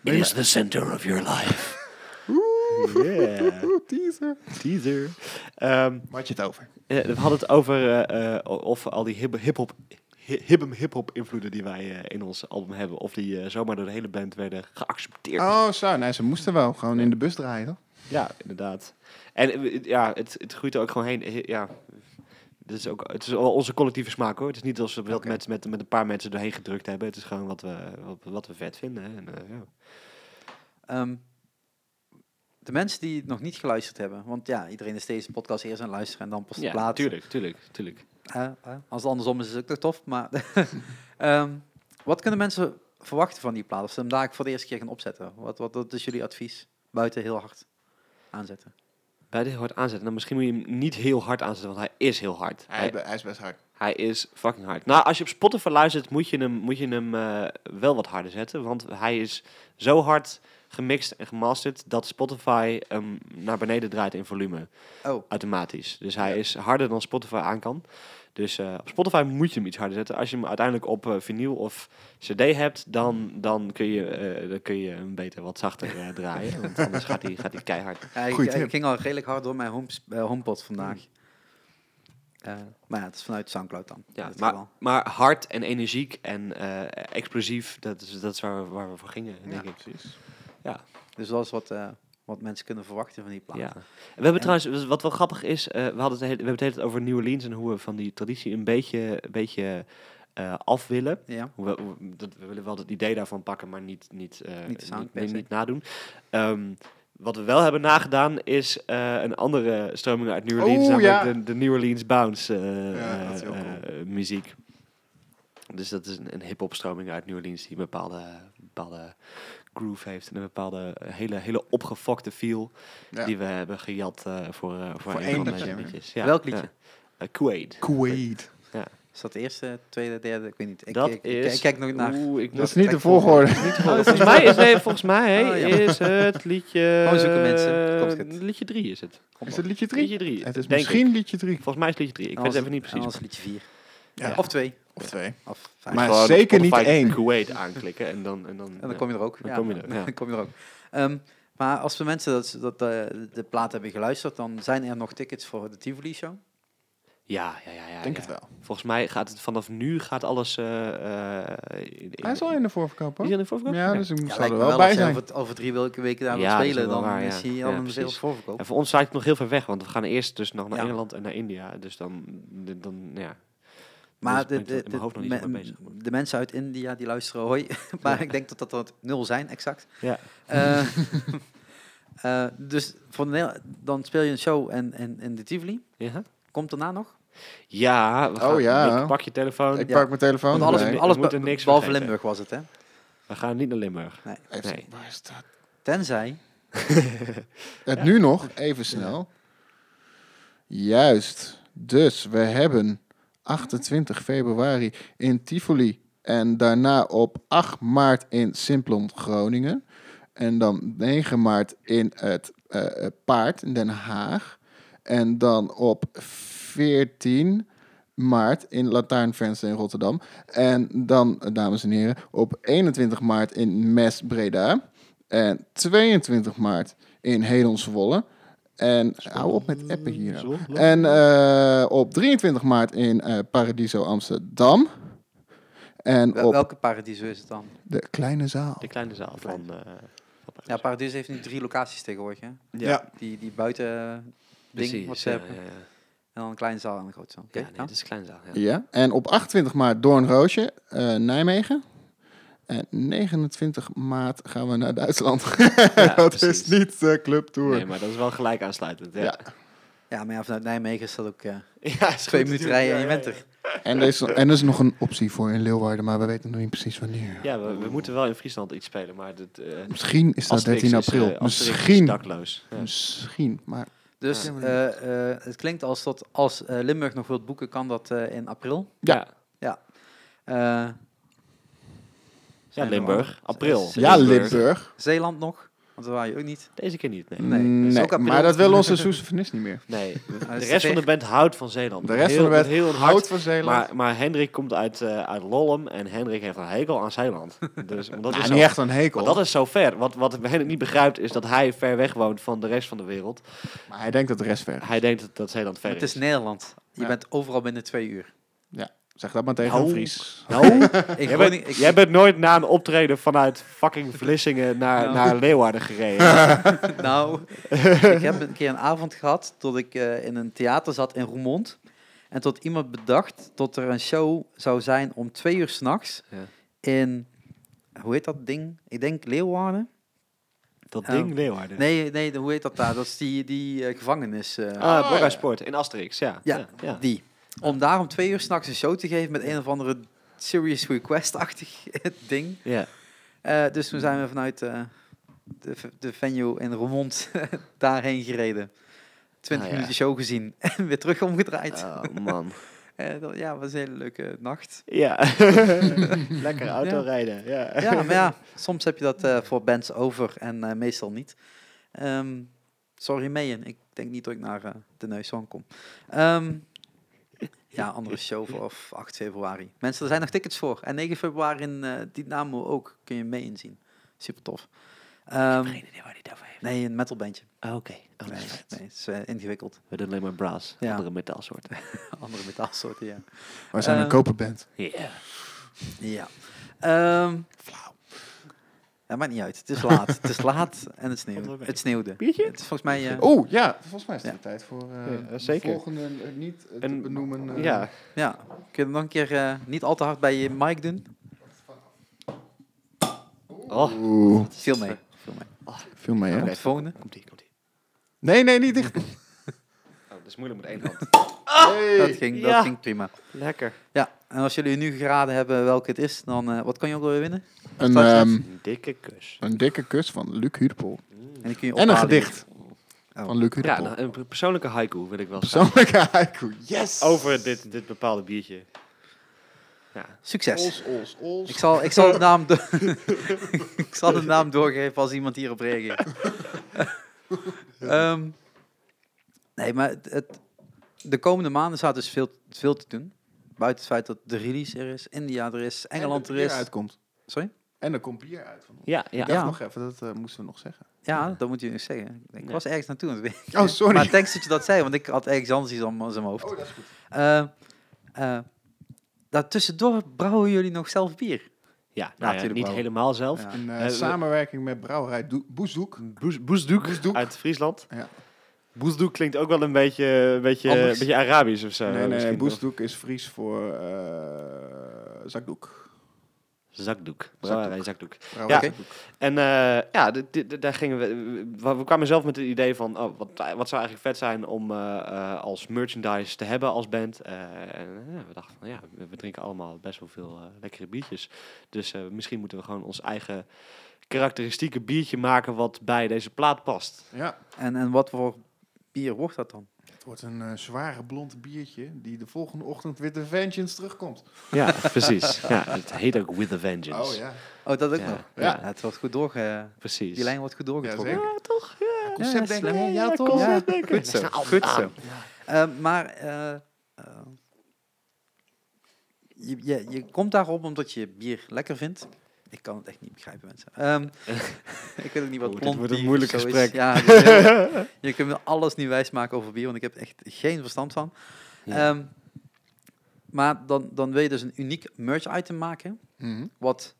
It is the center of your life.
Oeh, teaser.
Teaser. Ehm,
Waar had je het over?
eh, we hadden het over eh, eh, of al die hip- hip-hop hi- hibbem hip-hop invloeden die wij eh, in ons album hebben, of die eh, zomaar door de hele band werden geaccepteerd.
Oh, zo. Nee, ze moesten wel gewoon in de bus draaien. Hoor.
Ja, inderdaad. En eh, we- ja, het, het groeit er ook gewoon heen. Eh, Ja. Dit is ook, het is wel onze collectieve smaak hoor. Het is niet alsof we dat
Oké.
met, met, met een paar mensen doorheen gedrukt hebben. Het is gewoon wat we, wat, wat we vet vinden. hè. En, eh, ja.
Ehm, de mensen die het nog niet geluisterd hebben, want ja, iedereen is deze podcast eerst aan het luisteren en dan pas de
Ja,
plaat.
tuurlijk, tuurlijk, tuurlijk.
Eh, eh, als het andersom is, is het ook nog tof. Maar ehm, wat kunnen mensen verwachten van die plaat? Als ze hem daar voor de eerste keer gaan opzetten, wat, wat, wat is jullie advies? Buiten heel hard aanzetten.
Bij heel hard aanzetten. Nou, misschien moet je hem niet heel hard aanzetten, want hij is heel hard. Hij,
is best hard.
hij is fucking hard. Nou, als je op Spotify luistert, moet je hem, moet je hem eh, wel wat harder zetten. Want hij is zo hard gemixt en gemasterd dat Spotify hem naar beneden draait in volume.
Oh,
Automatisch. Dus hij is harder dan Spotify aan kan. Dus eh, op Spotify moet je hem iets harder zetten. Als je hem uiteindelijk op eh, vinyl of cd hebt, dan, dan, kun je, eh, dan kun je hem beter wat zachter eh, draaien. Want anders gaat hij, gaat hij keihard.
ja, ik,
Goeie
ik
tip.
ging al redelijk hard door mijn home, homepod vandaag.
Hmm.
Eh, maar ja, het is vanuit Soundcloud dan. in
Ja,
dit
maar,
geval.
maar hard en energiek en eh, explosief, dat is, dat is waar, we, waar we voor gingen, denk ik.
precies.
Dus dat is wat, eh, wat mensen kunnen verwachten van die plaat.
Ja. We hebben trouwens, wat wel grappig is, eh, we, hadden het, hele- we hebben het hele tijd over New Orleans en hoe we van die traditie een beetje, een beetje eh, af willen.
Ja.
Hoewel, hoe- dat, we willen wel het idee daarvan pakken, maar niet, niet, eh,
Niet de sound
niet,
per se.
niet nadoen. Ehm, wat we wel hebben nagedaan is eh, een andere stroming uit New
Oh,
Orleans, namelijk
ja.
de, de New Orleans Bounce eh,
Ja, dat is heel
eh, eh, muziek. Dus dat is een, een hip-hop stroming uit New Orleans die een bepaalde, bepaalde groove heeft en een bepaalde hele, hele opgefokte feel
Ja.
die we hebben gejat eh, voor, eh, voor,
Voor
een
één
van
liedje.
mijn liedjes. Ja,
Welk liedje?
Ja. Eh, Quaid.
Kuwait.
Is dat de eerste, tweede, derde? Ik weet niet. Ik,
dat
ik, ik-
is.
ik kijk nog naar.
Oeh, ik
Dat is
moet-
niet de volgorde.
Volgens mij is, nee, volgens mij
Oh, ja.
is het liedje...
Gewoon Oh, zoeken mensen, komt goed.
Liedje 3 is het.
Is het liedje 3?
Liedje 3.
Het is
denk
misschien
ik.
liedje 3.
Volgens mij is het liedje 3. Ik weet het even niet precies.
Als liedje 4.
Ja.
Of 2.
Of 2.
Of 5.
Maar
Gewoon
zeker
Spotify
niet één.
Kuwait aanklikken en dan... En dan,
En dan kom je er ook.
Dan kom je er, ja.
dan kom je er ook. Ehm, maar als de mensen dat, dat, eh, de plaat hebben geluisterd, dan zijn er nog tickets voor de Tivoli Show.
Ja, ja, ja. ja,
Ik denk
ja.
het wel.
Volgens mij gaat het vanaf nu gaat alles... eh, eh, in-
Hij is al in de voorverkoop
Is
hoor.
hij in de voorverkoop?
Ja, dus ik
Ja,
zou
lijkt me
er wel
wel
bij
als je
zijn.
over, over drie weken, weken daar
Ja,
wilt
dat is
spelen,
wel
dan
waar, ja.
is hij
Ja,
al een
precies.
veel voorverkoop.
En voor ons lijkt het nog heel ver weg, want we gaan eerst dus nog naar
Ja.
Engeland en naar India. Dus dan... dan ja.
Maar
ben
de,
ik er
de,
in mijn hoofd nog niet
me-
zo mee bezig.
de mensen uit India die luisteren, hoi. maar ik denk dat dat er nul zijn, exact.
Ja.
Eh, eh, dus voor de Nederla- dan speel je een show en, en, in de Tivoli.
Ja?
Komt daarna nog?
Ja, we
Oh,
gaan,
ja.
Nick, pak je telefoon.
Ik
Ja.
pak mijn telefoon
Want alles,
nee,
erbij.
we
alles
moeten
be-
niks
behalve
vergeten.
Limburg was het, hè?
We gaan niet naar Limburg.
Nee.
Even-
Nee.
Waar is dat?
Tenzij
Het nu nog, even snel. Juist. Dus we hebben 28 februari in Tivoli en daarna op 8 maart in Simplon, Groningen. En dan 9 maart in het eh, eh, Paard in Den Haag. En dan op 14 maart in Latijnvenster in Rotterdam. En dan, eh, dames en heren, op 21 maart in Mes Breda. En 22 maart in Hedon Zwolle. En hou op met appen hier nou. En eh, op 23 maart in eh, Paradiso Amsterdam. En
Wel-
op
Welke paradiso is het dan?
de kleine zaal.
De kleine zaal van... eh, van
Ja, paradiso heeft nu drie locaties tegenwoordig. Hè?
Ja,
Die, die buiten eh, ding, wat
precies.
ze
Ja,
hebben.
eh,
eh,
ja, ja.
En dan een kleine zaal en een grote zaal. Oké, nou.
Ja, nee,
nou.
dus-
ja.
dat is een kleine zaal. Ja.
Ja, en op 28 maart Doornroosje, eh Nijmegen. En 29 maart gaan we naar Duitsland. dat
precies.
is niet de clubtour.
Nee, maar dat is wel gelijk aansluitend. Ja,
Ja.
Ja, maar ja, vanuit Nijmegen is dat ook eh,
ja is
twee minuten
goed, natuurlijk.
rijden en
Ja,
je
ja,
bent
ja.
er.
En, er is, en er is nog een optie voor in Leeuwarden, maar we weten nog niet precies wanneer.
Ja, we, we moeten wel in Friesland iets spelen, maar dit, eh
Misschien is dat
Asterix
13
is, eh,
april.
Asterix is
misschien.
dakloos. Ja.
Misschien, maar
Dus
Ja.
eh, eh, het klinkt als dat als eh, Limburg nog wilt boeken, kan dat eh, in april.
Ja.
Ja.
Eh,
Ja,
zijn er al-
Limburg. April.
Ze-
ja, Limburg.
Zeeland nog, want daar waren je ook niet.
Deze keer niet, nee.
Nee, dat is
Nee,
ook april.
maar dat wil onze sousaphonist niet meer.
Nee, de
is
rest van de
echt-
band houdt van Zeeland.
De rest
Heel-
van de wet
met heel een hart.
houdt van Zeeland.
Maar, maar Hendrik komt uit, eh, uit Lollum en Hendrik heeft een hekel aan Zeeland. Dus omdat dat
Nou,
is
niet
zo-
echt een hekel.
Maar
Maar,
dat is zo ver. Wat, wat Hendrik niet begrijpt is dat hij ver weg woont van de rest van de wereld.
hij denkt dat de rest ver.
Hij denkt dat, dat Zeeland ver
Het is
is.
Nederland. Je
Ja.
bent overal binnen twee uur.
Zeg dat maar tegen
Nou.
een Fries.
Nou,
Ik
jij,
Groningen-
bent,
ik-
jij bent nooit na een optreden vanuit fucking Vlissingen naar,
Nou.
naar Leeuwarden gereden.
Nou, ik heb een keer een avond gehad tot ik eh, in een theater zat in Roermond. En tot iemand bedacht dat er een show zou zijn om twee uur s'nachts
Ja.
in, hoe heet dat ding? Ik denk Leeuwarden.
Dat
Oh.
ding Leeuwarden.
Nee, nee, de- hoe heet dat daar? Dat is die, die eh, gevangenis. eh,
Ah,
Oh, ja.
Sport in Asterix, ja.
Ja,
ja, ja.
Die. Om daar om twee uur s'nachts een show te geven met een of andere serious request-achtig ding.
Ja.
Eh, dus toen zijn we vanuit eh, de, v- de venue in Roermond daarheen gereden. 20
Ah, ja.
minuten show gezien en weer terug omgedraaid.
Oh, man.
Eh, dat, ja, was een hele leuke nacht.
Ja. Lekker autorijden. Ja.
Ja, maar ja, soms heb je dat eh, voor bands over en eh, meestal niet. Ehm, sorry, Meien. Ik denk niet dat ik naar eh, de Neuson kom. Ehm, ja, andere show voor 8 februari. Mensen, er zijn nog tickets voor. En 9 februari in eh, Dynamo ook kun je Meien zien. Super tof. Ehm,
Geen idee waar die het over heeft.
nee, een metalbandje.
Ah, Oké.
Nee,
Oh, dat is
nee,
vet.
het is eh, ingewikkeld.
We doen alleen maar brass,
Ja.
andere metaalsoorten.
Andere metaalsoorten, ja.
Wij zijn
Eh,
een koperband.
Ja.
Ja. Ehm Dat maakt niet uit. Het is laat. het is laat en het
Valt wel
sneeuwt.
mee.
Het sneeuwde.
Biertje?
Het is volgens mij... eh,
Oh ja, volgens mij is het
Ja.
de tijd voor eh,
Ja,
de
zeker.
volgende eh, niet eh, te
En-
benoemen. eh,
ja.
Ja, kun je nog een keer eh, niet al te hard bij je mic doen?
Oh.
Oeh,
Veel mee. Veel mee.
veel mee hè?
Komt de volgende.
Komt ie, komt ie.
Nee, nee, niet dicht.
Oh, dat is moeilijk met één hand.
Dat ging, dat
Ja.
ging prima.
Lekker.
Ja, en als jullie nu geraden hebben welke het is, dan eh, wat kan je ook weer winnen?
Een,
was het?
ehm,
Een dikke kus.
een dikke kus van Luc Huurpel.
En, die kun je
En een
ophalen.
gedicht
Oh.
van Luc
Ja,
Huurpel.
nou, een per- persoonlijke haiku wil ik wel schrijven.
Persoonlijke haiku. Yes!
Over dit, dit bepaalde biertje. Ja.
Succes.
Os, os, os.
Ik zal, ik, zal de naam do- ik zal de naam doorgeven als iemand hierop reageert. Ehm, nee, maar het, het- de komende maanden staat dus veel, veel te doen. Buiten het feit dat de release er is, India er is, Engeland
En
er
dat bier
is.
uitkomt.
Sorry?
En er komt bier uit van ons.
Ja,
Ik
ja.
dacht
Ja.
nog even, dat eh, moesten we nog zeggen.
Ja, dat moet je nog zeggen. Ik
Ja.
was ergens naartoe aan het werken.
Oh, sorry.
Maar thanks dat je dat zei, want ik had ergens anders iets aan aan mijn hoofd.
oh, dat is goed.
Eh eh daartussendoor brouwen jullie nog zelf bier.
Ja, nou ja,
natuurlijk
niet
wel.
helemaal zelf.
Ja.
In eh,
Eh, we-
samenwerking met brouwerij Do- Boesdoek.
Boes- Boesdoek,
Boesdoek.
uit Friesland.
Ja.
Boesdoek klinkt ook wel een beetje, een beetje,
Anders.
een beetje Arabisch of zo.
eh,
nee, nee, nee,
misschien.
Boesdoek is Fries voor eh, zakdoek.
Zakdoek. Brouwerij zakdoek.
Brouwerij
Ja.
zakdoek.
En eh, ja, dit- dit- dit- daar gingen we, we. we kwamen zelf met het idee van oh, wat, wat zou eigenlijk vet zijn om eh, eh, als merchandise te hebben als band. Eh, en ja, we dachten van ja, we, we drinken allemaal best wel veel eh, lekkere biertjes. Dus eh, misschien moeten we gewoon ons eigen karakteristieke biertje maken wat bij deze plaat past.
Ja.
En, en wat voor bier wordt dat dan?
Het wordt een eh, zware blond biertje die de volgende ochtend weer de Vengeance terugkomt.
Ja, precies. Ja, het heet ook With a Vengeance.
Oh ja,
Oh, dat ook
Ja,
nog.
ja.
Ja, het wordt goed doorge...
Precies.
Die lijn wordt goed
ja
doorgetrokken.
zeker.
toch? Ja,
Concept
ja,
denken.
slim.
Ja, ja, toch?
Ja,
Concept denken.
goed zo.
Nou,
Goed zo.
nou,
Eh, maar eh, eh, je, je, je komt daarop omdat je bier lekker vindt. Ik kan het echt niet begrijpen, mensen. Ehm, ik weet ook niet wat
Oh, dit
blond
wordt een
bier
moeilijk
of zo is.
gesprek.
Ja, dit is heel- je kunt me alles niet wijsmaken over bier, want ik heb echt geen verstand van.
Ja.
Ehm, maar dan, dan wil je dus een uniek merch item maken,
Mhm.
wat...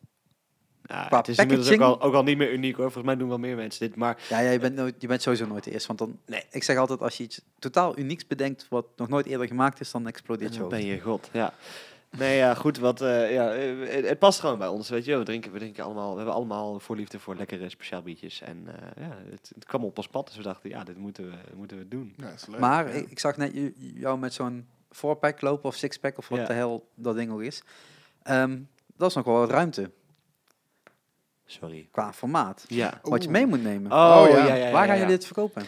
Ja,
qua
het is inmiddels ook
packaging-
al, ook al niet meer uniek hoor. Volgens mij doen wel meer mensen dit. Maar
Ja, ja je, bent nooit, je bent sowieso nooit de eerste, want dan... Nee, ik zeg altijd, als je iets totaal unieks bedenkt, wat nog nooit eerder gemaakt is, dan explodeert je
Dan
hoofd.
ben je god, ja. Nee, ja, goed, wat, eh, ja, eh, het, het past gewoon bij ons, weet je. We drinken, we drinken allemaal, we hebben allemaal voorliefde voor lekkere speciaal biertjes. En eh, ja, het, het kwam op ons pad, dus we dachten, ja, dit moeten we, dit moeten we doen.
Ja, is leuk.
Maar
Ja.
ik, ik zag net ju- jou met zo'n fourpack lopen of sixpack of wat
Ja.
de hel dat ding ook is. Ehm, dat is nog wel wat ruimte
Sorry.
qua formaat.
Ja.
Wat je mee moet nemen.
Oh,
Oh,
ja,
ja.
ja, ja, ja,
Waar gaan
ja.
jullie dit verkopen?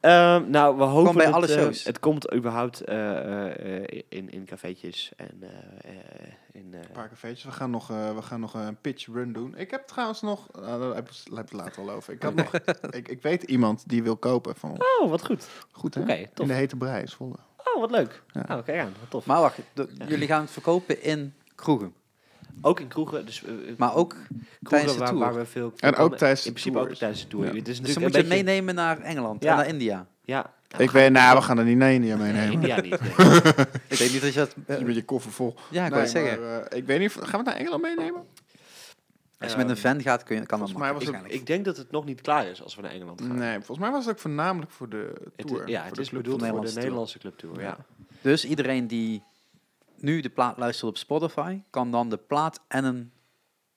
Ehm, nou, we hopen
bij
dat,
alle
eh,
shows.
het komt überhaupt eh, eh, eh, in, in cafeetjes en eh, eh, in... eh,
Een paar cafeetjes. We gaan nog, eh, we gaan nog een pitch run doen. Ik heb trouwens nog... ah, daar heb ik daar heb ik het later al over. Ik, had nog, ik, ik weet iemand die wil kopen van ons.
oh, wat goed.
Goed, hè?
Oké,
In
tof.
de hete brei is volle.
Oh, wat leuk.
Ja.
Oh, kijk aan, wat tof.
Maar wacht, de- jullie gaan het verkopen in kroegen.
ook in kroegen, dus... eh, eh,
Maar ook, tijdens
kroegen
de
waar,
tour.
waar we veel...
En ook tijdens de
In principe
tour
ook
is-
tijdens de tour.
Ja.
Het is
dus dan
natuurlijk
moet
een
je het
beetje-
meenemen naar Engeland
Ja.
en naar India.
Ja.
ik weet, nou, we gaan er niet naar India
Nee,
meenemen.
India niet. nee.
Ik weet niet dat je dat... eh,
Met je koffer vol.
ja, ik
Nee,
wou zeggen.
maar, eh, ik weet niet, of- gaan we het naar Engeland meenemen?
Als je met een fan gaat, kun je, kan dat
volgens mij
makkelijk.
was
Ik, ik denk dat het nog niet klaar is als we naar Engeland gaan.
Nee, volgens mij was het ook voornamelijk voor de
Het-
tour.
ja,
voor
het
de
is
club.
bedoeld
de
voor de
Nederlandse
Nederlandse clubtour. Ja.
Dus iedereen die nu de plaat luistert op Spotify, kan dan de plaat en een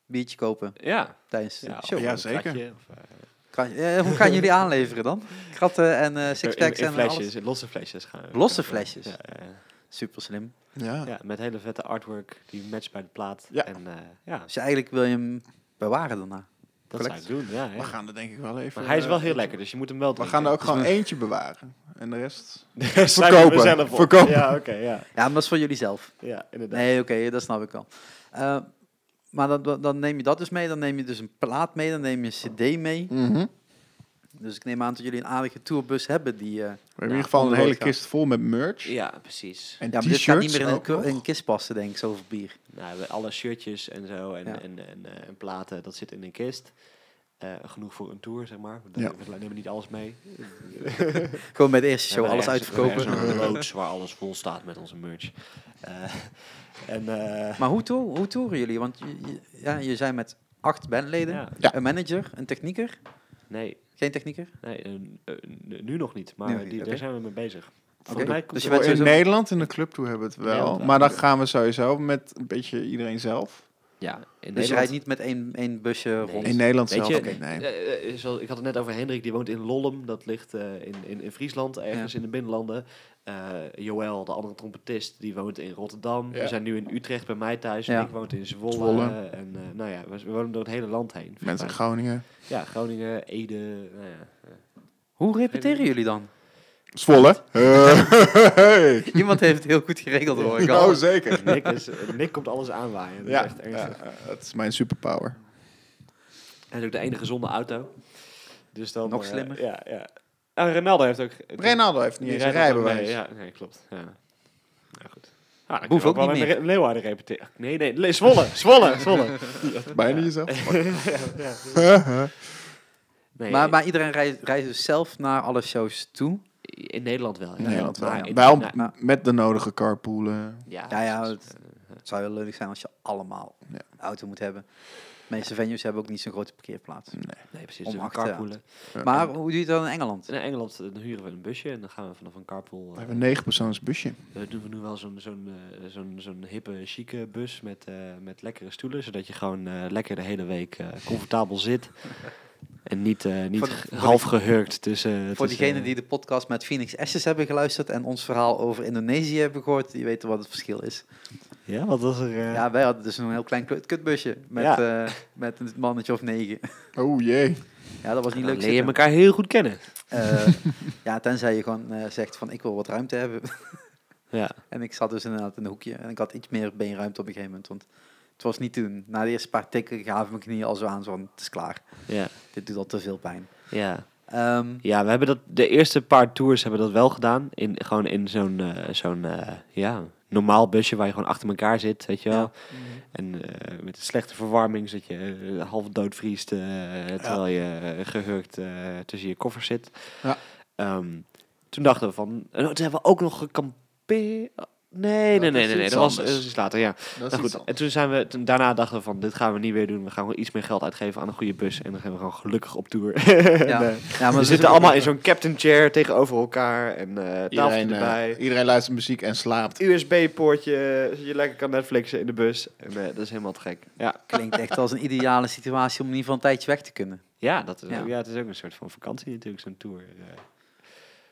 biertje kopen
Ja.
tijdens de
Ja,
show.
ja,
Een
zeker.
kratje of, eh,
Kan- eh, hoe gaan jullie aanleveren dan? Kratten en eh
in- in
sixpacks en
flesjes,
alles?
in losse flesjes gaan. we-
Losse
ja,
flesjes?
Ja, ja,
Super slim.
Ja.
ja, met hele vette artwork die matcht bij de plaat.
Ja.
En eh, ja,
Dus eigenlijk wil je hem bewaren daarna.
dat zou ik
Collect.
doen. Ja, ja.
We gaan er denk ik wel even...
Maar hij is wel
eh,
heel lekker, dus je moet hem wel
We gaan er ook gewoon eentje bewaren. En de rest... verkopen.
Verkopen.
Verkopen.
Ja, oké, ja.
Ja, maar dat is voor jullie zelf.
Ja, inderdaad.
Nee, oké, dat snap ik wel. Eh, maar dan- dan, dan neem je dat dus mee. Dan neem je dus een plaat mee. Dan neem je een cd mee.
Mhm.
Dus ik neem aan dat jullie een aardige tourbus hebben. Die, eh,
We hebben in ieder geval een hele
onderhoog gaan.
kist vol met merch.
Ja, precies.
En
ja, maar dit
t-shirts
gaat niet meer in een,
ook nog.
ku-
Dus
in een kist passen, denk ik, zoveel bier.
Nou, we- alle shirtjes en zo en,
Ja.
en, en, eh, en platen, dat zit in een kist. Eh, genoeg voor een tour, zeg maar. We,
Ja.
we nemen niet alles mee.
Gewoon bij de eerste show
We hebben
alles
ergens- we hebben
uitverkopen.
ergens Een loods waar alles vol staat met onze merch. Eh, en, eh,
Maar hoe, toer- hoe toeren jullie? Want je, je- ja, je zijn met acht bandleden,
ja,
Ja.
een manager, een technieker.
nee,
Geen technieker?
nee eh, n- eh, n- nu nog niet, maar
Nu nog
die,
niet,
daar
oké.
zijn we mee bezig.
Oké,
Volgens mij komt
dus je
er-
bent
in
sowieso-
Nederland in de club toe hebben we het wel.
Nederland,
Maar dan gaan we sowieso met een beetje iedereen zelf.
ja, in Nederland.
Dus je rijdt niet met één, één busje rond.
In Nederland
Weet
zelf.
je,
oké, nee.
eh, eh, zoals- ik had het net over Hendrik, die woont in Lollum. Dat ligt eh, in, in, in Friesland, ergens in de binnenlanden. Eh, Joël, de andere trompetist, die woont in Rotterdam.
Ja.
We zijn nu in Utrecht bij mij thuis.
Ja.
En ik woon in Zwolle.
Zwolle.
eh, En eh, nou ja, we, we wonen door het hele land heen.
Mensen in
Fijn.
Groningen.
Ja, Groningen, Ede. Nou ja. eh.
Hoe repeteren jullie dan?
Zwolle. Hey.
Iemand heeft het heel goed geregeld hoor ik al.
Nou, zeker.
Nick, is, Nick komt alles aanwaaien. Dat
Ja,
is echt
ja,
ernstig.
dat is mijn superpower.
Hij is ook de enige zonder auto. Dus dan,
Nog
eh,
slimmer.
ja, ja. En Renaldo heeft ook...
Reynaldo heeft niet eens een
rijden
rijbewijs.
ja, nee, klopt. Ja. Nou, goed. Ah, dan
Hoeft
kunnen we
ook
wel
niet
in Re- Leeuwarden repeteren. Nee, nee, Le- Zwolle, Zwolle, Zwolle.
Bijna jezelf.
Nee,
Maar, maar iedereen reist, reist dus zelf naar alle shows toe.
in Nederland wel. ja.
In Nederland wel.
Maar
ja.
in-
Wel
nou,
nou.
met de nodige carpoolen.
Ja, ja,
precies.
het- Het zou heel leuk zijn als je allemaal
Ja.
een auto moet hebben. De meeste venues hebben ook niet zo'n grote parkeerplaats.
nee, precies.
om
dus een
achter te
carpoolen.
Maar hoe doe je het dan in Engeland?
In Engeland eh, dan huren we een busje en dan gaan we vanaf een carpool...
We
eh,
hebben een negenpersoons busje.
We Eh, doen we nu wel zo'n zo'n eh, zo'n zo'n hippe, chique bus met, eh, met lekkere stoelen, zodat je gewoon eh, lekker de hele week eh, comfortabel zit. En niet, eh, niet
Voor-
g-
voor die-
half gehurkt tussen...
Voor
tussen- eh,
diegenen die de podcast met Phoenix Ashes hebben geluisterd en ons verhaal over Indonesië hebben gehoord, die weten wat het verschil is.
Ja, wat was er? eh,
Ja, wij hadden dus een heel klein kut- kutbusje met, eh, met een mannetje of negen.
Oh jee.
Ja, dat was niet
dan
leuk
leer je
zitten.
elkaar heel goed kennen.
Eh, ja, tenzij je gewoon eh, zegt van ik wil wat ruimte hebben.
Ja.
En ik zat dus inderdaad in een hoekje en ik had iets meer beenruimte op een gegeven moment. Want het was niet toen. Na de eerste paar tikken gaven mijn knieën al zo aan, zo van het is klaar.
Ja.
Dit doet al te veel pijn.
Ja.
Ehm,
Ja, we hebben dat de eerste paar tours hebben we dat wel gedaan. In, gewoon in zo'n eh, zo'n eh, ja, normaal busje waar je gewoon achter elkaar zit, weet je wel.
ja.
Mhm.
En eh, met een slechte verwarming zit je eh, half dood vriest, eh, terwijl je eh, gehurkt eh, tussen je koffers zit.
Ja.
Ehm, toen dachten we van, eh, toen hebben we ook nog gekampeerd. Nee, nee, nee,
is
nee, nee,
iets
dat was,
anders.
dat is iets later, ja.
Dat is
Nou
goed.
goed, en toen zijn we, toen, daarna dachten we van, dit gaan we niet weer doen. We gaan gewoon iets meer geld uitgeven aan een goede bus. En dan gaan we gewoon gelukkig op tour.
Ja.
En, eh,
Ja, maar dus dat
we
is
zitten
ook-
allemaal in zo'n captain chair tegenover elkaar. En eh tafeltje
Iedereen, eh,
erbij.
iedereen luistert muziek en slaapt.
USB-poortje, zodat eh, je lekker kan Netflixen in de bus. En, eh, dat is helemaal te gek. Ja,
Klinkt echt als een ideale situatie om in ieder geval een tijdje weg te kunnen.
ja, dat is,
Ja.
ja. het is ook een soort van vakantie natuurlijk, zo'n tour. eh.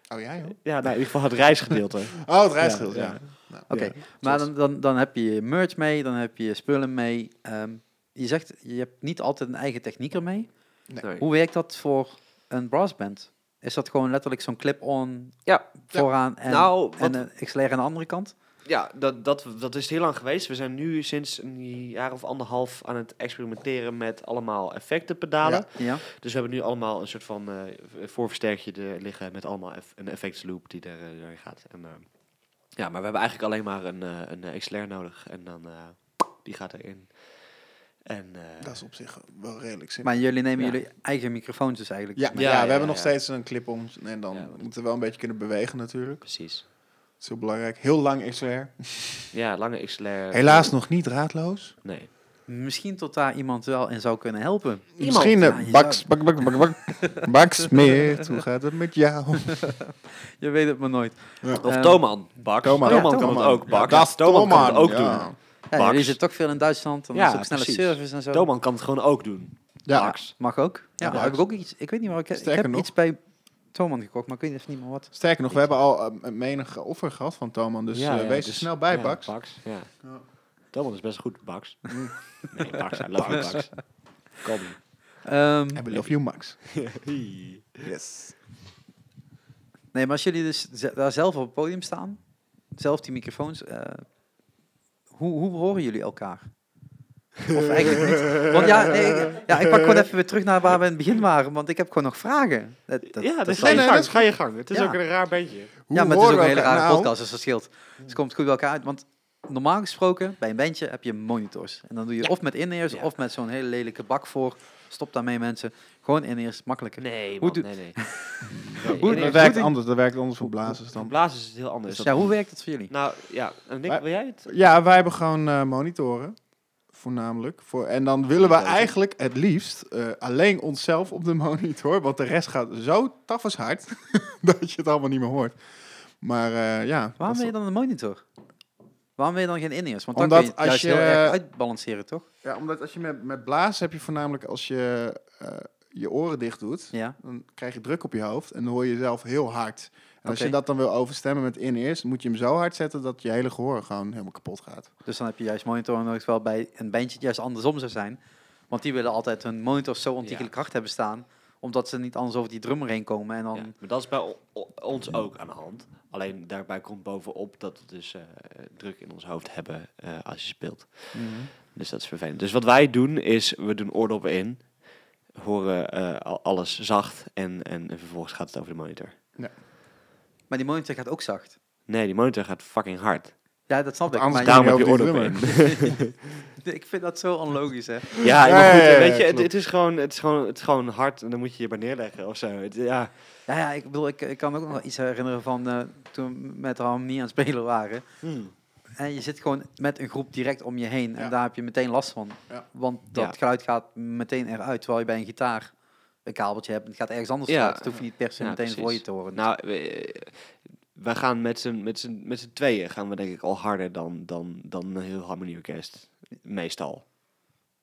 Oh jij hoor.
Ja, nou, in ieder geval het reisgedeelte.
Oh, het reisgild,
Ja,
ja.
ja.
Oké, maar dan, dan, dan heb je je merch mee, dan heb je je spullen mee. Ehm, je zegt, je hebt niet altijd een eigen techniek ermee.
Nee.
Hoe werkt dat voor een brassband? Is dat gewoon letterlijk zo'n clip-on
Ja.
vooraan en,
Nou, wat-
en eh, een XLR aan de andere kant?
Ja, dat, dat, dat is heel lang geweest. We zijn nu sinds een jaar of anderhalf aan het experimenteren met allemaal effectenpedalen.
Ja.
Ja.
Dus we hebben nu allemaal een soort van eh, voorversterkje er liggen met allemaal eff- een effectsloop die er, eh, doorheen gaat. En, eh, ja, maar we hebben eigenlijk alleen maar een, eh, een eh, XLR nodig en dan eh, die gaat erin. En, eh,
Dat is op zich wel redelijk simpel.
Maar jullie nemen
Ja.
jullie eigen microfoons dus eigenlijk?
Ja,
mee?
ja,
Ja,
we
ja,
hebben
ja,
nog
ja.
steeds een clip om. En dan
Ja, dat-
moeten we wel een beetje kunnen bewegen natuurlijk.
precies.
Dat is heel belangrijk. Heel lang XLR.
Ja, lange XLR.
Helaas nog niet raadloos.
Nee.
Misschien tot daar iemand wel in zou kunnen helpen.
Iemand.
Misschien
Ja,
eh,
je
Bax, bak, bak, bak, bak, Baksmeert. Hoe gaat het met jou?
Je weet het maar nooit.
Ja.
Of
Ehm,
Thoman. Bak. Thoman,
Ja,
kan
Thoman.
het ook. Bak.
Ja, dat is
Thoman kan het
Thoman,
ook
ja.
doen.
Ja,
Bax.
jullie zitten toch veel in Duitsland, dan
Ja,
is het ook snelle
precies.
service en zo.
Thoman kan het gewoon ook doen.
Ja.
Bax.
Mag ook. Ja,
Ja,
daar heb ik ook iets. Ik weet niet waar ik, ik
Sterker
heb
nog-
iets bij Thoman gekocht, maar ik weet even niet meer wat.
Sterker nog, we hebben al eh, menig offer gehad van Thoman. Dus
Ja,
eh,
ja,
wees er
dus-
snel bij,
ja,
Bax.
Bax, ja.
Ja. Mm.
Thoman is best goed. Bax. Nee, Bax. I love you, Bax. Kom.
Ehm,
I love you, Max.
Ja,
Yes.
nee, maar als jullie dus ze- daar zelf op het podium staan, zelf die microfoons, eh, hoe, hoe horen jullie elkaar? Of eigenlijk niet. Want ja, nee, ik- ja, ik pak gewoon even weer terug naar waar we in het begin waren, want ik heb gewoon nog vragen. Dat, dat-
dat is
zal-
ga je
nee,
gang.
dat is
Ga je gang. Het is
Ja.
ook een raar beetje.
Hoe
ja, maar het is ook
horen
een
we
hele
elkaar?
rare
Nou,
podcast, dus dat scheelt. Dus het komt goed bij elkaar uit. Want normaal gesproken, bij een bandje heb je monitors. En dan doe je of met in-ears
Ja.
of met zo'n hele lelijke bak voor. Stop daarmee mensen. Gewoon in-ears, makkelijker.
Nee,
Hoe doe-
nee, nee.
Hoe-
nee.
Dat
Hoe
werkt
doe-
anders. Dat werkt anders voor blazers
Van
dan.
Blaas is het heel anders.
Dus ja, hoe werkt dat voor jullie?
Nou, ja. En Nick,
Maar-
wil jij het?
Ja, wij hebben gewoon eh, monitoren. Voornamelijk. Voor, en dan willen we
Monitoren.
eigenlijk het liefst eh, alleen onszelf op de monitor. Want de rest gaat zo tafels hard dat je het allemaal niet meer hoort. Maar eh, ja. dat
Waarom
is-
wil je dan een monitor? Waarom wil je dan geen in-ears? Want dan
Omdat
kun je het
als
juist heel
je-
erg uitbalanceren, toch?
ja, omdat als je met, met blazen heb je voornamelijk als je eh, je oren dicht doet.
Ja.
Dan krijg je druk op je hoofd en dan hoor je jezelf heel hard. En als
Oké.
je dat dan wil overstemmen met in-ears, moet je hem zo hard zetten dat je hele gehoor gewoon helemaal kapot gaat.
Dus dan heb je juist monitoren nodig, terwijl bij een bandje het juist andersom zou zijn. Want die willen altijd hun monitors zo ontiegelijk hard hebben staan, omdat ze niet anders over die drummer heen komen. En dan...
Ja, maar dat is bij o- o- ons ook aan de hand. Alleen daarbij komt bovenop dat we dus eh, druk in ons hoofd hebben eh, als je speelt.
Mhm.
Dus dat is vervelend. Dus wat wij doen is, we doen oordoppen in, horen eh, al- alles zacht en, en vervolgens gaat het over de monitor.
Maar die monitor gaat ook zacht.
Nee, die monitor gaat fucking hard.
Ja, dat snap ik.
Anders
maar-
dan-
Daarom
je
heb je
over die
oordoppen in.
Ik vind dat zo onlogisch, hè?
Ja,
Ja,
maar goed,
ja, ja,
weet je, het,
klopt.
het is gewoon, het, is gewoon, het is gewoon hard en dan moet je je bij neerleggen of zo. Het- ja.
Ja, ja ik bedoel, ik, ik kan me ook nog wel iets herinneren van eh, toen we met de harmonie aan het spelen waren. En je zit gewoon met een groep direct om je heen en
Ja.
daar heb je meteen last van.
Ja.
Want dat
Ja.
geluid gaat meteen eruit, terwijl je bij een gitaar een kabeltje hebt en het gaat ergens anders
Ja.
uit. Dat hoef je niet per se
Ja,
meteen voor
precies.
je te horen.
Nou, we, wij gaan met z'n, met, z'n, met z'n tweeën gaan we denk ik al harder dan, dan, dan een heel harmonieorkest. Meestal.
dat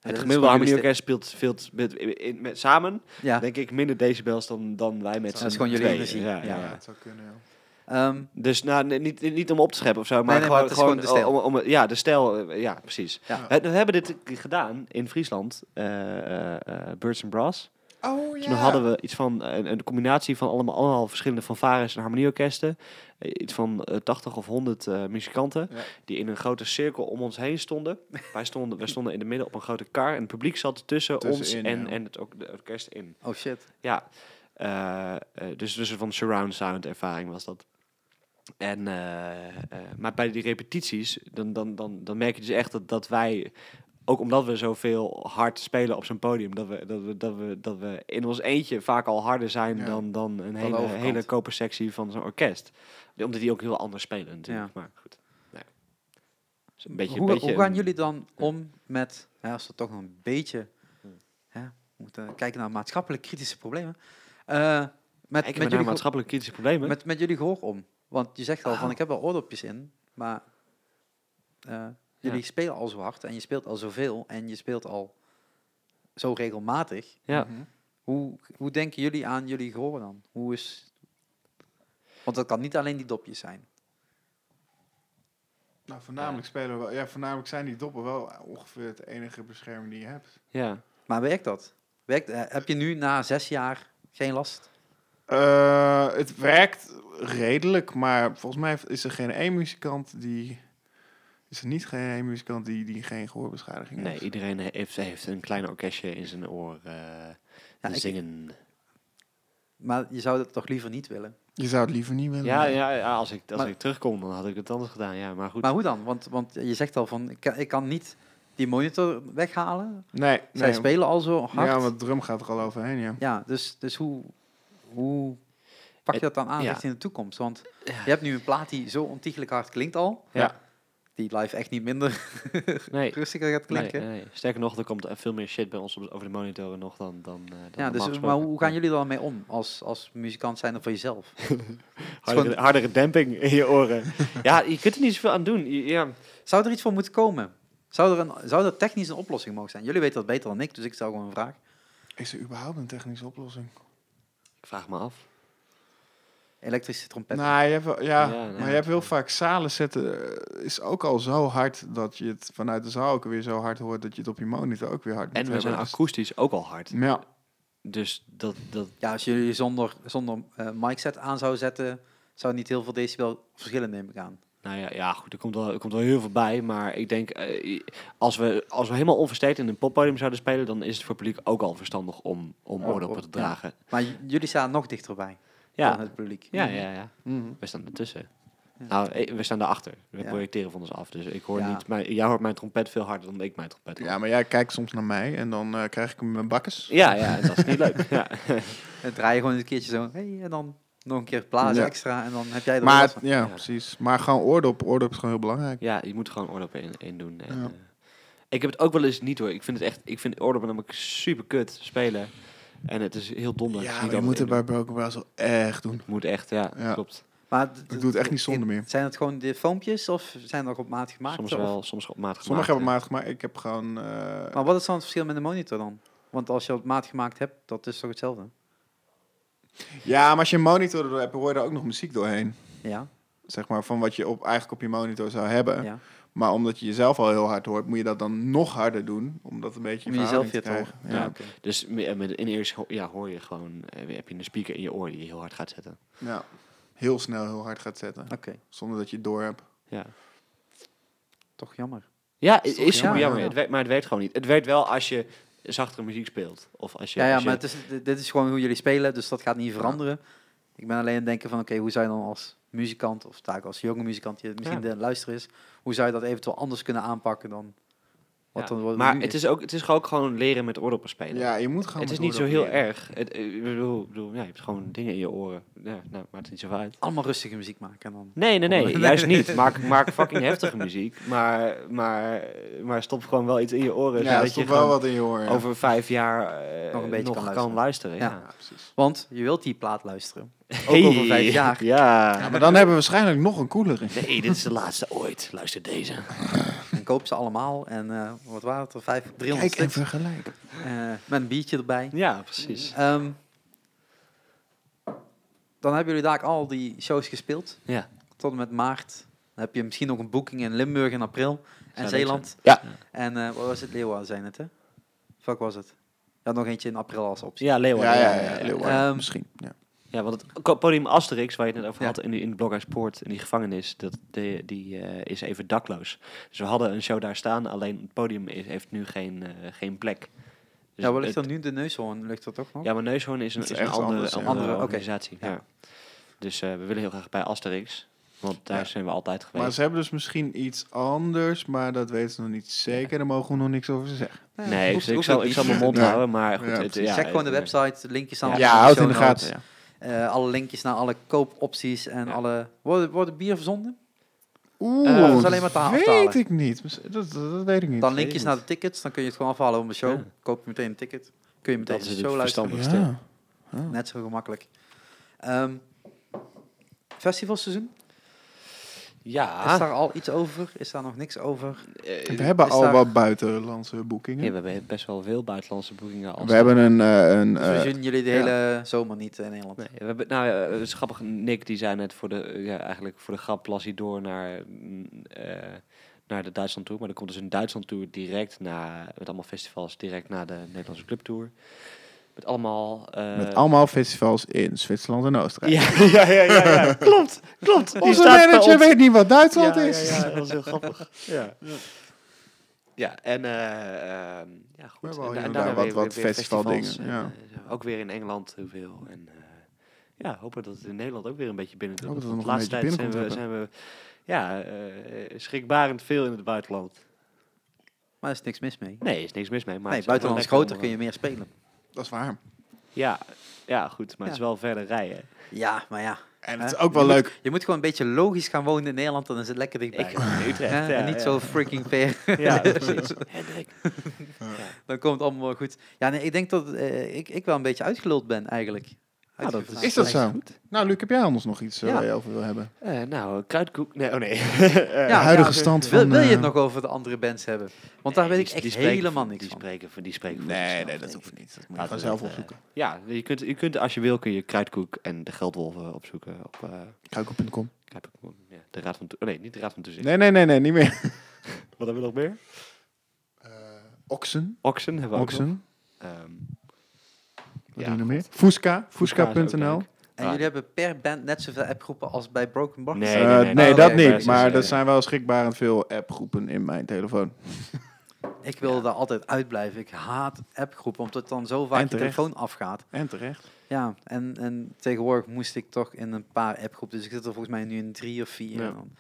Het
is
gemiddelde
gewoon jullie
harmonieorkest speelt, speelt met, in- met- samen,
ja.
denk ik, minder decibels dan, dan wij met
Dat
z'n
is gewoon jullie
tweeën.
energie,
Ja, ja,
ja.
ja.
zou kunnen. ja.
Ehm,
Dus nou, nee, niet, niet om op te scheppen of zo, maar
nee, maar
gewoon,
het is gewoon
gewoon oh,
de stijl.
Om, om- ja, de stijl. eh, Ja, precies.
Ja.
We, we hebben dit gedaan in Friesland, eh, eh, eh, Birds and Brass.
Oh ja.
Toen hadden we iets van eh, een, een combinatie van allemaal, allemaal verschillende fanfares en harmonieorkesten. Eh, Iets van eh, 80 of 100 eh, muzikanten
Ja.
die in een grote cirkel om ons heen stonden. wij, stonden wij stonden in de midden op een grote kar en het publiek zat tussen ons
Tussenin,
en,
ja.
en het ook de orkest in.
oh shit.
Ja, eh, eh, dus, dus een van surround sound ervaring was dat. En, eh, eh, maar bij die repetities, dan, dan, dan, dan merk je dus echt dat, dat wij, ook omdat we zoveel hard spelen op zo'n podium, dat we, dat, we, dat, we, dat we in ons eentje vaak al harder zijn
Ja.
dan, dan een
de
hele,
overkant.
hele kopersectie van zo'n orkest. Omdat die ook heel anders spelen natuurlijk.
Ja.
Maar goed, nou ja. Dus een beetje,
hoe,
een beetje
hoe gaan
een-
jullie dan om met, hè, als we toch nog een beetje hè, moeten kijken naar maatschappelijk kritische problemen, eh, met,
kijken
met,
we naar
jullie geho-
maatschappelijke kritische problemen?
met, met jullie gehoor om? Want je zegt al van,
Oh.
ik heb wel oordopjes in, maar eh, jullie
Ja.
spelen al zo hard en je speelt al zoveel en je speelt al zo regelmatig.
ja.
Mhm.
Hoe, hoe denken jullie aan jullie gehoor dan? Hoe is... Want dat kan niet alleen die dopjes zijn.
Nou, voornamelijk spelen we wel. Ja, voornamelijk zijn die doppen wel ongeveer het enige bescherming die je hebt.
ja.
Maar werkt dat? Werkt, eh, heb je nu na zes jaar geen last?
Eh, het werkt redelijk, maar volgens mij is er geen één muzikant die. Is er niet geen één muzikant die, die geen gehoorbeschadiging
Nee,
heeft?
iedereen heeft, heeft een klein orkestje in zijn oor eh,
ik-
zingen.
Maar je zou dat toch liever niet willen.
Je zou het liever niet willen.
Ja,
nee.
ja, ja, als ik als
Maar-
ik terugkom, dan had ik het anders gedaan. Ja, maar goed.
Maar hoe dan? Want, want je zegt al van, ik kan, ik kan niet die monitor weghalen.
Nee,
Zij
nee.
spelen al zo hard.
Ja,
Ja,
want de drum gaat er al overheen, ja.
dus, dus hoe, hoe pak je dat dan aan
ja.
richting de toekomst? Want je hebt nu een plaat die zo ontiegelijk hard klinkt al.
Ja.
Die live echt niet minder
nee,
rustiger gaat
nee,
klinken.
nee. Sterker nog, er komt eh, veel meer shit bij ons op- over de monitoren nog dan dan. eh, dan
ja,
normaal
dus, maar
gesproken.
hoe gaan jullie er dan mee om als, als muzikant zijn of voor jezelf?
Hardere, hardere demping in je oren. ja, je kunt er niet zoveel aan doen. Je- Ja,
Zou er iets voor moeten komen? Zou er, een, zou er technisch een oplossing mogen zijn? Jullie weten dat beter dan ik, dus ik stel gewoon een vraag.
Is er überhaupt een technische oplossing?
ik vraag me af.
Elektrische trompet.
Nou, je hebt wel- ja,
Ja, nee,
maar je hebt heel vaak zalen zetten eh, is ook al zo hard dat je het vanuit de zaal ook weer zo hard hoort dat je het op je monitor ook weer hard moet
En we
hebben.
zijn
Dus-
akoestisch ook al hard.
Ja,
Dus dat, dat
Ja, als jullie zonder, zonder eh mic set aan zou zetten, zou niet heel veel decibel verschillen, neem ik aan.
Nou ja, ja goed, er komt, wel, er komt wel heel veel bij. Maar ik denk, eh, als, we, als we helemaal onversteed in een poppodium zouden spelen... dan is het voor het publiek ook al verstandig om, om
Oh,
oordoppen
oh,
te
ja.
dragen.
Maar j- jullie staan nog dichterbij dan
Ja,
het publiek.
ja, ja. ja.
Mhm.
We staan ertussen.
Ja.
Nou, eh, we staan daarachter. We
Ja.
projecteren van ons af. Dus ik hoor
Ja.
niet... Mijn, jij hoort mijn trompet veel harder dan ik mijn trompet hoor.
ja, maar jij kijkt soms naar mij en dan eh, krijg ik hem in mijn bakkes.
Ja, ja, dat is niet leuk. Ja.
En draai je gewoon een keertje zo, hey, en dan nog een keer blazen
Ja.
extra en dan heb jij er
Maar
wel
het-
last van.
ja,
Ja.
precies. Maar gewoon oordop. Oordop is gewoon heel belangrijk.
ja, je moet gewoon oordoppen in, in doen. En,
Ja.
eh, ik heb het ook wel eens niet hoor. Ik vind het echt... Ik vind oordoppen namelijk super kut spelen. En het is heel dom. dat ze
Ja,
niet
maar je
altijd
moet het
in doen.
bij Broken Brussel echt doen.
Moet echt, ja,
Ja.
klopt.
Maar d-
Ik doe het echt niet zonder meer.
Zijn het gewoon de filmpjes of zijn er op maat gemaakt?
Soms
Of-
wel, soms op maat gemaakt.
Sommige hebben
ja.
maat gemaakt. Ik heb gewoon...
Oh.
eh,
Maar wat is dan het verschil met de monitor dan? Want als je op maat gemaakt hebt, dat is toch hetzelfde?
Ja, maar als je een monitor erdoor hebt, hoor je er ook nog muziek doorheen.
Ja,
Zeg maar, van wat je op, eigenlijk op je monitor zou hebben.
ja.
Maar omdat je jezelf al heel hard hoort, moet je dat dan nog harder doen. Om dat een beetje
Om
in
jezelf
verhouding
weer te horen.
krijgen.
Ja,
Ja.
oké.
Dus me- met in eerst ho- ja, hoor je gewoon, eh, heb je een speaker in je oor die je heel hard gaat zetten.
Ja. Heel snel heel hard gaat zetten.
Oké,
Zonder dat je het door hebt.
Ja,
toch jammer.
ja i-
Is
is,
toch
super
jammer,
jammer,
ja.
Het werkt, maar het werkt gewoon niet. Het werkt wel als je zachtere muziek speelt. Of als je,
Ja, ja
als je-
maar het is, dit dit is gewoon hoe jullie spelen, dus dat gaat niet veranderen. Ik ben alleen aan het denken van, oké, hoe zou je dan als muzikant, of taak als jonge muzikant, die misschien
Ja.
de luister is, hoe zou je dat eventueel anders kunnen aanpakken dan wat
ja.
dan wat
maar
nu
het is, ook, het is ook gewoon leren met oordoppen spelen.
Ja, je moet gewoon...
het
met
is niet zo
oordop
heel
leren.
erg. Het, eh, ik bedoel, ik bedoel, ja, je hebt gewoon dingen in je oren. Ja, nou, maakt het niet zoveel uit.
Allemaal rustige muziek maken en dan...
Nee, nee,
Nee,
nee, juist
nee.
niet. Maak, maak fucking heftige muziek, maar, maar, maar stop gewoon wel iets in je oren.
Ja,
zodat
er stopt
dus je
wel
gewoon
wat in je oor. ja.
over vijf jaar eh,
Nog
nog
een beetje kan
kan,
luisteren.
luisteren.
Ja.
Ja.
Ja, precies.
Want je wilt die plaat luisteren. Ook over vijf jaar.
Ja,
Ja.
maar dan hebben we waarschijnlijk nog een coolere.
Nee, dit is de laatste ooit. Luister deze.
En koop ze allemaal en eh, wat waren het er, vijf, 300
Kijk en
stuks.
vergelijk.
Eh, met een biertje erbij.
Ja, precies.
Ehm, dan hebben jullie daar al die shows gespeeld.
Ja.
Tot en met maart. Dan heb je misschien nog een boeking in Limburg in april. En
leuk
Zeeland.
zijn.
En eh wat was het? Leeuwarden zijn het, hè? Fuck was het? Ja, nog eentje in april als optie.
Ja, Leeuwarden.
ja, ja, ja, Leeuwarden,
Ehm,
misschien. Ja.
Ja, want het ko- podium Asterix, waar je het net over
Ja.
had in, die, in de Blokhuispoort, in die gevangenis, dat, die, die eh, is even dakloos. Dus we hadden een show daar staan, alleen het podium is, heeft nu geen, eh, geen plek. Dus
Ja, wat ligt
het-
er nu? De neushoorn ligt er toch nog?
Ja, maar Neushoorn is een,
Het
is
is
een
echt
andere,
anders, ja.
andere,
Andere, oké.
organisatie. Ja.
Ja.
Dus eh, we willen heel graag bij Asterix, want daar
Ja.
zijn we altijd
Maar
geweest.
ze hebben dus misschien iets anders, maar dat weten ze nog niet zeker. Daar mogen we nog niks over zeggen.
Nee,
nee,
hoeft-
ik, ik,
hoeft
zal,
ook
ik zal
niet.
mijn mond
Nee.
houden, maar goed.
Ja,
het-
precies.
ja,
Check gewoon de
eh,
website, linkjes staan.
Ja,
Ja,
allemaal
houd
show
in de
notes.
gaten. ja.
Eh, alle linkjes naar alle koopopties en
Ja.
alle... Wordt wordt bier verzonden?
Oeh,
Eh, dat is
alleen maar te
dat
aftalen.
weet ik niet. Mis- Dat, dat, dat weet ik niet.
Dan
weet
linkjes
ik
naar de tickets, dan kun je het gewoon afhalen op de show.
Ja.
Koop je meteen een ticket. Kun je meteen
Dat
de
is
show
het
luisteren.
verstandigste.
Ja. Ja.
Net zo gemakkelijk. Ehm, festivalseizoen, is
Ja,
daar al iets over? Is daar nog niks over?
Ah. eh,
We hebben
Is
al
daar-
wat buitenlandse boekingen.
ja, we hebben best wel veel buitenlandse boekingen. al
we hebben een... eh, een
Dus
eh,
we zien jullie de
ja.
hele zomer niet in Nederland.
Nee, we hebben, nou ja, het is grappig. Nick die zei net voor de, eh, ja, eigenlijk voor de grap las hij door naar, mm, eh, naar de Duitsland Tour. Maar er komt dus een Duitsland Tour direct na, met allemaal festivals, direct na de Nederlandse Club Tour. Met allemaal... eh,
met allemaal festivals in Zwitserland en Oostenrijk.
ja, ja, ja, ja, ja. klopt, klopt. Die
Onze
staat bij
manager
ons.
weet niet wat Duitsland
ja,
is.
Ja, ja, dat is heel grappig. Ja, ja en eh, ehm, ja, goed.
We hebben
En
al
da-
hier en
en
daar
daarna
wat-
weer-
wat
weer- weer
festivaldingen,
festivals. En, eh, ook weer in Engeland heel veel. En eh, ja, hopen dat het in Nederland ook weer een beetje binnen
Hopen
doet.
dat
Want
het
de
nog een
laatste tijd
beetje
zijn we, zijn we ja, eh, schrikbarend veel in het buitenland.
Maar er is niks mis mee.
Nee, is niks mis mee. Maar
nee,
het is echt wel
buitenland is
lekker
groter,
om,
kun je meer spelen.
Dat is waar.
eh, Ja, ja, goed. Maar het
Ja.
is wel verder rijden.
Ja, maar ja.
En
hè?
het is ook wel
Je moet-
leuk.
Je moet gewoon een beetje logisch gaan wonen in Nederland, dan is het lekker dichtbij.
Ik in Utrecht.
Hè?
ja,
eh, en niet
ja.
zo freaking ver.
Ja, precies. Hendrik.
Dan komt het allemaal wel goed. Ja, nee, ik denk dat eh, ik, ik wel een beetje uitgeluld ben eigenlijk.
Ja, dat
Uitgevraagd.
Is dat
lijkt me
zo? Nou, Luc, heb jij anders nog iets eh,
Ja.
waar je over wil hebben?
Eh, nou, kruidkoek. Nee, oh nee. Eh,
de huidige
dus
stand
wil,
van,
Wil je het
eh,
nog over de andere bands hebben? Want daar
Nee,
weet
die-
ik echt
die spreken
helemaal
voor-
niks
die
van.
Spreken, voor- die spreken voor
Nee,
zichzelf,
nee, dat
denk
hoeft
ik.
niet. Dat moet je
Laten
gewoon
we
zelf
dat, eh,
opzoeken.
Ja, je kunt, je kunt, als je wil kun je Kruidkoek en de Geldwolven opzoeken op eh,
Kruikel.com.
Kruidkoek, ja, de Raad van Toe- oh, Nee, niet de Raad van Toezicht.
Nee, nee, nee, nee, niet meer.
Wat hebben we nog meer?
Oxen.
Oxen hebben we ook
Oxen.
nog. Ehm,
Wat
ja,
doen we nog meer?
goed.
Fusca.
Fusca is ook
Fusca.nl.
leuk.
En
Ah.
jullie hebben per band net zoveel appgroepen als bij Broken Box?
Nee.
Eh,
nee, Oh,
Nee,
nee,
dat
nee, nee,
niet.
nee,
Maar
nee.
er zijn wel schrikbarend veel appgroepen in mijn telefoon.
Ik wil daar altijd uitblijven. Ik haat appgroepen, omdat dan zo vaak
En
je
terecht.
telefoon afgaat.
En terecht.
Ja, en, en tegenwoordig moest ik toch in een paar appgroepen. Dus ik zit er volgens mij nu in drie of vier.
Ja.
En dan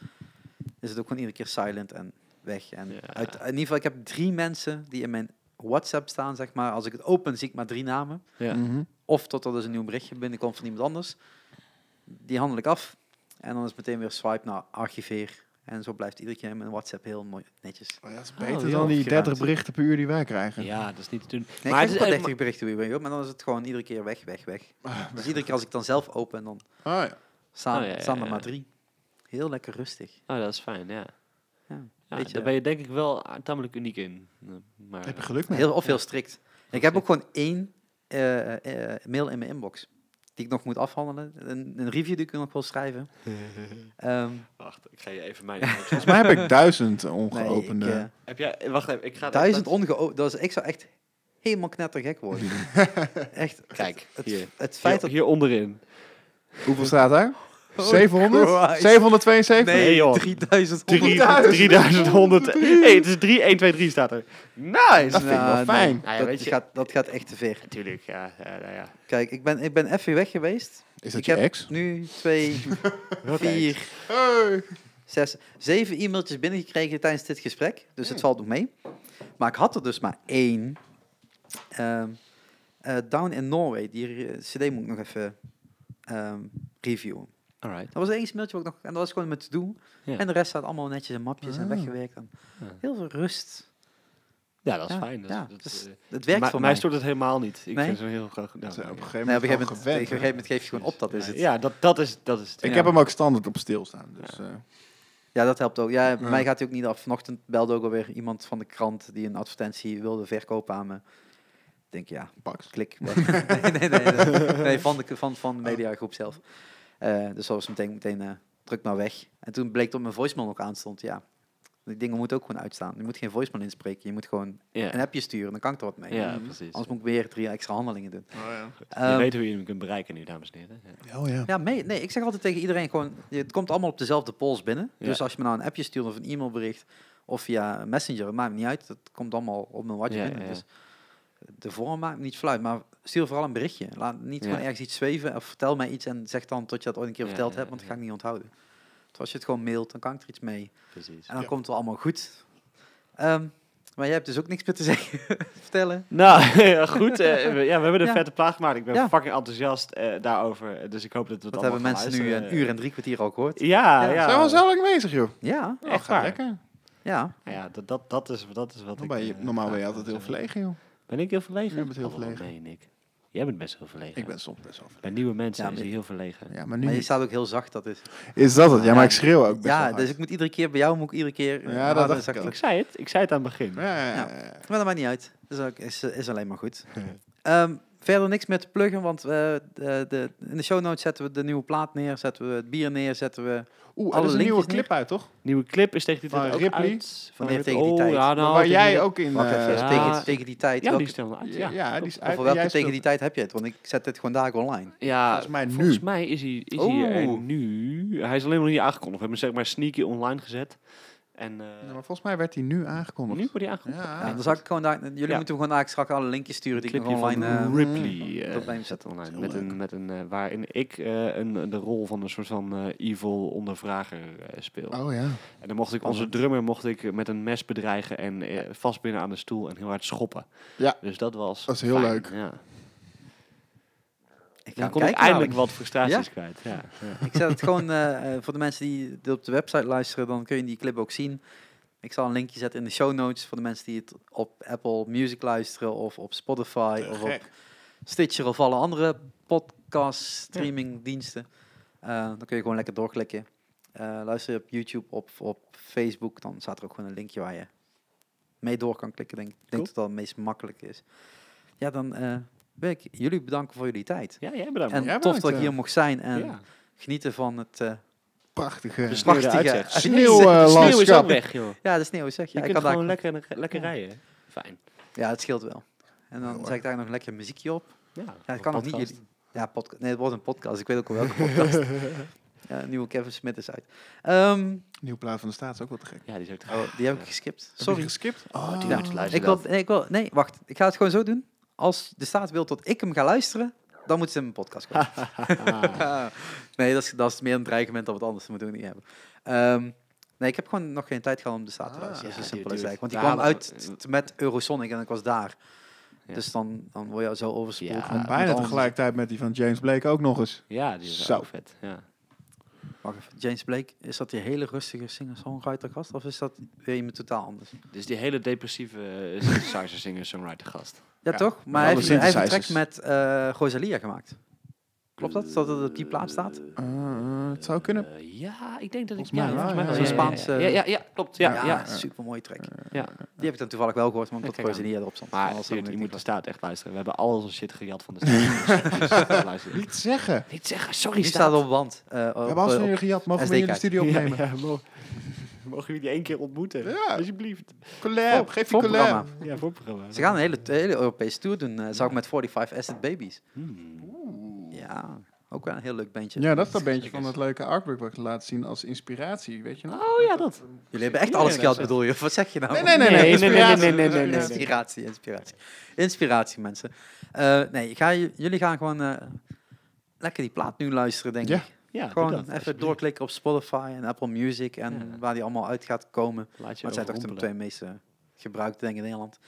is het ook gewoon iedere keer silent en weg. En
Ja.
uit, in ieder geval, ik heb drie mensen die in mijn WhatsApp staan, zeg maar. Als ik het open, zie ik maar drie namen.
Ja.
Mhm.
Of tot er dus een nieuw berichtje binnenkomt van iemand anders. Die handel ik af. En dan is het meteen weer swipe naar archiveer. En zo blijft iedere keer mijn WhatsApp heel mooi netjes.
Maar Dat is
Oh,
beter
ja.
dan die 30
Opgeruimd.
berichten per uur die wij krijgen.
Ja, dat is niet te doen.
Nee,
maar Ah,
maar
het
ik
is
krijg
eh,
wel 30 berichten weer, hoor, maar dan is het gewoon iedere keer weg, weg, weg. Dus iedere keer als ik dan zelf open, en dan
Ah, ja.
staan,
Oh, ja, ja,
staan er
ja.
maar drie. Heel lekker rustig.
maar- oh, dat is fijn, ja.
Ja,
Ja,
weet je.
daar ben je denk ik wel eh, tamelijk uniek in. Eh, Maar,
Heb je geluk mee?
Heel, of heel strikt. Ik heb ook gewoon één eh, eh, mail in mijn inbox. Die ik nog moet afhandelen. Een, een review die ik nog wil schrijven. Ehm,
Wacht, ik ga je even mijn...
Volgens mij heb ik duizend
nee, ik,
ongeopende.
eh,
Heb jij... Wacht even, ik ga...
Duizend ongeopend. Dat is, ik zou echt helemaal knettergek worden. echt.
Kijk,
het,
hier.
het, het feit
hier,
dat...
hier onderin.
Hoeveel staat daar?
Holy
700?
eh, Oh, Christ.
772?
Nee, joh.
3000
Drie- 3100. hey, het is 3, 1, 2, 3 staat er. Nice!
Dat vind ik wel fijn.
Nou ja,
dat,
weet je-
gaat, dat gaat echt te ver.
Natuurlijk, ja. ja, nou ja.
Kijk, ik ben, ik ben even weg geweest.
Is dat
ik
je
heb
ex? Nou,
nu twee, vier, Nou, zes, zeven e-mailtjes binnengekregen tijdens dit gesprek. Dus
Hmm.
het valt nog mee. Maar ik had er dus maar één. Ehm, eh, Down in Norway. Die eh, cd moet ik nog even ehm, reviewen.
Alright.
Dat was één mailtje ook nog. En dat was gewoon met te doen.
Ja.
En de rest staat allemaal netjes in mapjes en
Ah.
weggewerkt. En
Ja.
Heel veel rust.
Ja, dat is
Ja,
fijn. Dat,
ja,
dat,
dus
eh,
het werkt
maar-
voor
mij.
mij.
stoort het helemaal niet. Ik
Nee?
vind het heel graag...
Dat is
ja,
op een
ja.
gegeven
Nee, op een gegeven
moment gewoon
moment, op een gegeven
gewend.
moment geef je gewoon op, dat is het. Ja,
Ja, dat, dat is, dat is het.
Ik
ja.
heb hem ook standaard op stilstaan. Dus, eh,
dat helpt ook. Ja, bij
Ja.
mij gaat hij ook niet af. Vanochtend belde ook alweer iemand van de krant die een advertentie wilde verkopen aan me. denk ja,
Pax.
klik. nee, nee, nee, nee. Nee, van de, van, van de mediagroep zelf. Eh, dus dat was meteen, meteen eh, druk maar weg. En toen bleek dat mijn voicemail nog aanstond. Ja, die dingen moeten ook gewoon uitstaan. Je moet geen voicemail inspreken. Je moet gewoon
Ja,
een appje sturen. Dan kan ik er wat mee.
ja
Mhm.
precies.
Anders moet ik weer drie extra handelingen doen.
ja.
je
Ehm,
weet hoe je hem kunt bereiken nu, dames en heren. Ja.
Oh ja.
Ja, mee, nee, ik zeg altijd tegen iedereen gewoon, het komt allemaal op dezelfde pols binnen.
Ja.
Dus als je me nou een appje stuurt of een e-mailbericht of via Messenger, het maakt me niet uit. Dat komt allemaal op mijn watje
Ja,
binnen.
ja, ja.
Dus de vorm maakt me niet fluit, maar stuur vooral een berichtje. Laat niet
Ja.
gewoon ergens iets zweven of vertel mij iets en zeg dan dat je dat ooit een keer
Ja,
verteld
ja,
hebt, want dat
ja.
ga ik niet onthouden. Terwijl als je het gewoon mailt, dan kan ik er iets mee.
Precies.
En dan
Ja.
komt het wel allemaal goed. Ehm, maar jij hebt dus ook niks meer te zeggen, vertellen.
Nou, ja, goed. eh, we- ja, we hebben een
Ja.
vette plaat gemaakt. Ik ben
Ja.
fucking enthousiast eh, daarover. Dus ik hoop dat we het
Dat
allemaal
hebben mensen
gaan
nu een
luisteren.
uur en drie kwartier al gehoord.
Ja,
Ja.
ja.
Zijn we al zo lang bezig, joh?
Ja,
Oh,
Echt
gaat
waar.
lekker.
ja.
Ja, dat, dat, dat, is, dat is wat
Dan
ik...
ben je,
eh,
normaal ben je
graag
altijd
wil
heel
zeggen.
verlegen, joh.
Ben ik heel verlegen?
Je bent heel
Oh, wat
verlegen.
meen ik. Jij bent best heel verlegen.
Ik ben soms best wel verlegen.
Bij nieuwe mensen
Ja,
is
maar-
hij heel verlegen.
Ja, maar nu
Maar je
niet.
staat ook heel zacht, dat is...
is dat het. Ja, maar ik schreeuw ook best wel
Ja,
hard.
dus ik moet iedere keer bij jou moet ik iedere keer. eh,
Ja, dat
harder
dacht
en zachter.
ik
Ik zei het. Ik zei het aan het begin.
Ja, ja, ja.
Maar dat maakt niet uit. Dus ook is, is alleen maar goed. Ehm, verder niks meer te pluggen, want eh, de, de, in de show notes zetten we de nieuwe plaat neer, zetten we het bier neer, zetten we.
Oeh, er
Alle
is een nieuwe
linkjes
clip uit, toch?
Nieuwe clip is tegen die
Van
tijd ook
Ripley.
uit. Van
Wanneer
Ripley.
tegen die
Oh,
tijd?
Ja, nou,
Waar
tegen
jij
die-
ook in...
Wacht even,
eh,
dus
ja.
tegen, tegen die tijd.
Ja,
welke-
die stelde uit.
ja,
Ja,
ja, die is
of
uit. en
welke
jij
tegen
speelt-
die tijd heb je het? Want ik zet dit gewoon dagen online.
Ja,
Volgens mij nu. Oh.
Volgens mij is hij, is hij er
Oeh.
nu. Hij is alleen nog niet aangekondigd. We hebben hem zeg maar sneaky online gezet. En eh,
Ja, maar volgens mij werd die nu aangekondigd.
nu wordt hij aangekondigd.
Ja.
Ja, dan zal ik gewoon daar, jullie moeten me gewoon daar straks alle linkjes sturen die ik nog
Clipje
online.
van
eh,
Ripley. eh,
tot bij hem
zet
zetten.
online.
Heel
Met
Mm. leuk.
een, met een, eh, waarin ik eh, een, de rol van een soort van eh, evil ondervrager eh, speel.
Oh ja.
En dan mocht ik onze
Spannend.
drummer mocht ik eh, met een mes bedreigen en eh, vastbinden aan de stoel en heel hard schoppen.
Ja.
Dus dat was.
Dat is heel
fijn,
leuk.
Ja.
ik ga
Dan kon
kijken
ik eindelijk
namelijk.
wat frustraties kwijt. Ja. Ja.
Ik zet het gewoon eh, eh, voor de mensen die dit op de website luisteren, dan kun je die clip ook zien. Ik zal een linkje zetten in de show notes voor de mensen die het op Apple Music luisteren of op Spotify of op Stitcher of alle andere podcast streamingdiensten. Eh, dan kun je gewoon lekker doorklikken. Eh, luister je op YouTube, op, op Facebook, dan staat er ook gewoon een linkje waar je mee door kan klikken. Denk, ik denk
Cool.
dat dat het meest makkelijk is. Ja, dan eh, wil ik jullie bedanken voor jullie tijd.
ja, jij bedankt.
En
jij
tof
bedankt,
dat ik
ja.
hier mocht zijn en
ja.
genieten van het... eh,
Prachtige.
Dus-
Prachtige
Sneeuw eruit, zeg.
Sneeuw, eh,
Ja,
De sneeuw is
landschap.
ook weg, joh.
Ja, de sneeuw zeg.
Je
Ja, ik
kunt
kan daar...
gewoon lekker, lekker rijden. Fijn.
ja, het scheelt wel. En dan
Heel
zet ik daar nog lekker muziekje op.
Ja,
Ja,
een
dat kan nog niet.
podcast.
Jullie... Ja, podcast. Nee, het wordt een podcast. Ik weet ook al welke podcast. ja, nieuwe Kevin Smith is uit. Ehm,
Nieuw plaat van de staat is ook wel te gek. Heb
Ja, die is ook te
oh, die heb ik geskipt.
je
Sorry.
geskipt?
Oh, dude,
Ja.
luister
Ik wil,
dan.
nee, ik wil, nee, wacht. Ik ga het gewoon zo doen. Als de staat wil dat ik hem ga luisteren, dan moet ze in mijn podcast komen. nee, dat is, dat is meer een dreigement dan wat anders. Dat moeten we niet hebben. Ehm, nee, ik heb gewoon nog geen tijd gehad om de staat te
Ah,
luisteren.
ja,
dat is zo simpel
dude,
als eigenlijk. Want
we
die kwam
halen-
uit t- met Eurosonic en ik was daar.
Ja.
Dus dan, dan word je zo overspoeld.
Ja,
met- met
Bijna
alles.
tegelijkertijd met die van James Blake ook nog eens.
Ja, die is
Zo.
ook vet. Ja.
Wacht even, James Blake, is dat die hele rustige singer-songwriter gast? Of is dat weer iemand totaal anders? Ja,
Dus die hele depressieve eh, synthesizer singer songwriter gast.
Ja,
toch?
met
Maar hij
alle
heeft, hij heeft een track
synthesizers.
met eh, Rosalia gemaakt. Klopt dat? Dat het op die plaat staat?
het zou kunnen.
Eh, ja, ik denk dat ik...
Volgens mij
ja,
wel,
volgens mij
ja.
wel.
Zo'n
Ja, ja,
Spaanse-
ja. Ja, ja, ja, klopt. Ja, ja.
super mooie track.
ja.
Die heb ik dan toevallig wel gehoord, maar omdat
Ja, kijk
Rosalia erop stond.
Maar
Anders
dude,
had ik
je
niet
moet de staat echt luisteren. We hebben al onze shit gejat van de staat. Dus, dus, luister.
Niet zeggen.
Niet zeggen, sorry
Die staat
staat.
op band. eh,
We
op,
hebben al
eh,
sneuren gejat. Mogen we in de
SD-kaart.
studio opnemen?
Ja, ja, mo- Mogen jullie die één keer ontmoeten?
Ja.
Alsjeblieft.
Collab. oh, Geef je collab.
voorprogramma.
Ja, voor het programma.
Ze gaan een hele, hele Europese tour doen, eh zag ik met 45 Acid Babies.
Hmm.
Ja, ook wel een heel leuk bandje.
Ja, dat is dat bandje van het leuke artwork wat ik laat zien als inspiratie. Weet je nou? nog?
Oh ja, dat.
Jullie hebben echt
Ja,
alles
dat
gehad,
is-
bedoel je? Of wat zeg je nou?
Nee, nee, nee.
Nee,
nee,
nee, nee,
inspiratie.
nee, nee, nee, nee.
Inspiratie, inspiratie. Inspiratie, mensen. Eh, nee, ik ga, j- jullie gaan gewoon eh, lekker die plaat nu luisteren, denk
Ja.
ik.
Ja, doe dat,
Gewoon even
alsjeblieft.
doorklikken op Spotify en Apple Music en
Ja.
waar die allemaal uit gaat komen.
Laat je
Maar het zijn toch de
overrompelen.
twee meest eh, gebruikte dingen in Nederland.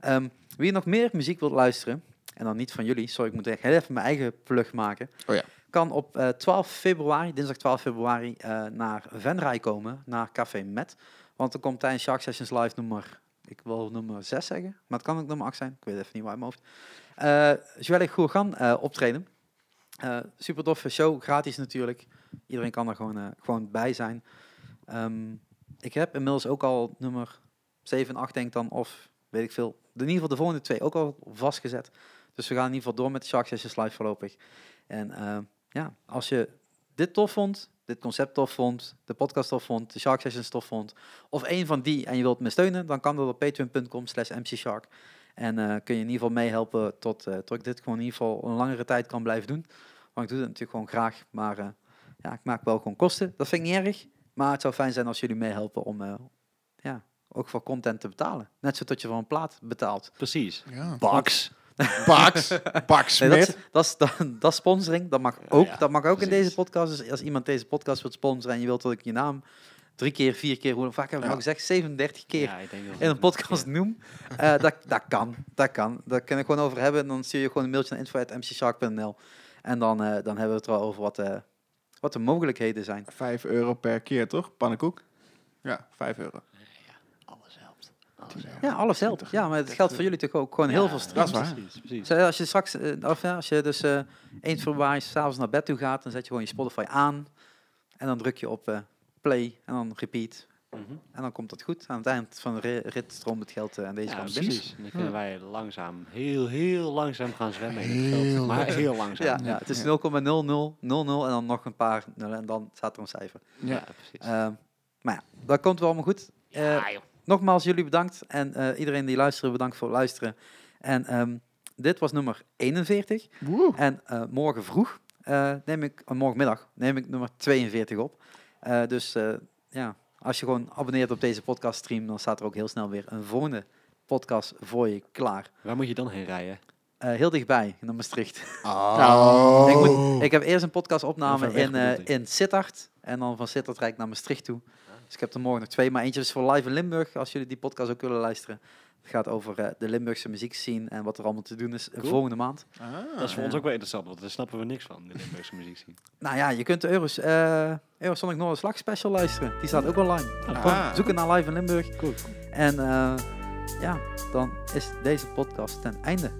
Ehm, wie nog meer muziek wilt luisteren, en dan niet van jullie, sorry, ik moet echt heel even mijn eigen plug maken.
Oh ja.
Kan op eh, 12 februari, dinsdag 12 februari, eh, naar Venray komen, naar Café Met. Want dan komt tijdens Shark Sessions Live nummer, ik wil nummer 6 zeggen, maar het kan ook nummer 8 zijn, ik weet even niet waar in mijn hoofd. Eh Joelle Goergan eh, optreden. Eh super toffe show, gratis natuurlijk. Iedereen kan er gewoon, eh, gewoon bij zijn. Ehm, ik heb inmiddels ook al nummer 7 en 8 denk ik dan, of weet ik veel, in ieder geval de volgende twee ook al vastgezet. Dus we gaan in ieder geval door met de Shark Sessions live voorlopig. En eh, ja, als je dit tof vond, dit concept tof vond, de podcast tof vond, de Shark Sessions tof vond, of één van die en je wilt me steunen, dan kan dat op patreon.com slash mcshark. En eh, kun je in ieder geval meehelpen tot, eh, tot ik dit gewoon in ieder geval een langere tijd kan blijven doen. Want ik doe het natuurlijk gewoon graag, maar eh, ja, ik maak wel gewoon kosten. Dat vind ik niet erg, maar het zou fijn zijn als jullie meehelpen om eh, ja, ook voor content te betalen. Net zo dat je voor een plaat betaalt.
Precies.
Ja.
Baks.
Bax. Bax
Nee, dat, is-
Smit.
dat, is, dat, dat is sponsoring. Dat mag ook,
ja,
dat mag ook in
precies.
deze podcast. Dus als iemand deze podcast wilt sponsoren en je wilt dat ik je naam drie keer, vier keer, hoe vaak heb ik
Ja.
nou gezegd, 37 keer
Ja, ik denk dat
in een
het-
podcast
ja.
noem, eh, dat, dat kan. Dat kan. Daar kan ik gewoon over hebben. En dan stuur je gewoon een mailtje naar info.mcshark.nl. En dan, eh, dan hebben we het er wel over wat, eh, wat de mogelijkheden zijn.
Vijf euro per keer, toch? Pannenkoek? Ja, vijf euro.
Alles helpt.
Ja, alles helpt. Ja, maar het geldt voor jullie natuurlijk ook gewoon heel veel
dat
stress.
is waar.
Precies, precies.
Zo, Als je straks, eh, of ja, als je dus eh, eens voorbij s'avonds naar bed toe gaat, dan zet je gewoon je Spotify aan. En dan druk je op eh, play en dan repeat.
Mhm.
En dan komt dat goed. Aan het eind van de ri- rit stroomt het geld eh, aan deze
Ja,
kant binnen.
precies. En dan kunnen wij langzaam, heel, heel langzaam gaan zwemmen in het
Heel
geld. Maar
langzaam.
heel langzaam.
Ja, ja, het is 0,0000 en dan nog een paar nullen en dan staat er een cijfer.
Ja,
Ja.
precies.
Eh, maar ja, dat komt wel allemaal goed. Eh,
ja, joh.
nogmaals, jullie bedankt. En eh, iedereen die luistert, bedankt voor het luisteren. En ehm, dit was nummer 41.
Woe.
En eh, morgen vroeg, eh, neem ik, eh, morgenmiddag, neem ik nummer 42 op. Eh, dus eh, ja, als je gewoon abonneert op deze podcast stream, dan staat er ook heel snel weer een volgende podcast voor je klaar.
Waar moet je dan heen rijden?
Eh, heel dichtbij, naar Maastricht.
Oh.
Nou, ik, moet, ik heb eerst een podcastopname
Even weg
in, eh,
bedoelt hij.
in Sittard. En dan van Sittard rijd ik naar Maastricht toe. Dus ik heb er morgen nog twee. Maar eentje is voor Live in Limburg, als jullie die podcast ook willen luisteren. Het gaat over eh, de Limburgse muziekscene en wat er allemaal te doen is eh,
Cool.
volgende maand.
Ah.
Dat is voor ons
ja.
ook wel interessant, want daar snappen we niks van. De Limburgse muziek zien.
Nou ja, je kunt de Euros, eh Eurosonic Noorderslag special luisteren. Die staat ook online.
Ah.
Gewoon zoeken naar Live in Limburg.
Cool.
En eh, ja, dan is deze podcast ten einde.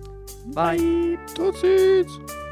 Bye.
Tot ziens.